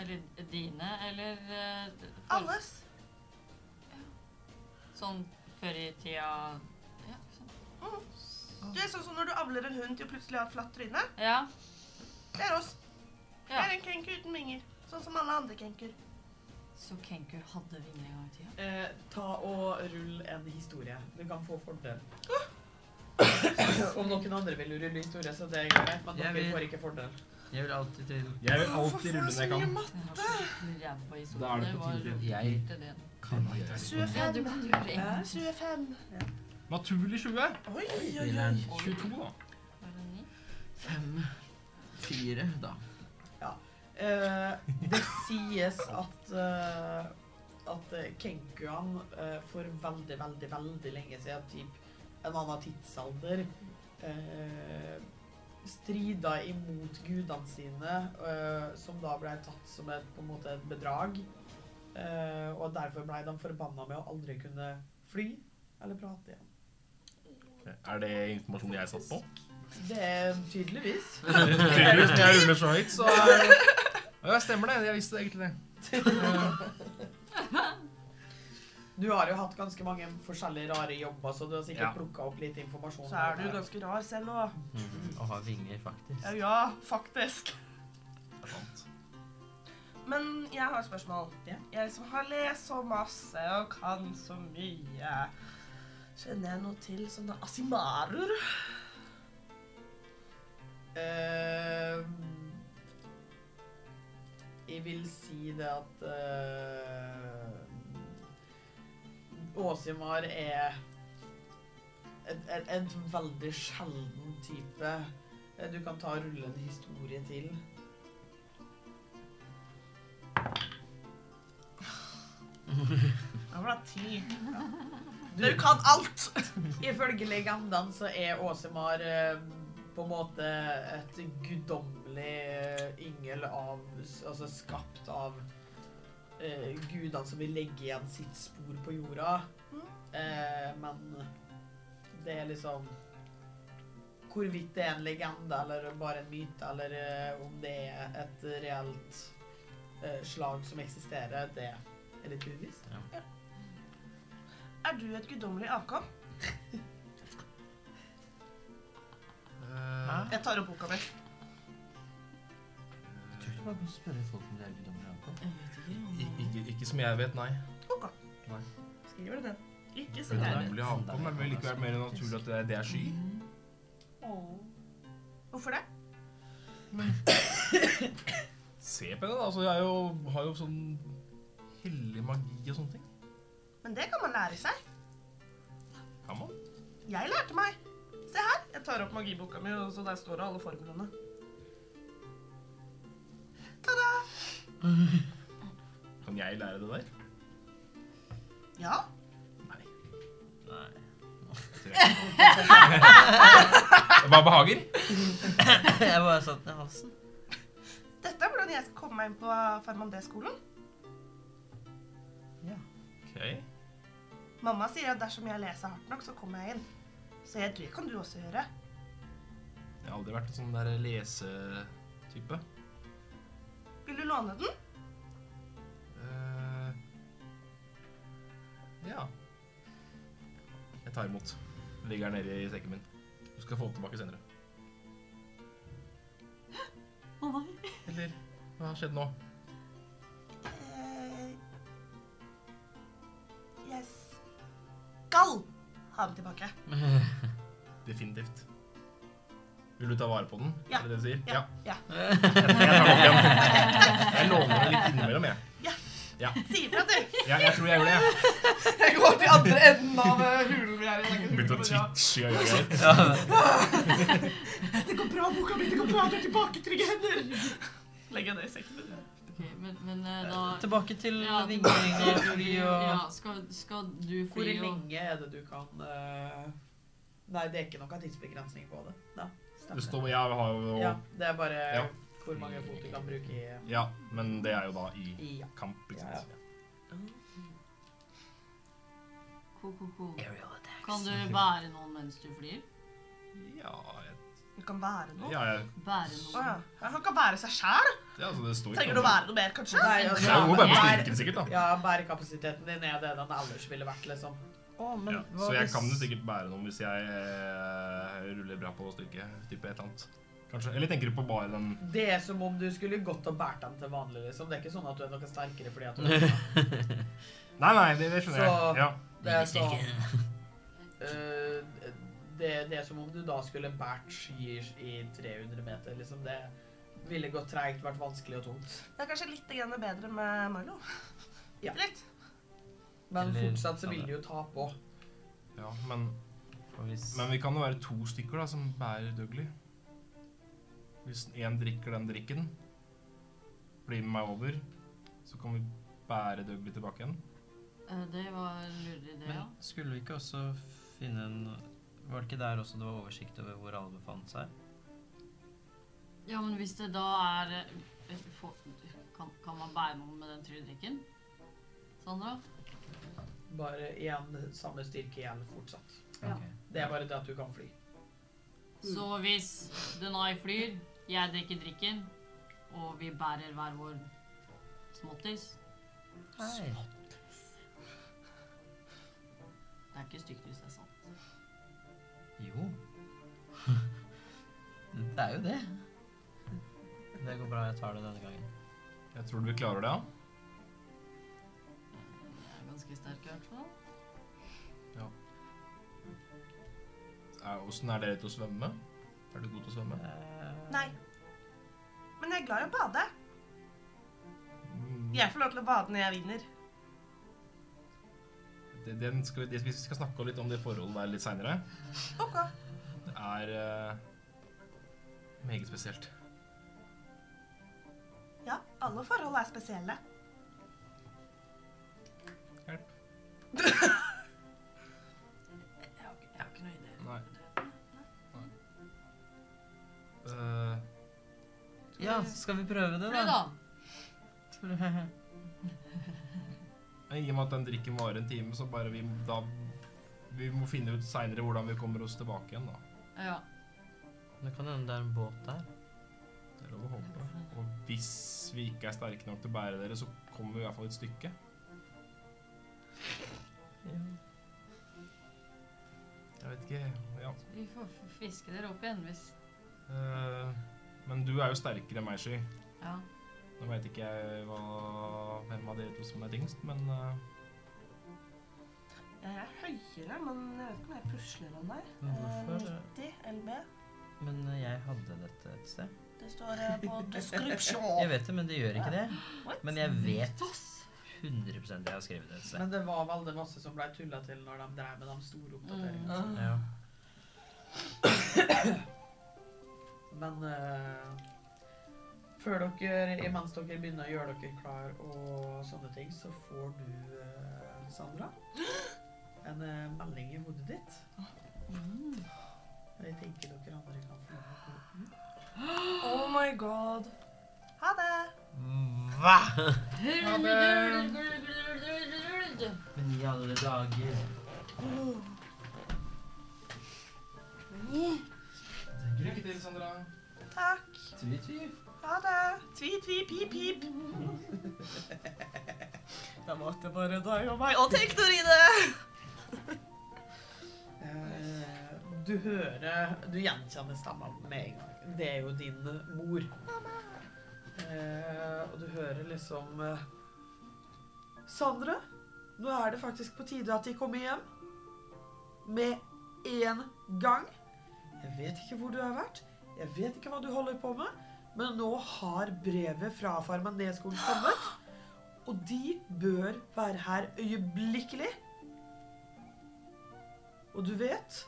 Eller dine, eller eh, folk- alles. Sånn før i tida Ja. sånn. Du er sånn som når du avler en hund til å plutselig ha et flatt tryne. Ja. Det er oss. Jeg ja. er en kenku uten vinger. Sånn som alle andre kenker. Så Kenku hadde vinger en gang i tida? Eh, ta og rull en historie. Du kan få fordel. Om noen andre vil rulle historie, så det er greit, men Jeg dere vil- får ikke fordel. Jeg vil alltid til Jeg vil alltid rulle når jeg kan. Jeg har så ræva historie. Da er det på var tide. Jeg- helt enig. Ja, du 25. kan gjøre det. Ja. 25. Naturlig 20. Oi, oi, vil oi. en 22, da. Var det ni? fem fire, da. Eh, det sies at eh, at eh, kenkuan eh, for veldig, veldig, veldig lenge siden, typ en annen tidsalder, eh, strida imot gudene sine, eh, som da ble tatt som et, på en måte et bedrag. Eh, og derfor ble de forbanna med å aldri kunne fly eller prate igjen. Er det informasjon jeg satt på? Det er tydeligvis. Tydeligvis når jeg ruller så høyt, så Ja, stemmer det. Jeg visste egentlig det. Du har jo hatt ganske mange forskjellige rare jobber, så du har sikkert Ja. plukket plukka opp litt informasjon. Så er du ganske rar selv òg. Mhm. Å ha vinger, faktisk. Ja, ja, faktisk. Men jeg har et spørsmål. Ja. Jeg liksom har lest så masse og kan så mye. Kjenner jeg noe til sånne asimarer? Eh, jeg vil si det at eh, Åsimar er et, et, et veldig sjelden type. Eh, Du kan ta og rulle en historie til. Jeg var da ti. Du kan alt! Ifølge legendene så er Åsemar eh, på en måte et guddommelig eh, yngel av Altså skapt av eh, gudene som vil legge igjen sitt spor på jorda. Mm. Eh, men det er liksom Hvorvidt det er en legende eller bare en myte, eller eh, om det er et reelt eh, slag som eksisterer, det er litt uvisst. Er du et guddommelig avkom? Eh, Jeg tar opp boka mi. Jeg tror ikke man kan spørre folk om de er guddommelige avkom. ik- ikke, ikke som jeg vet, nei. Ok. Nei. Skriver du ned. Ikke så gærent. Guddommelig avkom er vel likevel mer naturlig at det er- det er sky. Hvorfor det? Se på henne, da. Altså, jeg er jo, har jo sånn hellig magi og sånne ting. Men det kan man lære seg. Kan man? Jeg lærte meg. Se her. Jeg tar opp magiboka mi, og så der står det alle formlene. Ta-da! Kan jeg lære det der? Ja. Nei. Nei. Hva behager? Jeg bare satt ned halsen. Dette er hvordan jeg skal komme meg inn på Fermandé-skolen. Ok. Mamma sier at dersom jeg leser hardt nok, så kommer jeg inn. Så jeg, det kan du også gjøre. Jeg har aldri vært en sånn der lesetype. Vil du låne den? Eh, Ja. Jeg tar imot. Den ligger her nede i sekken min. Du skal få den tilbake senere. Å nei. Eller hva har skjedd nå? Eh, Jeg skal ha den tilbake. Definitivt. Vil du ta vare på den? Ja. Er det det du sier? Ja. ja. Jeg tar den opp igjen. Jeg låner den litt innimellom, jeg. Si ifra, du. Ja, jeg tror jeg gjør det. jeg. Jeg går til andre enden av eh, hulen vi er i. Jeg Begynte å kan hulen, twitche og gjøre greier. ja. Det går bra, boka mi. Det går bra. Du er tilbake i trygge hender. Legg henne i sekken. din. Ok, men, men eh, da Tilbake til Ja, vingling og skal fly du- og ja, skal, skal du Hvor fly og lenge er det du kan eh, Nei, det er ikke noen tidsbegrensning på det. Da. Det står Jeg har jo Ja, det er bare Ja. hvor mange fot du kan bruke i, Ja, men det er jo da i i ja. kamp, ikke Ja, ja. sant. ko, ko, ko. Kan du bære noen mens du flyr? Ja, jeg- Du kan være noe. ja, jeg- Bære Å ja. noen? Han kan være seg sjæl. ja, altså det står ikke Trenger du å være noe mer, kanskje? Nei, altså, Det er jo bare på styrken, sikkert, da. Ja, bærekapasiteten din er det den ellers ville vært, liksom. Å, men Ja, hva så jeg hvis- kan jo sikkert bære noen hvis jeg eh, ruller bra på styrke. Type et eller annet. Kanskje. Eller tenker du på bare den Det er som om du skulle gått og båret den til vanlig, liksom. Det er ikke sånn at du er noe sterkere fordi at du Nei, nei, det, det Så- skjønner jeg. Ja. Det er sånn eh, det, det er som om du da skulle båret ski i 300 meter, liksom. Det ville gått treigt, vært vanskelig og tungt. Det er kanskje litt grann bedre med Milo. Ja. Litt. Men Eller- fortsatt så vil du jo ta på. ja men, Og hvis- men vi kan jo være to stykker da som bærer Dougley. Hvis én drikker den drikken, blir med meg over, så kan vi bære Dougley tilbake igjen. Eh, Det var en lurig idé, ja. Men skulle vi ikke også finne en Var det ikke der også det var oversikt over hvor alle befant seg? Ja, men hvis det da er eh, få- kan, kan man bære noen med den tryddrikken? Sandra? Bare igjen samme styrke igjen fortsatt. Ja. Ok. Det er bare det at du kan fly. Så hvis Denai flyr, jeg drikker drikken, og vi bærer hver vår småttis Hei. Det er ikke stygt hvis det er sant. Jo. det er jo det. Det går bra, jeg tar det denne gangen. Jeg tror du vi klarer det, ja. Jeg er ganske sterk i hvert fall. Er- Åssen er dere til å svømme? Er du god til å svømme? Nei. Men jeg er glad i å bade. Mm, Jeg får lov til å bade når jeg vinner. det- Den skal vi, vi skal snakke litt om det forholdet der litt seinere. Ok. Det er eh, meget spesielt. Ja, alle forhold er spesielle. Hjelp. Jeg har, ikke- jeg har ikke noe idé. Nei. Eh, Ja, skal vi prøve det, Fly, da? da! I og med at den drikken varer en time, så bare vi da Vi må finne ut seinere hvordan vi kommer oss tilbake igjen, da. Ja. Det kan hende det er en båt der. Det er lov å håpe. Og hvis vi ikke er sterke nok til å bære dere, så kommer vi i hvert fall et stykke. Jeg vet ikke Ja. Vi får f- fiske dere opp igjen hvis Eh, men du er jo sterkere enn meg, Sky. Ja. Nå veit ikke jeg hva, hvem av dere to som er tyngst, men eh, Jeg er høyere, men jeg vet ikke om jeg pusler enn deg. Men Eh, hvorfor? 90 LB. Men eh, jeg hadde dette et sted. Det står eh, på Jeg description. vet det, men det gjør ikke det. What? Men jeg vet 100 jeg har skrevet det et sted. Men det var veldig masse som ble tulla til når de drev med de store Mm. oppdateringene. Ja. Men eh, før dere, imens dere begynner å gjøre dere klar og sånne ting, så får du, eh, Sandra, en eh, melding i hodet ditt. Jeg tenker dere andre kan få lov å gå ut. Oh my god. Ha det. Hva?! Men i alle dager Lykke til, Sandra. Takk. Tvi-tvi. Ha det. Tvi, tvi, pip, pip. Da valgte jeg bare deg og meg og Teknorine! Eh, Du hører Du gjenkjenner stemmen med en gang. Det er jo din mor. Eh, og du hører liksom eh, Sandra, nå er det faktisk på tide at de kommer hjem. Med en gang. Jeg vet ikke hvor du har vært. Jeg vet ikke hva du holder på med. Men nå har brevet fra Farmen Nedskogen kommet. Og de bør være her øyeblikkelig. Og du vet,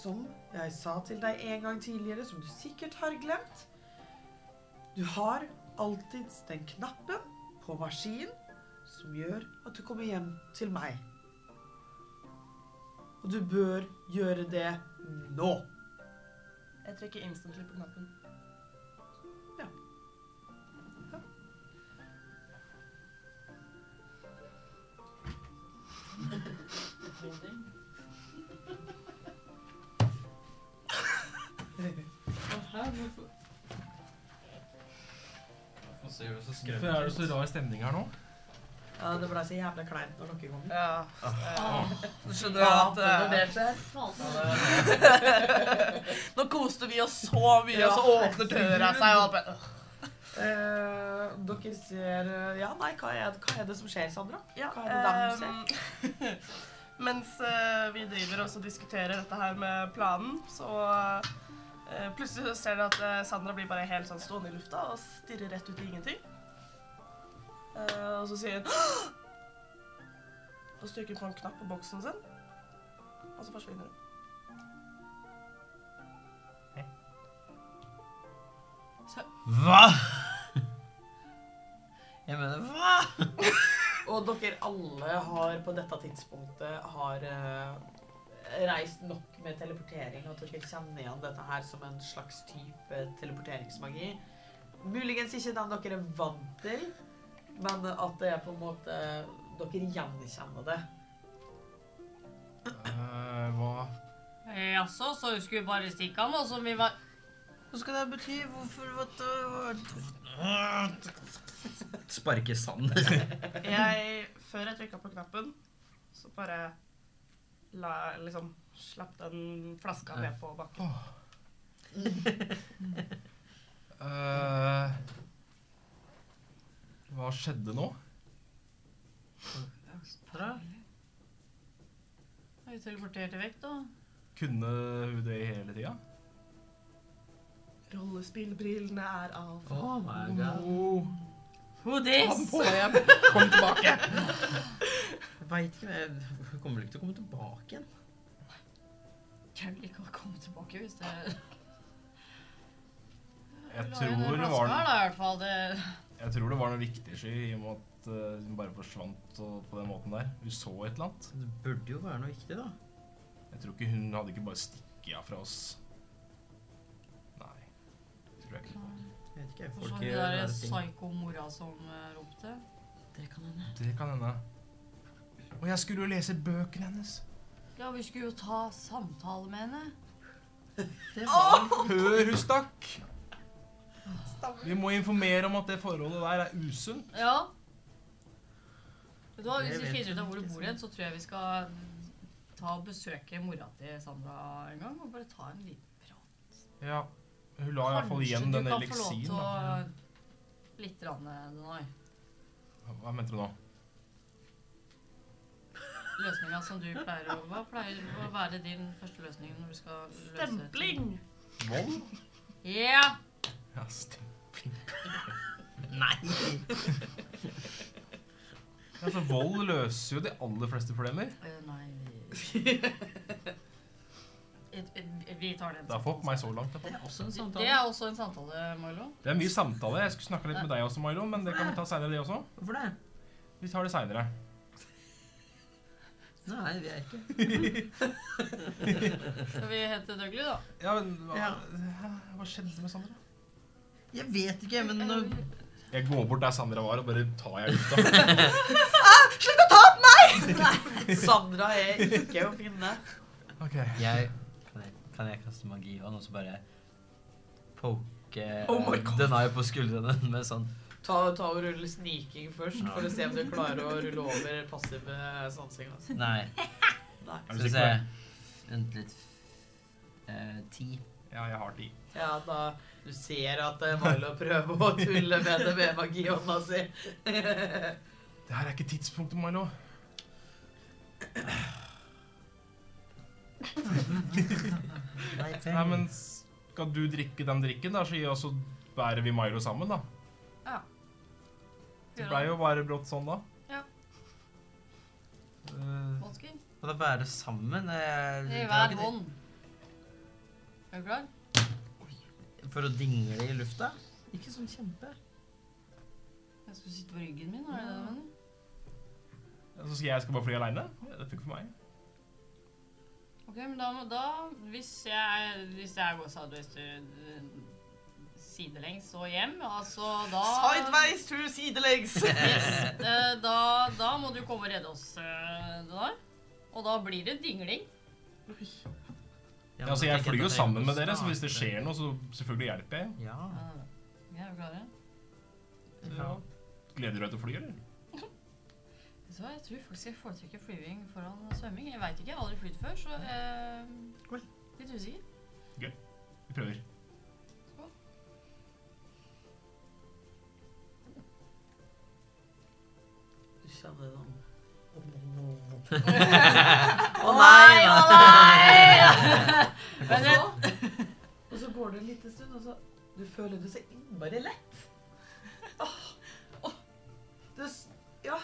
som jeg sa til deg en gang tidligere, som du sikkert har glemt Du har alltid den knappen på maskinen som gjør at du kommer hjem til meg. Og du bør gjøre det nå. Jeg trykker instantly på knappen. Ja. Ja. Hvorfor er det så Hvorfor er det så rar stemning her nå? Ja, Det ble så jævla kleint når dere kom. Ja. Ah. Du skjønner jo at eh, Faen. Nå koste vi oss så mye, og så åpner døra seg, og alt bare øh. Eh, dere ser eh, Ja, nei, hva er, hva er det som skjer, Sandra? Ja, Hva er det dem ser? ehm, mens eh, vi driver og så diskuterer dette her med planen, så eh, plutselig så ser dere at eh, Sandra blir bare helt sånn stående i lufta og stirrer rett ut i ingenting. Eh, og så sier hun «Åh!» Og så trykker hun på en knapp på boksen sin, og så forsvinner hun. Hva?! Jeg mener hva? Og dere alle har på dette tidspunktet har eh, reist nok med teleportering, og at dere kjenner igjen dette her som en slags type teleporteringsmagi. Muligens ikke den dere er vant til, men at det er på en måte Dere gjenkjenner det. Eh, hva Jaså, så skulle vi bare stikke av nå som vi var Hva skal det bety? Hvorfor Sparke sand. Jeg, før jeg trykka på knappen, så bare la, liksom, slapp den flaska ned på bakken. Eh, Hva skjedde nå? Vi teleporterte vekk, da. Kunne hun det hele tida? Rollespillbrillene er av. Oh my god. Oh, Who ha den this? på deg igjen! Kom tilbake! Jeg veit ikke, men jeg jeg kommer vel ikke til å komme tilbake igjen. Jeg vil ikke komme tilbake hvis det Jeg La tror igjen den det flaska var her, da, i hvert fall. Det... Jeg tror det var noe viktig sky, i og med at eh, hun bare forsvant og, på den måten der. Hun så et eller annet. Altså, Det burde jo være noe viktig, da. Jeg tror ikke hun hadde ikke bare stikket av fra oss. Nei, det tror jeg ikke. Jeg vet ikke, Hvorfor folk den gjør der rare ting. psyko-mora som eh, ropte. Det kan hende. Det kan hende. Og jeg skulle jo lese bøkene hennes. Ja, vi skulle jo ta samtale med henne. Det var Før hun stakk! Vi må informere om at det forholdet der er usunt. Ja. Vet du hva, Hvis Jeg vi vet finner ut av hvor du bor hen, så tror jeg vi skal mm, ta og besøke mora til Sandra en gang. Og bare ta en liten prat. Ja. Hun la i hvert fall igjen den eliksiren. å da. Litt rann, eh, Denai. Hva mente du nå? Løsninga som du pleier å Hva pleier å være din første løsning når du skal løse ting? Stempling! Vold? Ja! Ja, stempling. Nei! Altså, vold løser jo de aller fleste problemer. Eh, nei Et- et- Vi tar den. Det har fått meg så langt. Det er også en Det samtale. er også en samtale, Milo. Det er mye samtale. Jeg skulle snakke litt med deg også, Milo, men det kan vi ta senere, det også. Hvorfor det? Vi tar det seinere. Nei, vi er ikke Skal vi hente Dougley, da? Ja, men hva, Ja. hva skjedde med Sandra? Jeg vet ikke, men når Jeg går bort der Sandra var, og bare tar jeg lufta. Sandra er ikke å finne. Ok. jeg kan, jeg kan jeg kaste magi og noe så bare poke Oh my eh, Denai på skuldrene med sånn Ta, ta og rulle sniking først, for å se om du klarer å rulle over passive sansinga. Nei. Nei. Er Skal du vi sikker se. på det? Vent litt. Eh, Ti. Ja, jeg har ti. Ja, da Du ser at det er vanlig å prøve å tulle med det med magihånda si. Det her er ikke tidspunktet, Milo. Nei, men skal du drikke den drikken, da, så gi oss og bærer vi Milo sammen, da. Ja. Det blei jo bare brått sånn, da. Uh, Vodka og da bære sammen? eh, i det var hver ikke hånd. Er du klar? det. For å dingle i lufta? Ikke sånn kjempe. Jeg skal sitte på ryggen min, er det det du mener? Så skal jeg skal bare fly aleine? Det funker for meg. Ok, men da, må- da hvis, jeg, hvis jeg går sideways to sidelengs og hjem, altså da Sideways to sidelengs. Yes, eh, da, da må du komme og redde oss, eh, det der. Og da blir det dingling. Ja, Ja, men altså, da jeg tenker flyr jo at da sammen trenger med du å dere, så hvis det starte. skjer noe, så selvfølgelig hjelper jeg. Ja. Ah. Ja, er du klare? Ja. Gleder du deg til å fly, eller? Vet du hva, jeg tror faktisk jeg foretrekker flyving foran svømming. Jeg veit ikke, jeg har aldri flydd før, så eh, litt usikker. Vi prøver. Du kjenner den Å nei! Å nei! Men det, Og så går det en liten stund, og så Du føler det så innmari lett. Åh, åh, det s- Ja.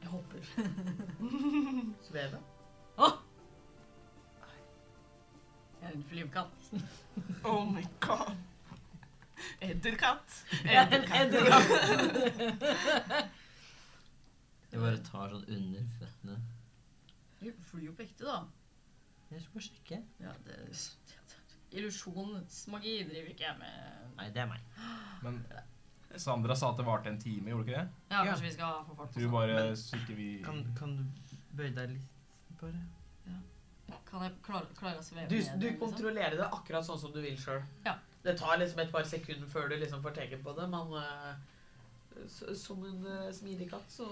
Jeg hopper. Sveve? jeg er en flyvekatt. Oh my god. Edderkatt. Jeg bare tar sånn under føttene. Du flyr jo på ekte, da. Jeg skal bare sjekke. Ja, det Illusjonsmagi driver ikke jeg med. Nei, det er meg. Men Sandra sa at det varte en time, gjorde det ikke det? Ja, Ja. kanskje vi skal få fart på Tror du sånn. bare Men- så ikke vi Kan, kan du bøye deg litt, bare? Kan jeg klare, klare å sveve Du, du ned igjen, liksom? kontrollerer det akkurat sånn som du vil sjøl. Ja. Det tar liksom et par sekunder før du liksom får teken på det, men eh, s- som en eh, smidig katt så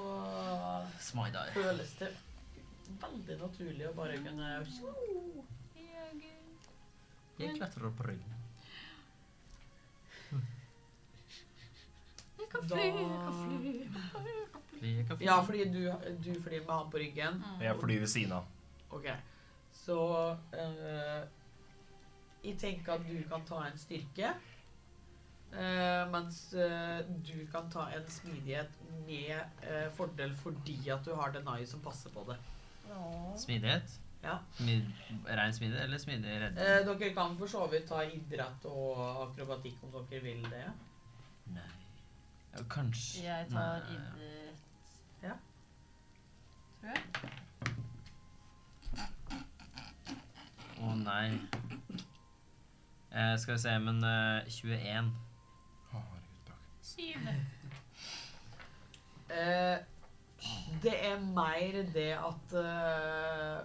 Smidar. føles det veldig naturlig å bare kunne Jeg klatrer opp på ryggen. Jeg kan Da- fly, jeg kan fly. Fordi jeg kan fly. Ja, fordi du, du flyr med han på ryggen. Mm. Jeg flyr ved siden av. Ok. Så eh, Jeg tenker at du kan ta en styrke. eh, mens eh, du kan ta en smidighet med eh, fordel fordi at du har Denai som passer på det. Smidighet? Ja. Smid, rein smidighet eller smidig Eh, redning? dere kan for så vidt ta idrett og akrobatikk om dere vil det. Nei. Ja, kanskje Jeg Nei. tar idrett. Ja. Tror jeg. Å nei. Eh, skal vi se, men eh, 21. Herregud, takk. Syv. Eh, det er mer det at eh,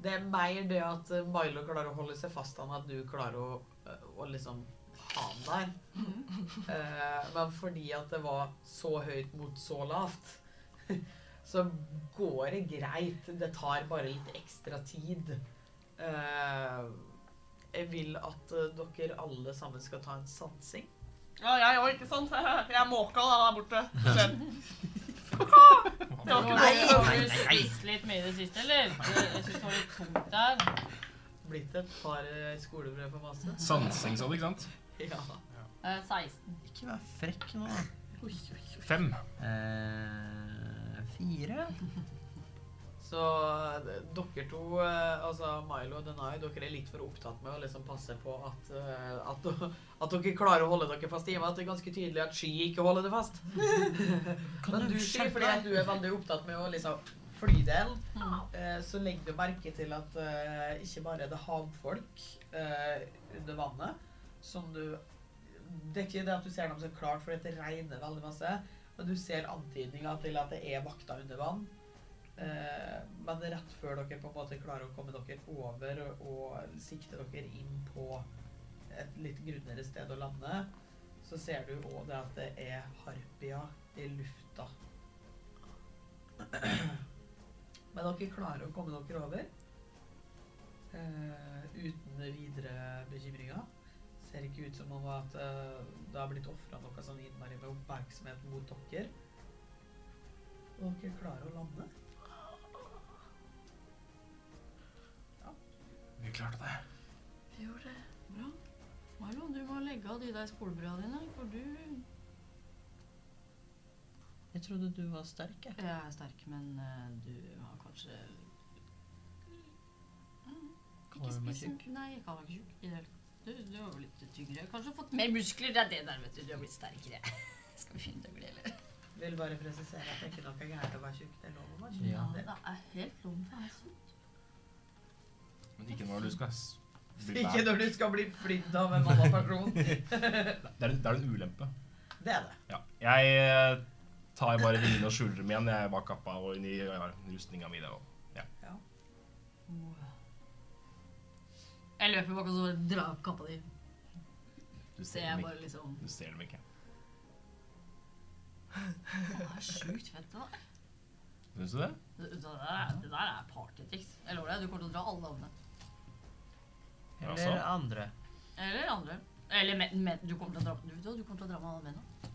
Det er mer det at Milo klarer å holde seg fast enn at du klarer å, å liksom ha han der. Eh, men fordi at det var så høyt mot så lavt, så går det greit. Det tar bare litt ekstra tid. Eh, jeg vil at eh, dere alle sammen skal ta en sansing. Ja, jeg òg, ikke sant? Jeg er måka da, der borte. Selv. Det var ikke Har noe. du- har du spist litt mye i det siste, eller? Jeg syns det var litt tungt der. Blitt et par eh, skolebrød for masse. Sansing, sa du, ikke sant? Ja. Eh, 16. Ikke vær frekk nå. Fem. Eh, fire? Så eh, dere to, eh, altså Milo og Denai, dere er litt for opptatt med å liksom passe på at, eh, at, at dere klarer å holde dere fast i og med at det er ganske tydelig at Sky ikke holder det fast. Men du, Sky, fordi at du er veldig opptatt med å liksom fly den, eh, så legger du merke til at eh, ikke bare er det havfolk eh, under vannet som du Det er ikke det at du ser dem så klart, for det regner veldig masse, men du ser antydninger til at det er vakter under vann. Eh, men rett før dere på en måte klarer å komme dere over og, og sikte dere inn på eh, et litt grunnere sted å lande, så ser du òg det at det er harpia i lufta. Men dere klarer å komme dere over eh, uten videre bekymringer. Ser ikke ut som om at eh, det har blitt ofra noe sånn innmari med oppmerksomhet mot dere. Og dere klarer å lande. Vi klarte det. Vi gjorde det. Bra. Milo, du må legge av de der skolebrødene dine, for du Jeg trodde du var sterk, jeg. Jeg er sterk, men eh, du har kanskje Mm, Kan Ikke være mer spist en- Nei, jeg kan være tjukk. i det hele tatt. Du, du har jo litt tyngre. Kanskje fått mer muskler. Det er det der, vet du. Du har blitt sterkere. Skal vi finne døgnet, eller? Vil bare presisere at det er ikke noe gærent å være tjukk. Det er lov å være tjukk. Ja. det er helt lov for meg. altså. Men ikke når du skal s- bli Ikke bad. når du skal bli flydd av en annen person. Det er, en- det er en ulempe. Det er det. Ja. Jeg eh, tar bare vinen og skjuler dem igjen. Jeg er bak kappa og inni ja, rustninga mi. der også. Jeg løper bak og så drar opp kappa di. Du Så ser, jeg dem bare ikke. liksom du ser dem ikke. Det er sjukt fett, det der. Syns du det? Det, det, der, det der er partytriks. Jeg lover deg, du kommer til å dra alle navnene. Ja, Eller så. andre. Eller andre. Eller men, men, du kommer til å dra du, vet hva, du kommer til å dra med alle mennene.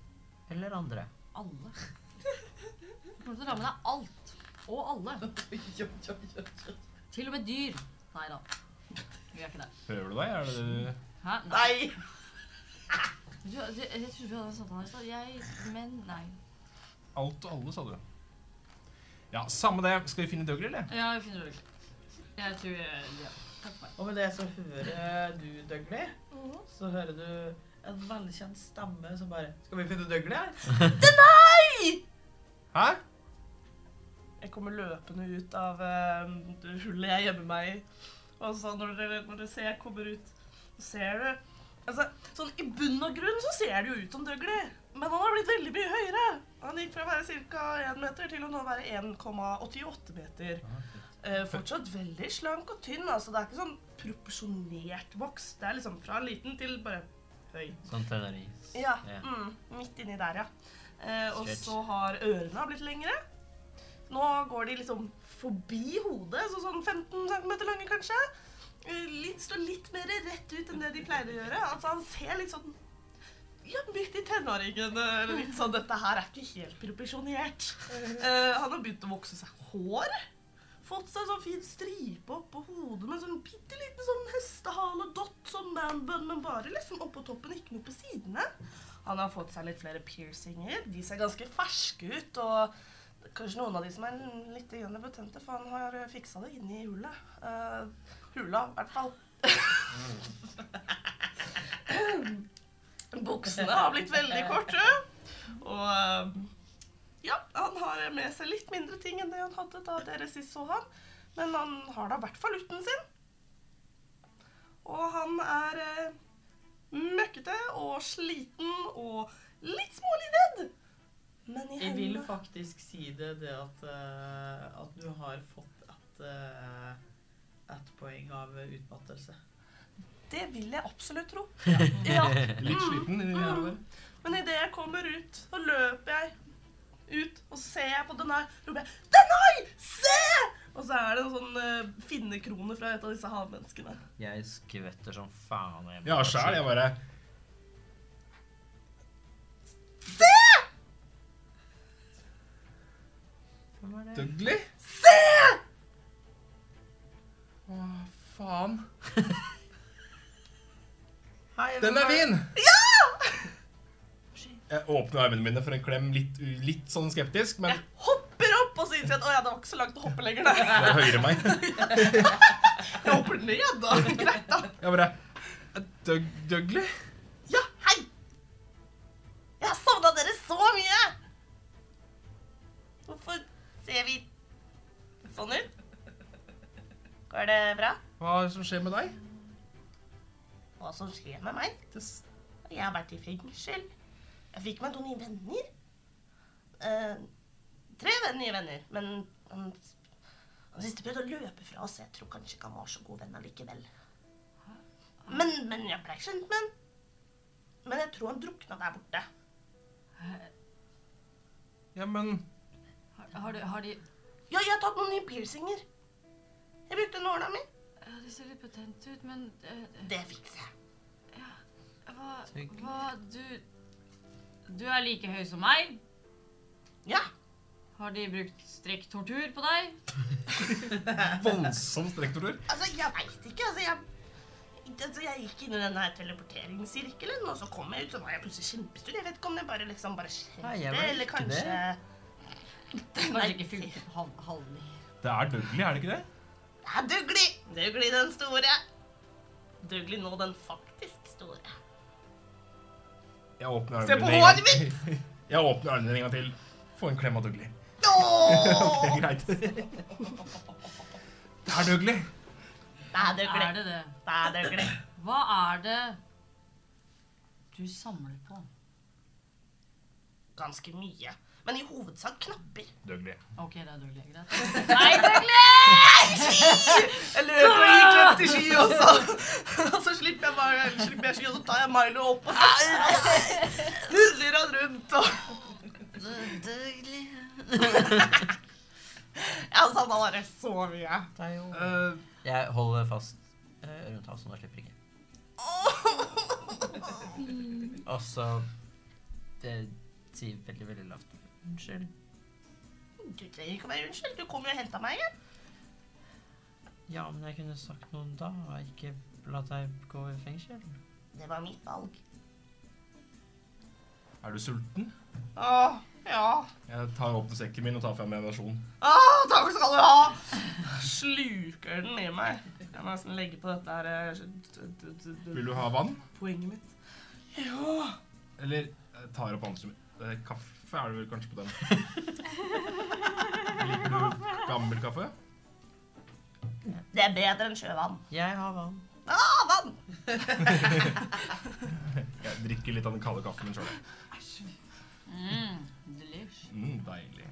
Eller andre. Alle. Du kommer til å dra med deg alt. Og alle. Jo, jo, jo, jo. Til og med dyr. Nei da. Vi er ikke der. Hører du deg? Er det Hæ? Nei! Du, du, jeg trodde vi hadde en samtale i stad. Jeg Men nei. alt og alle, sa du? Ja, samme det. Skal vi finne Dougley, eller? Ja, vi finner det ikke. Jeg tror jeg, ja. Takk for meg. Og med det så hører du Dougley. Mhm. Så hører du en velkjent stemme som bare Skal vi finne Dougley her? Hæ? Jeg kommer løpende ut av eh, hullet jeg gjemmer meg i. Og så når dere, når dere ser jeg kommer ut, så ser du Altså, sånn I bunn og grunn så ser det jo ut som Dougley, men han har blitt veldig mye høyere. Han gikk fra å være ca. 1 meter til å nå være 1,88 meter. Eh, fortsatt veldig slank og tynn. altså Det er ikke sånn proporsjonert vokst. Det er liksom fra liten til bare høy. Sånn tenårings. Ja. Ja. Mm, midt inni der, ja. Eh, og Stretch. så har ørene blitt lengre. Nå går de liksom forbi hodet, så sånn 15 cm lange kanskje. Eh, Litt, står litt mer rett ut enn det de pleier å gjøre. Altså Han ser litt sånn ja, midt i tenåringen. eh, Litt sånn, Dette her er ikke helt proporsjonert. Eh, han har begynt å vokse seg hår. Fått seg sånn fin stripe oppå hodet med sånn bitte liten sånn hestehale-dott, sånn manbun, men bare liksom oppå toppen, ikke noe på sidene. Han har fått seg litt flere piercinger. De ser ganske ferske ut. Og kanskje noen av de som er litt grann betente, for han har fiksa det inni hullet. Eh, hula, i hvert fall. Buksene har blitt veldig korte. Og eh, ja, han har med seg litt mindre ting enn det han hadde da dere sist så han. Men han har da i hvert fall luten sin. Og han er eh, møkkete og sliten og litt smålivredd. Men i Jeg vil hendene faktisk si det, det at, eh, at du har fått et, eh, et poeng av utmattelse. Det vil jeg absolutt tro. Ja. Litt sliten inni her og der. Men idet jeg kommer ut, så løper jeg ut, og så ser jeg på Denai. Roper jeg 'Denai, se!' Og så er det en sånn eh, finnekrone fra et av disse havmenneskene. Jeg skvetter som faen. og jeg Ja, bare- sjæl. Jeg bare Se! Dougley? Se! Hva faen? Hei, Den er hvem fin! Jeg åpner armene mine for en klem, litt, u- litt sånn skeptisk, men Jeg hopper opp, og så innser jeg at 'Å ja, det var ikke så langt å hoppe lenger', nei. det høyre meg. Jeg hopper ned, da. Greit, da. Jeg bare Doug, Dougley? Ja, hei! Jeg har savna dere så mye! Hvorfor ser vi sånn ut? Går det bra? Hva er det som skjer med deg? Hva som skjer med meg? Det s- Jeg har vært i fengsel. Jeg fikk meg to nye venner. Eh, tre ven- nye venner, men han, han siste prøvde å løpe fra oss. Jeg tror kanskje ikke han var så god venn allikevel. Men, men jeg blei kjent med han. Men jeg tror han drukna der borte. Ja, men Har, har, de, har de Ja, jeg har tatt noen nye piercinger. Jeg brukte nåla mi. Ja, de ser litt potente ut, men eh, Det fikser jeg. hva, hva Du Du er like høy som meg. Ja. Har de brukt strekktortur på deg? voldsom strektortur. Altså, jeg veit ikke. Altså, jeg Altså, jeg gikk inn i den her teleporteringssirkelen, og så kom jeg ut, så var jeg plutselig kjempestor. Jeg vet ikke om det bare liksom bare skjedde, Nei, jeg var eller ikke kanskje Kanskje ikke funket hal halv... Det er Dougley, er det ikke det? Ja, Dugli! Dugli den store. Dugli nå den faktisk store. Jeg åpner Se på en gang håret til. Jeg åpner armene dine en gang til. Få en klem av Dougley. Det Ååå! er greit. Det er Dougley. Det er Dugli. Er det det? Det er Dugli. Hva er det du samler på? Ganske mye. Men i hovedsak knapper. Dougley. OK, det er Dougley. Greit. Nei, Dougley! Jeg løper og gir klem til sky også. Og så slipper jeg, bare, slipper jeg sky, og så tar jeg Milo opp og snurrer han rundt. Og jeg savna bare så mye. Eh, Jeg holder fast eh, rundt halsen og slipper ikke. Og Altså, så Det sier veldig, veldig lavt unnskyld. Du trenger ikke å være unnskyld. Du kom jo og henta meg igjen. Ja, men jeg kunne sagt noe da, og ikke latt deg gå i fengsel. Det var mitt valg. Er du sulten? Åh, ja. Jeg tar opp sekken min og tar fram meditasjon. Åh, takk skal du ha! Sluker den i meg. Jeg må nesten legge på dette her eh, d- d- d- d- Vil du ha vann? poenget mitt. Ja. Eller jeg tar opp andre eh, Kaffe er det vel kanskje på den. Liker du gammel kaffe? Det er bedre enn sjøvann. Jeg har vann. Ah, vann! Jeg drikker litt av den kalde kaffen min sjøl. Mm, delish. Mm, deilig.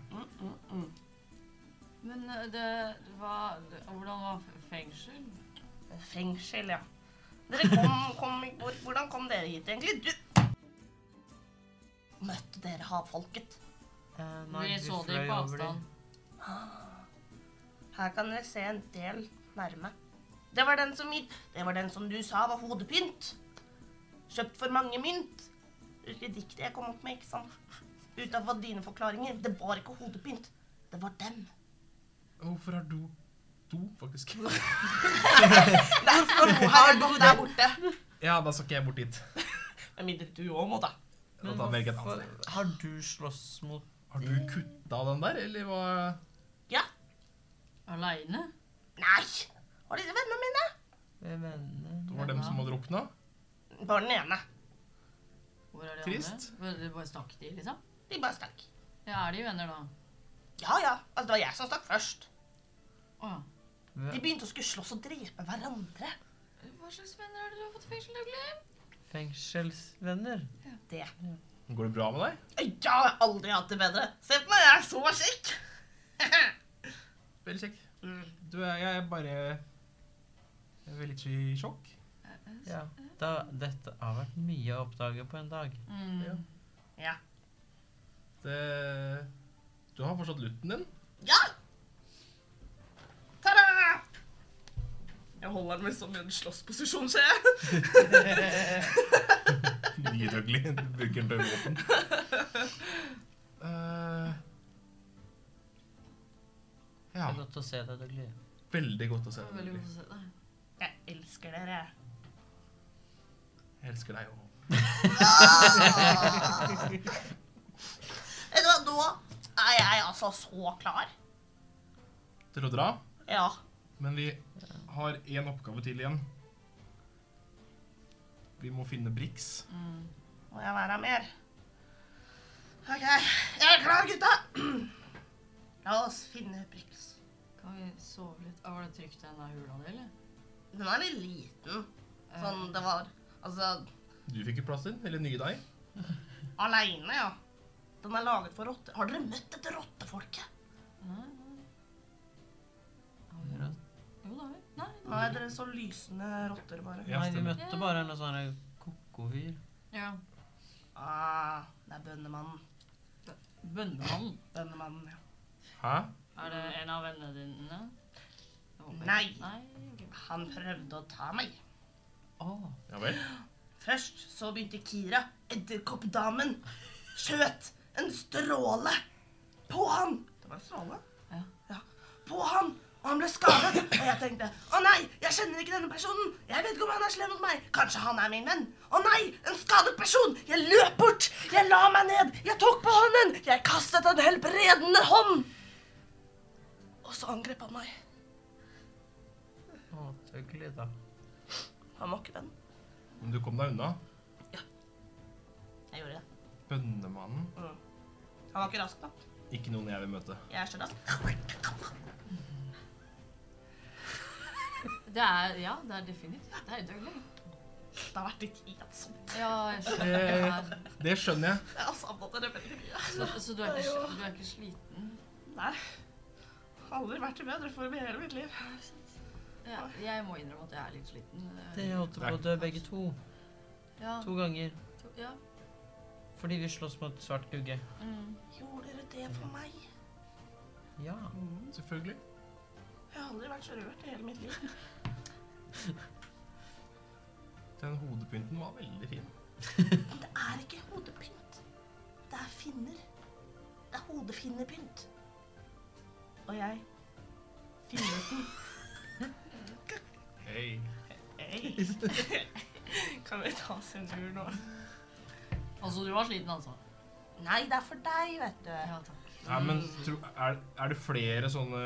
Men eh, det var det- Hvordan var f- fengsel? Fengsel, ja. Dere kom, kom i- hvor, Hvordan kom dere hit, egentlig? Du Møtte dere havfolket? Eh, Vi så fløy det på over de. avstand. Her kan dere se en del nærme. Det var den som, gikk- det var den som du sa var hodepynt. Kjøpt for mange mynt. Husker du diktet jeg kom opp med, ikke sant? Utenfor dine forklaringer. Det var ikke hodepynt. Det var den. Hvorfor har du do, faktisk? Hvorfor har du der borte? Ja, da skal ikke jeg bort dit. Med mindre du òg må, da. Da tar jeg et annet sted. Har du slåss mot Har du kutta den der, eller hva? Aleine? Nei! Var disse vennene mine? Det eh, vennene? var dem som hadde drukna? Bare den ene. Hvor er de Trist. andre? Var det Bare stakk de, liksom? De bare stakk. Ja, er de venner, da? Ja ja. Altså, det var jeg som stakk først. Å ja. De begynte å skulle slåss og drepe hverandre. Hva slags venner er det du har fått i fengsel, Dougley? Fengselsvenner? Det. Går det bra med deg? Jeg har aldri hatt det bedre. Se på meg, jeg er så kjekk. Veldig kjekk. Mm. Du, eh, jeg er bare Jeg er litt i sjokk. Ja. Da, dette har vært mye å oppdage på en dag. Mm. Ja. Ja. Det Du har fortsatt lutten din. Ja! Ta-da! Jeg holder den med sånn i en slåssposisjon, ser jeg. Nydøglig. Bruker den til våpen. Eh, ja. Det er godt å se deg, Dougley. Veldig godt å se Det var deg. Dougley. veldig godt å se deg. Jeg elsker dere. Jeg elsker deg òg. Vet du hva, nå er jeg altså så klar. Til å dra. Ja. Men vi har én oppgave til igjen. Vi må finne Brix. Må jeg være mer? OK. Jeg er klar, gutta. La oss finne Brix. Kan vi sove litt? Ah, Var det trygt i den der hula di, eller? Den er litt liten. Sånn det var Altså Du fikk jo plass til den. Eller nye deg. aleine, ja. Den er laget for rotter. Har dere møtt dette rottefolket? Nei, nei. Har du råd? Jo, det har vi. Nei, Nei, Nei, dere så lysende rotter, bare. Ja, Nei, vi stemmer. møtte bare en sånn her koko-fyr. Ja. Ah, det er bøndemannen. Bøndemannen. Bøndemannen, ja. Hæ? Er det en av vennene dine? Jeg håper Nei. ikke. Nei. ok. Han prøvde å ta meg. Åh, Ja vel. Først så begynte Kira, edderkoppdamen, skjøt en stråle på han. Det var en stråle? Ja. På han, og han ble skadet. Og jeg tenkte, å nei, jeg kjenner ikke denne personen. Jeg vet ikke om han er slem mot meg. Kanskje han er min venn. Å nei, en skadet person. Jeg løp bort. Jeg la meg ned. Jeg tok på hånden. Jeg kastet en helbredende hånd. Og så angrep han meg. åh, så hyggelig da. Han var ikke venn. Men du kom deg unna. Jeg gjorde det. Bønnemannen. Han var ikke rask da. Ikke noen jeg vil møte. Jeg er så rask. Det er, ja, det er definitivt. Det er døgnet. Det har vært litt ensomt. Ja, jeg skjønner. det Eh, er- det skjønner jeg. Jeg har savnet dere veldig mye. Så, så du, er ikke, du er ikke sliten? Nei. Har Aldri vært i bedre form i hele mitt liv. Ja, jeg må innrømme at jeg er litt sliten. Det holdt på å dø begge to. Ja. To ganger. to- ja. Fordi vi slåss mot svart gugge. Mm. Gjorde dere det for meg? Ja. Selvfølgelig. Jeg har aldri vært så rørt i hele mitt liv. Den hodepynten var veldig fin. Men det er ikke hodepynt. Det er finner. Det er hodefinnepynt. Og jeg finner den. Hei. Hey. kan vi ta oss en tur nå? Altså, du var sliten, altså? Nei, det er for deg, vet du. Ja, takk. Nei, men tro, er, er det flere sånne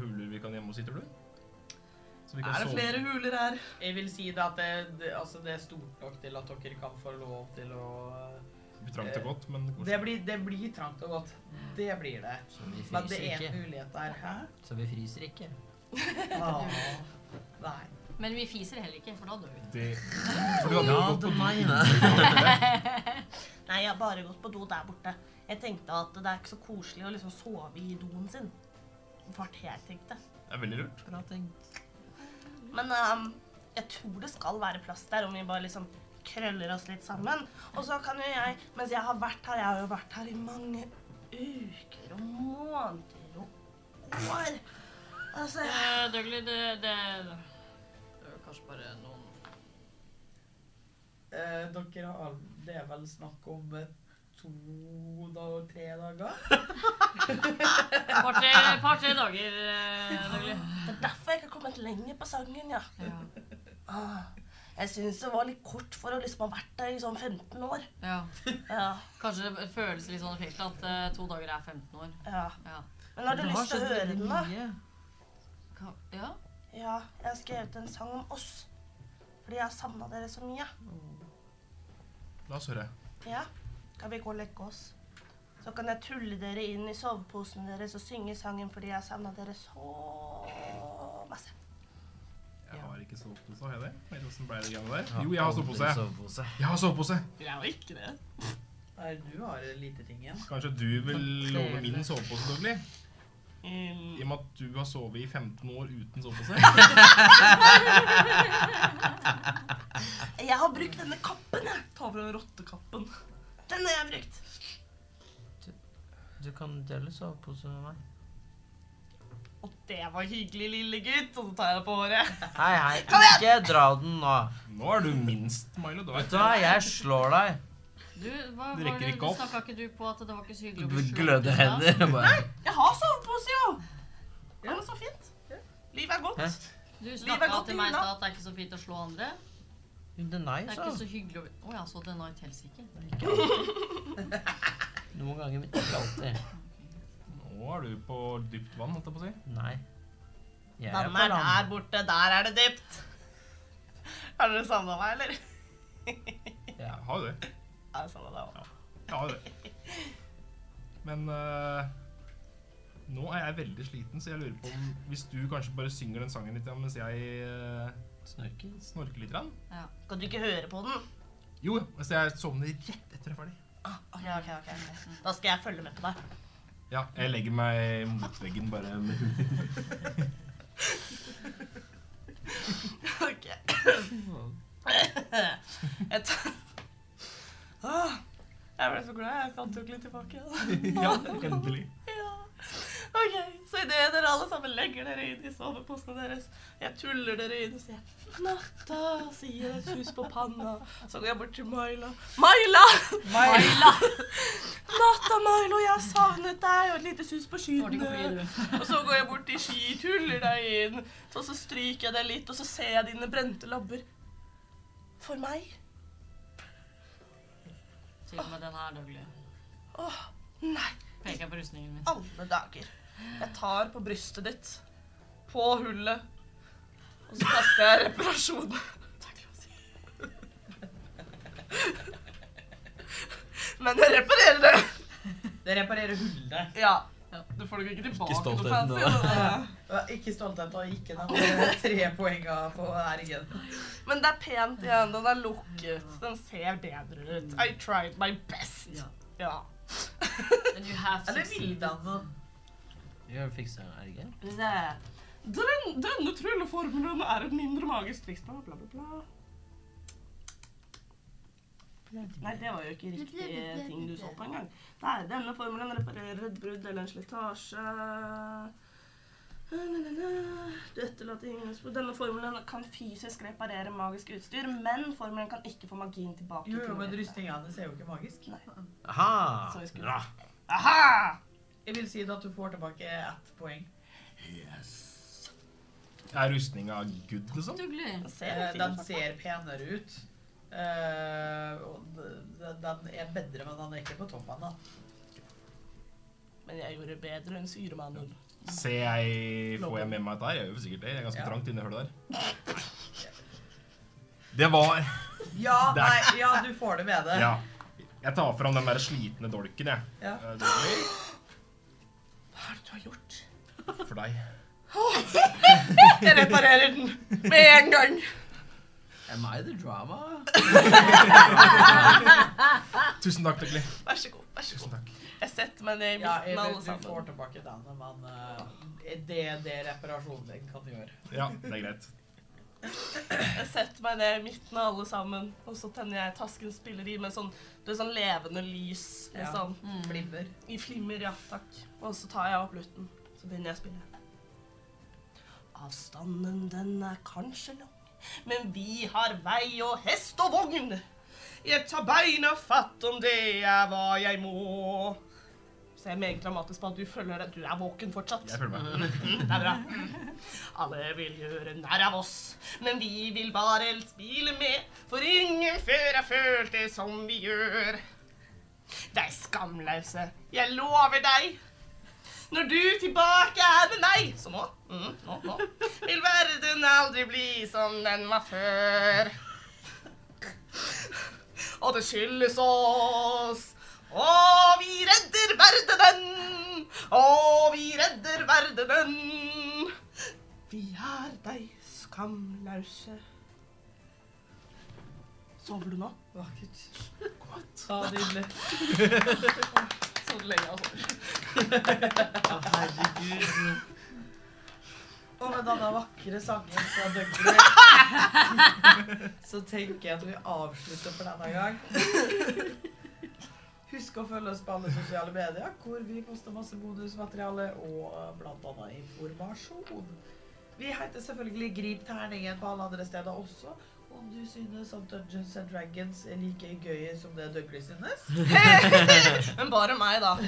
huler vi kan gjemme oss i, tror du? Så vi kan Er det sove- flere huler her? Jeg vil si da at det, det, altså det er stort nok til at dere kan få lov til å Det blir trangt og godt, men Det blir, det blir trangt og godt. Det blir det. Så vi Men det fryser er en ikke. mulighet der. Hæ? Så vi fryser ikke. Ah, nei. Men vi fiser heller ikke, for da dør vi. det For du hadde jo gått på Nei, jeg har bare gått på do der borte. Jeg tenkte at det er ikke så koselig å liksom sove i doen sin. Hva var det jeg tenkte. Det er veldig lurt. Bra tenkt. Men ehm, jeg tror det skal være plass der, om vi bare liksom krøller oss litt sammen. Og så kan jo jeg, mens jeg har vært her, jeg har jo vært her i mange uker og måneder og år. Altså, Eh, Dougley, det, det Det er jo kanskje bare noen Eh, dere har Det er vel snakk om eh, to dager, tre dager? Par-tre par, tre dager, eh, Dougley. det er derfor jeg ikke har kommet lenger på sangen, ja. Ja. Ah, jeg syns det var litt kort for å liksom ha vært der i sånn 15 år. ja. Ja, Kanskje det føles litt sånn i fengselet at eh, to dager er 15 år. ja. Ja. Men har du Det lyst til å skjedd høre veldig den, da? mye. Ka ja. Ja, jeg har skrevet en sang om oss. Fordi jeg har savna dere så mye. La oss høre. Ja, Kan vi gå og legge oss? Så kan jeg tulle dere inn i soveposen deres og synge sangen fordi jeg savna dere så masse. Jeg har ikke sovepose, har jeg det? Eller hvordan ble det greiene der? Jo, jeg har sovepose. Sovepose. Jeg har sovepose. Jeg var ikke det. Nei, du har lite ting igjen. Kanskje du vil låne min sovepose, Dougley? Mm. I og med at du har sovet i 15 år uten sovepose? jeg har brukt denne kappen, jeg. Ta over den rottekappen. Den har jeg brukt. Du kan dele sovepose med meg. Og det var hyggelig, lille gutt. Og så tar jeg deg på håret. Hei, hei. Ikke dra den nå. Nå er du minst, Milo. Du Vet vet. du hva, jeg slår deg. Du, hva Det var rekker det, ikke du opp. snakka ikke du på at det var ikke så hyggelig å bli slått i Glødde stad? hender. Bare. Jeg har sovepose, jo. Ja, men så fint. Livet er godt. Hæ? Du Livet er snakka godt i til meg i jula. stad at det er ikke så fint å slå andre. Det er Det nice, er ikke altså. så hyggelig å bli Å ja, så The Night helsike. Noen ganger, men ikke alltid. Nå er du på dypt vann, holdt jeg på å si. Nei. Jeg er Vannet på er land. der borte. Der er det dypt. Har dere savna meg, eller? Jeg har jo det. Jeg har savna deg òg. Jeg har jo det. Men eh, nå er jeg veldig sliten, så jeg lurer på om hvis du kanskje bare synger den sangen litt ja, mens jeg eh, Snorker. snorker litt? Rann. Kan du ikke høre på den? Jo, hvis jeg sovner rett etter jeg er ferdig. Ah, ok, ok, ok. Da skal jeg følge med på deg. Ja, jeg legger meg mot veggen bare med huet. Jeg tar- Åh, Jeg ble så glad. Jeg fant jo ikke litt tilbake. da. ja, endelig. Ja. OK, så idet dere alle sammen legger dere inn i soveposene deres, jeg tuller dere inn og sier 'natta', og sier jeg et hus på panna, så går jeg bort til Maila. Maila! Maila! 'Natta, Milo, jeg har savnet deg', og et lite sus på Tålte ikke å fly, skyene. du. Og så går jeg bort til ski, tuller deg inn, og så stryker jeg deg litt, og så ser jeg dine brente labber. For meg? Til og med den her, Dougley. Åh, nei. Peker jeg på rustningen min. Alle dager. Jeg tar på brystet ditt, på hullet, og så kaster jeg reparasjon. Men jeg reparerer det. Det reparerer hullet. Ja. Du får det jo ikke tilbake. Ikke noe stoltheten, fancy, da. Jeg var ikke stolthet av ikke den andre tre poenga på RG-en. Men det er pent igjen. Den er lukket. Den ser bedre ut. I tried my best. Ja. Ja. And you have Eller succeeded. vilddannet. Gjør fiksa erge. Den, denne trylleformelen er et mindre magisk triks. Bla, bla, bla, bla. Nei, det var jo ikke riktig ting du så på engang. Nei, denne formelen reparerer et brudd eller en slitasje. Na-na-na-na. Du etterlater ingen spor. Denne formelen kan fysisk reparere magisk utstyr, men formelen kan ikke få magien tilbake. Jo, jo, til men dette. rustninga hans er jo ikke magisk. Aha! Så vi skulle- Bra. Aha! Jeg vil si det at du får tilbake ett poeng. Er rustninga good, liksom? Dougley. Den ser Eh, helt fin Den ut. ser penere ut. Eh, og d- den er bedre, men den er ikke på toppen. da. Men jeg gjorde bedre enn syremannen. Ser jeg Får jeg med meg dette her? Jeg gjør sikkert det. Det er ganske Ja. trangt inni hullet der. Det var Ja, Det er- nei, ja, du får det med det. Ja. Jeg tar fram den der slitne dolken, jeg. Ja. Eh, det blir Hva er det du har gjort? For deg. Jeg reparerer den med en gang. Am I the drama? Tusen takk, Døgli. Vær så god. vær så god. Tusen takk. Jeg setter meg ned i Ja, jeg vet, midten, alle du får sammen. tilbake den, men eh, det er det reparasjonen din kan gjøre. Ja, det er greit. Jeg setter meg ned i midten av alle sammen, og så tenner jeg tasken spilleri med sånn, det er sånn levende lys. Med Ja. sånn, Mm. Flimmer. I flimmer, ja takk. Og så tar jeg opp lutten. Så begynner jeg å spille. Avstanden den er kanskje lang, men vi har vei og hest og vogn. Jeg tar beina fatt om det er hva jeg må. Så jeg er meget dramatisk på at du følger deg. Du er våken fortsatt. Jeg følger med. Det er bra. Alle vil gjøre narr av oss, men vi vil bare spille med, for ingen før har følt det som vi gjør. Deg skamløse, jeg lover deg. Når du tilbake er med meg, så nå, mm, nå, nå, vil verden aldri bli som den var før. Og det skyldes oss. Og vi redder verdenen! Og vi redder verdenen! Vi er deg skamløse. Sover du nå? Vakkert. Ja, nydelig. Sånn lenge, altså. Og med denne vakre sangen fra Dougley så tenker jeg at vi avslutter for denne gang. Husk å følge oss på alle sosiale medier, hvor vi poster masse bonusmateriale og bl.a. informasjon. Vi heter selvfølgelig Grip terningen på alle andre steder også. Om du synes at Dungeons and Dragons er like gøy som det Dougley synes. Men bare meg, da.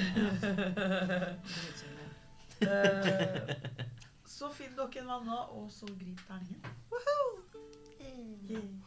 Eh, så finn dere en venner, og så grip terningen. Woohoo! Yeah.